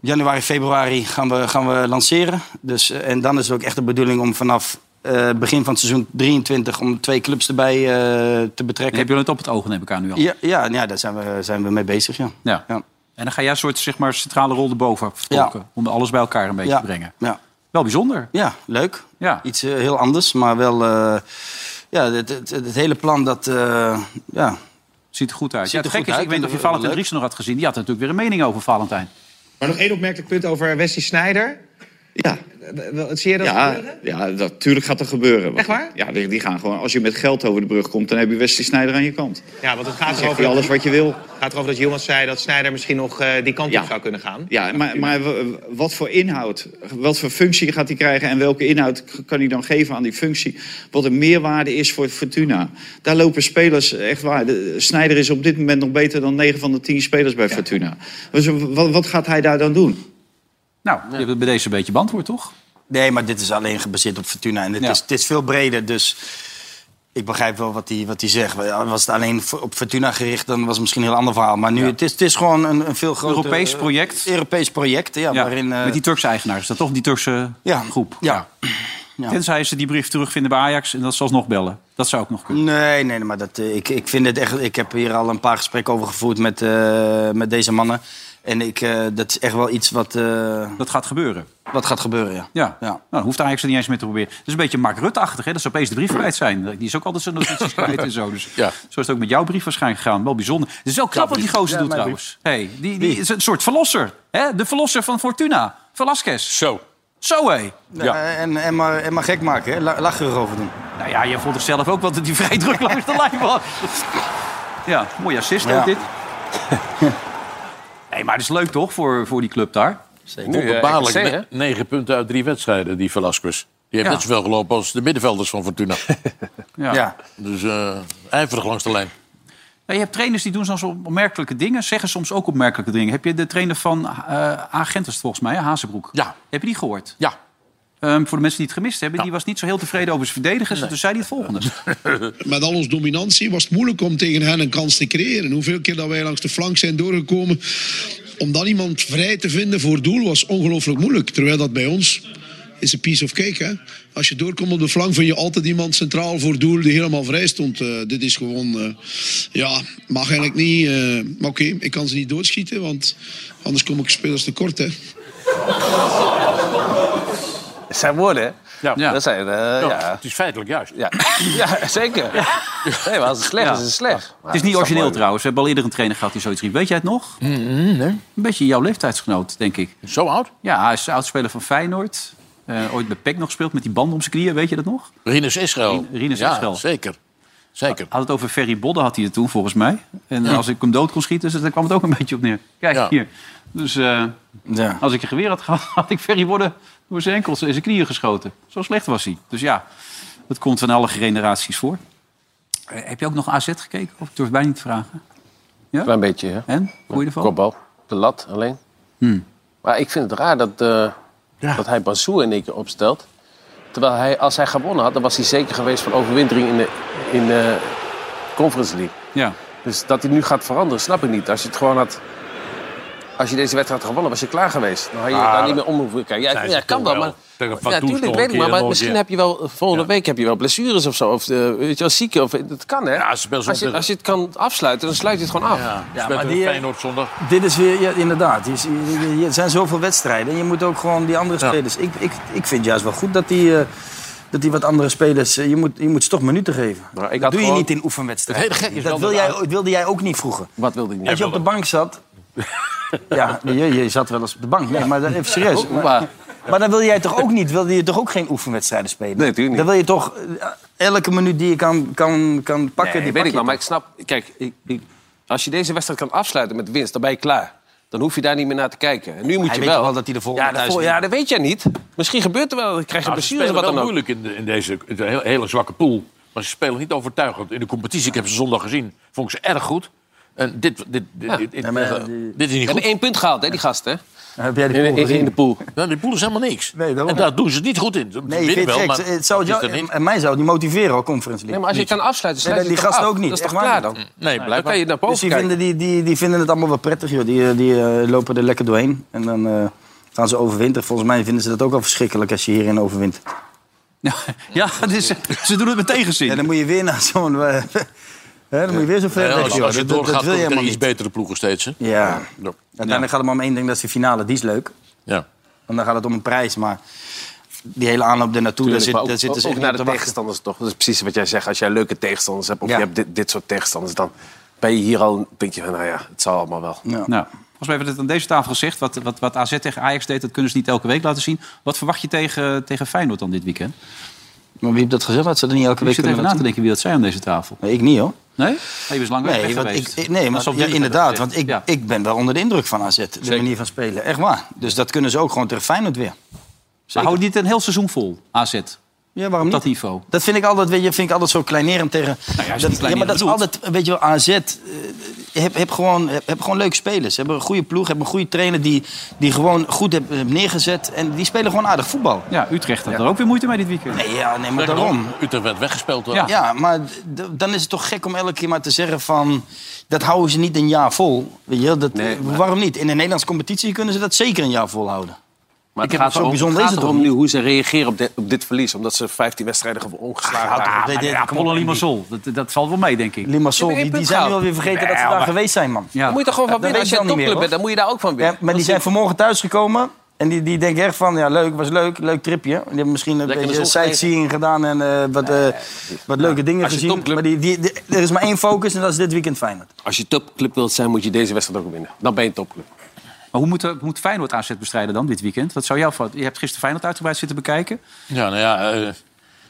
[SPEAKER 4] januari, februari gaan we, gaan we lanceren. Dus, eh, en dan is het ook echt de bedoeling om vanaf eh, begin van het seizoen 23... om twee clubs erbij eh, te
[SPEAKER 2] Dan
[SPEAKER 4] betrekken.
[SPEAKER 2] heb je het op het oog, neem ik aan nu al.
[SPEAKER 4] Ja, ja, ja daar zijn we, zijn we mee bezig, ja.
[SPEAKER 2] Ja. En dan ga jij een soort zeg maar, centrale rol erboven vertolken. Om alles bij elkaar een beetje
[SPEAKER 4] Ja.
[SPEAKER 2] te brengen.
[SPEAKER 4] Ja.
[SPEAKER 2] Wel bijzonder.
[SPEAKER 4] Ja, leuk.
[SPEAKER 2] Ja.
[SPEAKER 4] Iets eh, heel anders, maar wel... eh, ja, het, het, het hele plan dat... eh, ja.
[SPEAKER 2] Ziet er goed uit.
[SPEAKER 4] Ziet
[SPEAKER 2] ja,
[SPEAKER 4] er
[SPEAKER 2] het
[SPEAKER 4] goed
[SPEAKER 2] gek is,
[SPEAKER 4] uit.
[SPEAKER 2] ik weet niet of je Valentijn Driessen nog had gezien. Die had natuurlijk weer een mening over Valentijn.
[SPEAKER 14] Maar nog één opmerkelijk punt over Wesley Sneijder. Ja. Zie je dat
[SPEAKER 20] Ja,
[SPEAKER 14] gebeuren?
[SPEAKER 20] ja dat, natuurlijk gaat er gebeuren. Want-
[SPEAKER 14] Echt waar?
[SPEAKER 20] Ja, die, die gaan gewoon... Als je met geld over de brug komt, dan heb je Wesley Sneijder aan je kant.
[SPEAKER 14] Ja, want het
[SPEAKER 20] Dan
[SPEAKER 14] gaat
[SPEAKER 20] zeg
[SPEAKER 14] erover...
[SPEAKER 20] je alles wat je wil.
[SPEAKER 14] Het gaat erover dat Jonas zei dat Sneijder misschien nog eh, die kant
[SPEAKER 20] Ja.
[SPEAKER 14] op zou kunnen gaan.
[SPEAKER 20] Ja, maar, maar w- wat voor inhoud, wat voor functie gaat hij krijgen... en welke inhoud k- kan hij dan geven aan die functie? Wat een meerwaarde is voor Fortuna. Daar lopen spelers echt waar. De, Sneijder is op dit moment nog beter dan 9 van de 10 spelers bij Fortuna. Dus wat, wat gaat hij daar dan doen?
[SPEAKER 2] Nou, je hebt het bij deze een beetje beantwoord, toch?
[SPEAKER 4] Nee, maar dit is alleen gebaseerd op Fortuna. En het, is, het is veel breder, dus ik begrijp wel wat hij wat hij zegt. Ja, Was het alleen voor- op Fortuna gericht, dan was het misschien een heel ander verhaal. Maar nu, het, is, het is gewoon een, een veel groter...
[SPEAKER 2] Europees
[SPEAKER 4] eh,
[SPEAKER 2] project.
[SPEAKER 4] Europees project, ja.
[SPEAKER 2] Ja,
[SPEAKER 4] waarin, eh,
[SPEAKER 2] Met die Turkse eigenaar is dat toch? Die Turkse groep.
[SPEAKER 4] Ja.
[SPEAKER 2] Tenzij ze die brief terugvinden bij Ajax en dat ze alsnog bellen. Dat zou ook nog kunnen.
[SPEAKER 4] Nee, nee, nee, maar dat, eh, ik, ik vind het echt. Ik heb hier al een paar gesprekken over gevoerd met, eh, met deze mannen. En ik, eh, dat is echt wel iets wat. eh, Mm.
[SPEAKER 2] dat gaat gebeuren.
[SPEAKER 4] Wat gaat gebeuren, ja.
[SPEAKER 2] Ja, nou, dan hoeft Ajax er niet eens mee te proberen. Het is een beetje Mark Rutte-achtig, hè? Dat ze opeens de brief kwijt zijn. Die is ook altijd zijn notities kwijt en zo. Dus
[SPEAKER 6] Ja.
[SPEAKER 2] zo is het ook met jouw brief waarschijnlijk gegaan. Wel bijzonder. Het is wel knap wat die
[SPEAKER 6] brief.
[SPEAKER 2] gozer
[SPEAKER 6] Ja,
[SPEAKER 2] doet
[SPEAKER 6] mijn
[SPEAKER 2] trouwens. Hey, die, die is een soort verlosser. Hè? De verlosser van Fortuna. Velasquez.
[SPEAKER 6] Zo.
[SPEAKER 2] Zo, hé.
[SPEAKER 4] Ja, Eh, En, en, maar, en maar gek maken, hè? La- Lachen erover doen.
[SPEAKER 2] Nou ja, je vond toch zelf ook wel dat hij vrij druk langs de lijn was. Ja, mooi assist
[SPEAKER 4] Ja.
[SPEAKER 2] ook dit. Nee, maar het is leuk toch voor, voor die club daar? Zeker.
[SPEAKER 6] Wonderbaarlijk. ne- Negen punten uit drie wedstrijden, die Velasquez. Die heeft
[SPEAKER 2] Ja.
[SPEAKER 6] net zoveel gelopen als de middenvelders van Fortuna.
[SPEAKER 2] Ja.
[SPEAKER 6] Dus eh ijverig langs de lijn.
[SPEAKER 2] Ja, Nou, je hebt trainers die doen soms opmerkelijke dingen, zeggen soms ook opmerkelijke dingen. Heb je de trainer van eh Agentes volgens mij, hè, Hazebroek? Ja. Heb je die gehoord? Ehm,
[SPEAKER 6] Ja.
[SPEAKER 2] voor de mensen die het gemist hebben, die was niet zo heel tevreden over zijn verdedigers. Dus zei hij het volgende.
[SPEAKER 24] Met al onze dominantie was het moeilijk om tegen hen een kans te creëren. Hoeveel keer dat wij langs de flank zijn doorgekomen. Om dan iemand vrij te vinden voor doel was ongelooflijk moeilijk. Terwijl dat bij ons is een piece of cake. Hè? Als je doorkomt op de flank vind je altijd iemand centraal voor doel die helemaal vrij stond. Eh, dit is gewoon, eh, ja, mag eigenlijk niet. eh, maar oké, ik kan ze niet doodschieten, want anders kom ik spelers tekort. Hè?
[SPEAKER 5] Het zijn woorden, hè? Ja, dat zijn... eh, ja.
[SPEAKER 6] Het is feitelijk juist.
[SPEAKER 5] Ja, ja zeker. Nee, maar als het slecht
[SPEAKER 2] Ja.
[SPEAKER 5] is, is het slecht. Maar
[SPEAKER 2] Het is Mm, niet
[SPEAKER 5] dat
[SPEAKER 2] origineel
[SPEAKER 5] mooi.
[SPEAKER 2] trouwens. We hebben al eerder een trainer gehad die zoiets riep. Weet jij het nog? Een beetje jouw leeftijdsgenoot, denk ik.
[SPEAKER 6] Zo oud?
[SPEAKER 2] Ja, hij is oudspeler van Feyenoord. Eh, ooit bij PEC nog gespeeld met die band om zijn knieën. Weet je dat nog?
[SPEAKER 6] Rinus Israël.
[SPEAKER 2] Rinus
[SPEAKER 6] ja,
[SPEAKER 2] Israël.
[SPEAKER 6] zeker. Zeker.
[SPEAKER 2] Had het over Ferry Bodden had hij het toen, volgens mij. En als ik hem dood kon schieten, dus, daar kwam het ook een beetje op neer. Kijk,
[SPEAKER 6] Ja.
[SPEAKER 2] hier. Dus eh, als ik een geweer had gehad, had ik Ferry Bodden door zijn enkels en zijn knieën geschoten. Zo slecht was hij. Dus ja, dat komt van alle generaties voor. Eh, heb je ook nog AZ gekeken? Of ik durf het bijna niet te vragen. Ja?
[SPEAKER 5] Klein beetje, hè?
[SPEAKER 2] En? Hoe je ervan?
[SPEAKER 5] Kopbal. De lat alleen.
[SPEAKER 6] Hmm.
[SPEAKER 5] Maar ik vind het raar dat, eh, dat hij Bazoer in één keer opstelt. Terwijl hij, als hij gewonnen had, dan was hij zeker geweest van overwintering in de, in de Conference League.
[SPEAKER 2] Ja.
[SPEAKER 5] Dus dat hij nu gaat veranderen, snap ik niet. Als je het gewoon had... Als je deze wedstrijd had gewonnen, was je klaar geweest. Dan had je
[SPEAKER 6] Ah,
[SPEAKER 5] daar niet meer om hoeven kijken. Ja,
[SPEAKER 6] Zij
[SPEAKER 5] ja
[SPEAKER 6] ze
[SPEAKER 5] kan
[SPEAKER 6] toch
[SPEAKER 5] wel,
[SPEAKER 6] wel.
[SPEAKER 5] maar...
[SPEAKER 6] Tegen Van
[SPEAKER 5] Ja,
[SPEAKER 6] Toen
[SPEAKER 5] natuurlijk,
[SPEAKER 6] toch
[SPEAKER 5] weet
[SPEAKER 6] een
[SPEAKER 5] ik maar, maar
[SPEAKER 6] keer, nog een
[SPEAKER 5] misschien
[SPEAKER 6] keer.
[SPEAKER 5] heb je wel... eh, Volgende week heb je wel blessures of zo. Of eh, weet je wel, zieken. Of, dat kan, hè?
[SPEAKER 6] Ja, ze speelt
[SPEAKER 5] als, je,
[SPEAKER 6] zondag.
[SPEAKER 5] als je het kan afsluiten, dan sluit je het gewoon af.
[SPEAKER 6] Ja,
[SPEAKER 4] Ja,
[SPEAKER 6] maar
[SPEAKER 4] maar die-
[SPEAKER 6] Feyenoord zondag.
[SPEAKER 4] Dit is weer, ja, inderdaad. die is- die- die- Er zijn zoveel wedstrijden. En je moet ook gewoon die andere spelers. Ik, ik, ik vind juist wel goed dat die, eh, dat die wat andere spelers. eh, je, moet, je moet ze toch minuten geven.
[SPEAKER 5] ik had
[SPEAKER 4] dat doe je
[SPEAKER 5] gewoon-
[SPEAKER 4] niet in oefenwedstrijden.
[SPEAKER 6] Het hele gek is
[SPEAKER 4] dat
[SPEAKER 6] wel
[SPEAKER 4] wil
[SPEAKER 6] dat
[SPEAKER 4] jij,
[SPEAKER 6] aan-
[SPEAKER 4] wilde jij ook niet vroeger.
[SPEAKER 5] Wat wilde ik niet?
[SPEAKER 4] Als je op de bank zat. ja, je, je zat wel eens op de bank. Nee, maar dat- even serieus.
[SPEAKER 5] Hoe
[SPEAKER 4] Maar,
[SPEAKER 5] waar?
[SPEAKER 4] maar dan wil jij toch ook niet. Wilde je toch ook geen oefenwedstrijden spelen?
[SPEAKER 5] Nee, natuurlijk
[SPEAKER 4] Dan
[SPEAKER 5] niet.
[SPEAKER 4] wil je toch eh, elke minuut die je kan, kan, kan pakken.
[SPEAKER 5] Nee, weet
[SPEAKER 4] die pak
[SPEAKER 5] ik
[SPEAKER 4] je
[SPEAKER 5] wel, maar ik snap... Kijk, ik, ik- als je deze wedstrijd kan afsluiten met winst, dan ben je klaar. Dan hoef je daar niet meer naar te kijken. En nu moet
[SPEAKER 4] Hij
[SPEAKER 5] je
[SPEAKER 4] weet
[SPEAKER 5] wel...
[SPEAKER 4] toch wel dat hij de volgende
[SPEAKER 5] ja,
[SPEAKER 4] thuis
[SPEAKER 5] vol-
[SPEAKER 4] wint?
[SPEAKER 5] ja, dat weet jij niet. Misschien gebeurt er wel. Dan krijg je
[SPEAKER 6] Nou, ze
[SPEAKER 5] blessures of
[SPEAKER 6] spelen
[SPEAKER 5] wat
[SPEAKER 6] wel
[SPEAKER 5] dan ook.
[SPEAKER 6] moeilijk in, de- in deze het is een heel- hele zwakke pool. Maar ze spelen niet overtuigend. In de competitie, ik heb ze zondag gezien, vond ik ze erg goed. En dit, dit, dit,
[SPEAKER 5] Ja.
[SPEAKER 6] dit, dit-
[SPEAKER 4] Ja, maar, die-
[SPEAKER 6] eh, dit is niet
[SPEAKER 5] Hebben
[SPEAKER 6] goed.
[SPEAKER 5] één punt gehaald, hè, die gast, hè?
[SPEAKER 4] Heb jij de
[SPEAKER 5] In,
[SPEAKER 4] pool
[SPEAKER 5] in- in
[SPEAKER 4] gezien?
[SPEAKER 5] de pool.
[SPEAKER 6] Ja, die pool is helemaal niks.
[SPEAKER 4] Nee, daarom.
[SPEAKER 6] en daar doen ze het niet goed in. Ze
[SPEAKER 4] Nee, ik
[SPEAKER 6] winnen
[SPEAKER 4] vind het
[SPEAKER 6] wel,
[SPEAKER 4] gek.
[SPEAKER 6] maar
[SPEAKER 4] Het zou
[SPEAKER 6] het is
[SPEAKER 4] jou-
[SPEAKER 6] er niet.
[SPEAKER 4] en mij zou die motiveren al conference
[SPEAKER 5] Nee,
[SPEAKER 4] League.
[SPEAKER 5] maar als je het kan afsluiten,
[SPEAKER 4] Nee,
[SPEAKER 5] sluit
[SPEAKER 4] die
[SPEAKER 5] je het
[SPEAKER 4] gasten
[SPEAKER 5] af.
[SPEAKER 4] ook niet.
[SPEAKER 5] Dat is toch
[SPEAKER 4] Echt waar
[SPEAKER 5] klaar dan?
[SPEAKER 4] niet.
[SPEAKER 6] Nee,
[SPEAKER 5] Dan
[SPEAKER 6] blijkbaar.
[SPEAKER 5] kan je naar boven
[SPEAKER 4] Dus die
[SPEAKER 5] kijken.
[SPEAKER 4] vinden, die, die, die vinden het allemaal wel prettig, joh. Die, eh, die eh, lopen er lekker doorheen. En dan eh, gaan ze overwinteren. Volgens mij vinden ze dat ook wel verschrikkelijk als je hierin overwint.
[SPEAKER 2] Ja, dus, ze doen het met tegenzin.
[SPEAKER 4] Ja, dan moet je weer naar zo'n... eh, hè, dan moet je weer zo ver
[SPEAKER 6] Ja,
[SPEAKER 4] weg,
[SPEAKER 6] als,
[SPEAKER 4] joh.
[SPEAKER 6] als je
[SPEAKER 4] Dat- dat-
[SPEAKER 6] doorgaat,
[SPEAKER 4] dat wil je
[SPEAKER 6] komt er
[SPEAKER 4] helemaal
[SPEAKER 6] iets
[SPEAKER 4] niet.
[SPEAKER 6] betere ploegen steeds. Hè?
[SPEAKER 4] Ja.
[SPEAKER 6] Ja.
[SPEAKER 4] Uiteindelijk gaat het maar om één ding, dat is de finale. Die is leuk.
[SPEAKER 6] Ja.
[SPEAKER 4] Want dan gaat het om een prijs, maar... Die hele aanloop ernaartoe, daar,
[SPEAKER 5] Tuurlijk,
[SPEAKER 4] zit,
[SPEAKER 5] maar ook-
[SPEAKER 4] daar zitten ze
[SPEAKER 5] ook
[SPEAKER 4] echt
[SPEAKER 5] naar
[SPEAKER 4] niet
[SPEAKER 5] de
[SPEAKER 4] op te wachten.
[SPEAKER 5] tegenstanders toch. Dat is precies wat jij zegt. Als jij leuke tegenstanders hebt of
[SPEAKER 4] Ja.
[SPEAKER 5] je hebt dit, dit soort tegenstanders, dan ben je hier al denk je van, nou ja, het zal allemaal wel.
[SPEAKER 4] Ja.
[SPEAKER 2] Nou, volgens mij hebben we het aan deze tafel gezegd. Wat, wat, wat AZ tegen Ajax deed, dat kunnen ze niet elke week laten zien. Wat verwacht je tegen, tegen Feyenoord dan dit weekend?
[SPEAKER 4] Maar wie heeft dat gezegd? Dat ze er niet elke
[SPEAKER 2] Ik
[SPEAKER 4] week
[SPEAKER 2] zit even
[SPEAKER 4] kunnen
[SPEAKER 2] na te
[SPEAKER 4] laten
[SPEAKER 2] denken wie dat zijn aan deze tafel.
[SPEAKER 4] zien? Nee, ik niet, hoor.
[SPEAKER 2] Nee? Hij was lang weg
[SPEAKER 4] Nee, want
[SPEAKER 2] geweest.
[SPEAKER 4] ik, ik- nee maar
[SPEAKER 2] Dat is al
[SPEAKER 4] ja,
[SPEAKER 2] duidelijk
[SPEAKER 4] inderdaad.
[SPEAKER 2] dat
[SPEAKER 4] Want ik,
[SPEAKER 2] Ja.
[SPEAKER 4] ik ben wel onder de indruk van AZ. De manier van spelen. Echt waar. Dus dat kunnen ze ook gewoon tegen Feyenoord weer.
[SPEAKER 2] Maar houdt dit een heel seizoen vol, AZ?
[SPEAKER 4] Ja, waarom
[SPEAKER 2] Op dat
[SPEAKER 4] niet?
[SPEAKER 2] niveau.
[SPEAKER 4] Dat vind ik altijd, weet je, vind ik altijd zo kleinerend tegen...
[SPEAKER 2] Nou ja, als je
[SPEAKER 4] dat,
[SPEAKER 2] het kleinerend
[SPEAKER 4] maar dat is
[SPEAKER 2] bedoelt.
[SPEAKER 4] altijd, weet je wel, AZ... eh, heb, heb, gewoon, heb, heb gewoon leuke spelers. Hebben een goede ploeg, hebben een goede trainer... die, die gewoon goed heb, heb neergezet. En die spelen gewoon aardig voetbal.
[SPEAKER 2] Ja, Utrecht had er ook weer moeite mee dit weekend.
[SPEAKER 4] Nee, ja, nee maar
[SPEAKER 6] Sterker
[SPEAKER 4] daarom.
[SPEAKER 6] nog, Utrecht werd weggespeeld. hoor.
[SPEAKER 2] Ja.
[SPEAKER 4] Ja, maar d- d- dan is het toch gek om elke keer maar te zeggen van... dat houden ze niet een jaar vol. Weet je, wel, dat,
[SPEAKER 5] Nee, maar-
[SPEAKER 4] Waarom niet? In de Nederlandse competitie kunnen ze dat zeker een jaar volhouden.
[SPEAKER 5] Maar
[SPEAKER 4] Ik heb het zo bijzonder
[SPEAKER 5] het
[SPEAKER 4] is
[SPEAKER 5] gaat
[SPEAKER 4] het
[SPEAKER 5] erom
[SPEAKER 4] toch
[SPEAKER 5] nu hoe ze reageren op dit, op dit verlies. Omdat ze 15 wedstrijden gewoon ongeslagen
[SPEAKER 4] Ah,
[SPEAKER 5] hadden.
[SPEAKER 4] ja,
[SPEAKER 5] Maar
[SPEAKER 4] dit-
[SPEAKER 5] ja,
[SPEAKER 4] dit-
[SPEAKER 5] kom op.
[SPEAKER 2] Apollo Limassol, dat, dat valt wel mee, denk ik.
[SPEAKER 4] Limassol,
[SPEAKER 5] één
[SPEAKER 4] die, die
[SPEAKER 5] punt
[SPEAKER 4] zijn nu
[SPEAKER 5] gehaald.
[SPEAKER 4] alweer vergeten dat ze
[SPEAKER 5] Nee,
[SPEAKER 4] daar
[SPEAKER 5] maar-
[SPEAKER 4] geweest zijn, man.
[SPEAKER 5] Dan
[SPEAKER 2] Ja.
[SPEAKER 5] moet je er gewoon van
[SPEAKER 4] Dat
[SPEAKER 5] winnen. Als
[SPEAKER 4] weet
[SPEAKER 5] je
[SPEAKER 4] ik
[SPEAKER 5] een
[SPEAKER 4] dan niet
[SPEAKER 5] topclub
[SPEAKER 4] meer,
[SPEAKER 5] bent, dan moet je daar ook van
[SPEAKER 4] Ja,
[SPEAKER 5] winnen.
[SPEAKER 4] maar die zijn vanmorgen thuisgekomen. En die, die denken echt van, ja, leuk, was leuk, leuk tripje. Die hebben misschien een
[SPEAKER 5] Lekker in de
[SPEAKER 4] beetje
[SPEAKER 5] zon gelegen.
[SPEAKER 4] sightseeing gedaan en eh, wat, eh, wat leuke dingen
[SPEAKER 5] als je
[SPEAKER 4] gezien.
[SPEAKER 5] topclub-
[SPEAKER 4] Maar die, die, die- er is maar één focus en dat is dit weekend Feyenoord.
[SPEAKER 5] Als je topclub wilt zijn, moet je deze wedstrijd ook winnen. Dan ben je een topclub.
[SPEAKER 2] Maar hoe moet, eh, moet Feyenoord AZ bestrijden dan dit weekend? Wat zou jou van? Je hebt gisteren Feyenoord uitgebreid zitten bekijken.
[SPEAKER 6] Ja, nou ja, eh,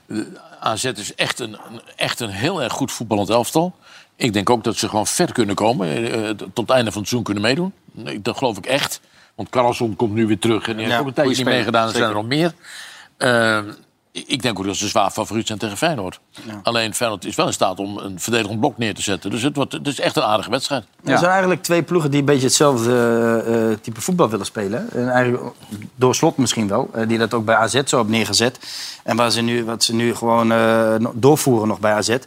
[SPEAKER 6] de AZ is echt een, een- echt een heel erg goed voetballend elftal. Ik denk ook dat ze gewoon ver kunnen komen. eh, eh, t- tot het einde van het seizoen kunnen meedoen. Nee, Dat geloof ik echt. Want Carlson komt nu weer terug. En die heeft ook een tijdje niet
[SPEAKER 5] speler,
[SPEAKER 6] meegedaan. Er
[SPEAKER 5] zeker.
[SPEAKER 6] zijn er nog meer. Eh, ik denk ook dat ze zwaar favoriet zijn tegen Feyenoord. Alleen Feyenoord is wel in staat om een verdedigend blok neer te zetten. Dus het, wordt, het is echt een aardige wedstrijd.
[SPEAKER 4] Er zijn eigenlijk twee ploegen die een beetje hetzelfde eh, eh, type voetbal willen spelen. En eigenlijk door slot misschien wel. eh, die dat ook bij AZ zo hebben neergezet. En waar ze nu, wat ze nu gewoon eh, no- doorvoeren nog bij AZ.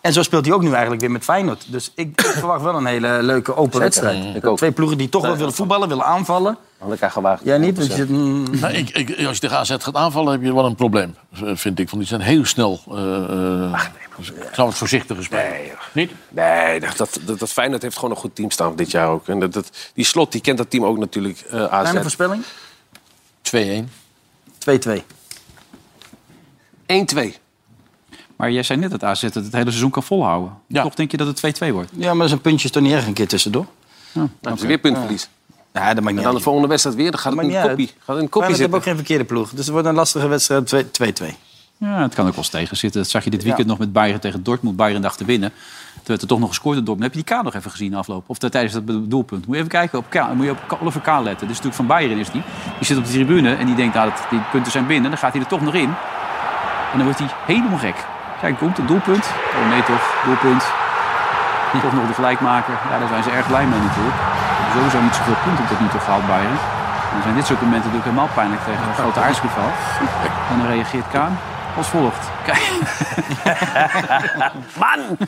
[SPEAKER 4] En zo speelt hij ook nu eigenlijk weer met Feyenoord. Dus ik verwacht wel een hele leuke open wedstrijd.
[SPEAKER 5] Mm, Ik ook.
[SPEAKER 4] Twee ploegen die toch wel
[SPEAKER 5] Ja.
[SPEAKER 4] willen voetballen, willen aanvallen.
[SPEAKER 5] Had elkaar gewaagd.
[SPEAKER 4] Jij niet? Want je zit, mm,
[SPEAKER 6] Nou, ik, ik, als je de AZ gaat aanvallen, heb je wel een probleem, eh, vind ik. Want die zijn heel snel. eh eh, dus ik zou het voorzichtiger spelen.
[SPEAKER 5] Nee, joh.
[SPEAKER 6] Niet?
[SPEAKER 5] Nee, dat, dat, dat, dat Feyenoord heeft gewoon een goed team staan dit jaar ook. En dat, dat, die slot die kent dat team ook natuurlijk. eh AZ.
[SPEAKER 4] Kleine voorspelling?
[SPEAKER 6] 2-1.
[SPEAKER 4] 2-2.
[SPEAKER 5] 1-2.
[SPEAKER 2] Maar jij zei net dat AZ het het hele seizoen kan volhouden. Toch denk je dat het 2-2 wordt?
[SPEAKER 4] Ja, maar dat is een puntje is toch niet erg een keer tussendoor?
[SPEAKER 5] Dan hebben ze weer puntverlies.
[SPEAKER 4] Ja, dat maakt niet
[SPEAKER 5] En dan de
[SPEAKER 4] uit.
[SPEAKER 5] volgende wedstrijd weer, dan gaat het
[SPEAKER 4] Maakt
[SPEAKER 5] in
[SPEAKER 4] niet
[SPEAKER 5] een kopie.
[SPEAKER 4] uit.
[SPEAKER 5] Gaat in een kopie
[SPEAKER 4] Feyenoord heeft
[SPEAKER 5] zitten.
[SPEAKER 4] ook geen verkeerde ploeg. Dus het wordt een lastige wedstrijd 2-2.
[SPEAKER 2] Ja, het kan ook wel eens tegen zitten. Dat zag je dit
[SPEAKER 4] Ja.
[SPEAKER 2] weekend nog met Bayern tegen Dortmund. Bayern dacht te winnen. Toen werd er toch nog gescoord door Dortmund. Heb je die K nog even gezien aflopen? Of tijdens dat doelpunt? Moet je even kijken. Op K, moet je op K- Oliver K letten. Dit is natuurlijk van Bayern is die. Die zit op de tribune en die denkt nou, dat die punten zijn binnen. Dan gaat hij er toch nog in. En dan wordt hij helemaal gek. Kijk, komt het doelpunt. Oh nee toch, doelpunt. Toch nog de gelijkmaker. Ja, daar zijn ze erg blij mee natuurlijk. Sowieso niet zoveel punten tot nu toe gehaald Bayern. En dan zijn dit soort momenten natuurlijk helemaal pijnlijk tegen een grote aardsgeval. En dan reageert Kaan als volgt. Kijk.
[SPEAKER 5] Man!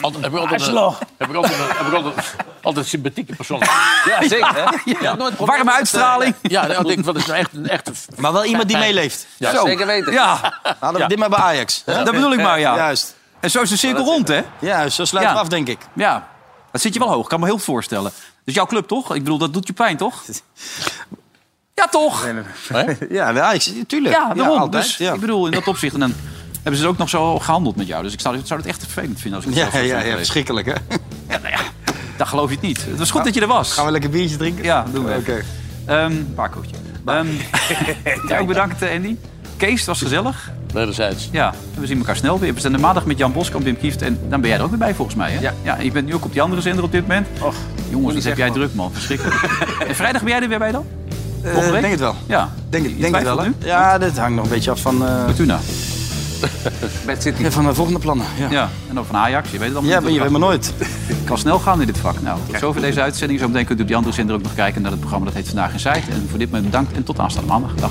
[SPEAKER 6] Altijd, heb ik altijd,
[SPEAKER 5] Arschloch.
[SPEAKER 6] heb ik altijd, heb ik altijd, altijd sympathieke personen.
[SPEAKER 5] Ja, zeker. hè?
[SPEAKER 6] Ja.
[SPEAKER 5] Je hebt nooit problemen met, eh,
[SPEAKER 6] Ja, nee, ik denk, wat is nou echt een echte...
[SPEAKER 4] Maar wel iemand die
[SPEAKER 6] Fijn.
[SPEAKER 4] meeleeft.
[SPEAKER 6] Ja,
[SPEAKER 4] Zo.
[SPEAKER 6] zeker weten.
[SPEAKER 2] Ja.
[SPEAKER 4] Hadden we dit maar bij Ajax. hè?
[SPEAKER 2] Dat bedoel ik maar, ja.
[SPEAKER 4] Juist.
[SPEAKER 2] En zo is de cirkel rond, hè?
[SPEAKER 4] Ja, zo sluiten
[SPEAKER 2] Ja.
[SPEAKER 4] we af, denk ik.
[SPEAKER 2] Ja. Dat zit je wel hoog. Ik kan me heel voorstellen. Dus jouw club, toch? Ik bedoel, dat doet je pijn, toch? Ja, toch?
[SPEAKER 4] Ja, de Ajax, tuurlijk.
[SPEAKER 2] Ja, daarom.
[SPEAKER 4] altijd,
[SPEAKER 2] dus
[SPEAKER 4] ja.
[SPEAKER 2] ik bedoel, in dat opzicht... En dan hebben ze het ook nog zo gehandeld met jou. Dus ik zou, ik zou het echt vervelend vinden als ik het
[SPEAKER 4] Ja,
[SPEAKER 2] zelf zou
[SPEAKER 4] ja,
[SPEAKER 2] zijn
[SPEAKER 4] ja,
[SPEAKER 2] geweest.
[SPEAKER 4] verschrikkelijk, hè?
[SPEAKER 2] Dan geloof je het niet. Het was goed dat je er was.
[SPEAKER 4] Nou, Gaan we lekker biertje drinken?
[SPEAKER 2] Ja, doen we.
[SPEAKER 4] Oké.
[SPEAKER 2] Ehm Pacootje. Ehm jij ook bedankt, eh, Andy. Kees, het was gezellig.
[SPEAKER 6] Wederzijds.
[SPEAKER 2] Ja, we zien elkaar snel weer. We zijn er maandag met Jan Boskamp, Wim Kieft. En dan ben jij er ook weer bij, volgens mij. Hè? Ja. en je bent nu ook op die andere zender op dit moment. Och, Jongens, dat heb jij druk, man. Verschrikkelijk. en vrijdag ben jij er weer bij dan?
[SPEAKER 4] Eh,
[SPEAKER 2] Volgende week?
[SPEAKER 4] denk het wel.
[SPEAKER 2] Ja.
[SPEAKER 4] Denk,
[SPEAKER 2] Je
[SPEAKER 4] het- denk het wel,
[SPEAKER 2] twijfelt
[SPEAKER 4] hè? Ja, dit hangt nog een beetje af van... eh,
[SPEAKER 2] Fortuna.
[SPEAKER 5] Bad City.
[SPEAKER 4] van de volgende plannen, ja.
[SPEAKER 2] Ja, en dan van Ajax. Je weet het allemaal
[SPEAKER 4] Ja,
[SPEAKER 2] niet.
[SPEAKER 4] maar je weet maar nooit.
[SPEAKER 2] Het kan snel gaan in dit vak. Nou, tot zover deze uitzending. Zometeen kunt u op die andere zender ook nog kijken naar het programma. Dat heet Vandaag in Zijt. En voor dit moment bedankt en tot aanstaande maandag. Dag.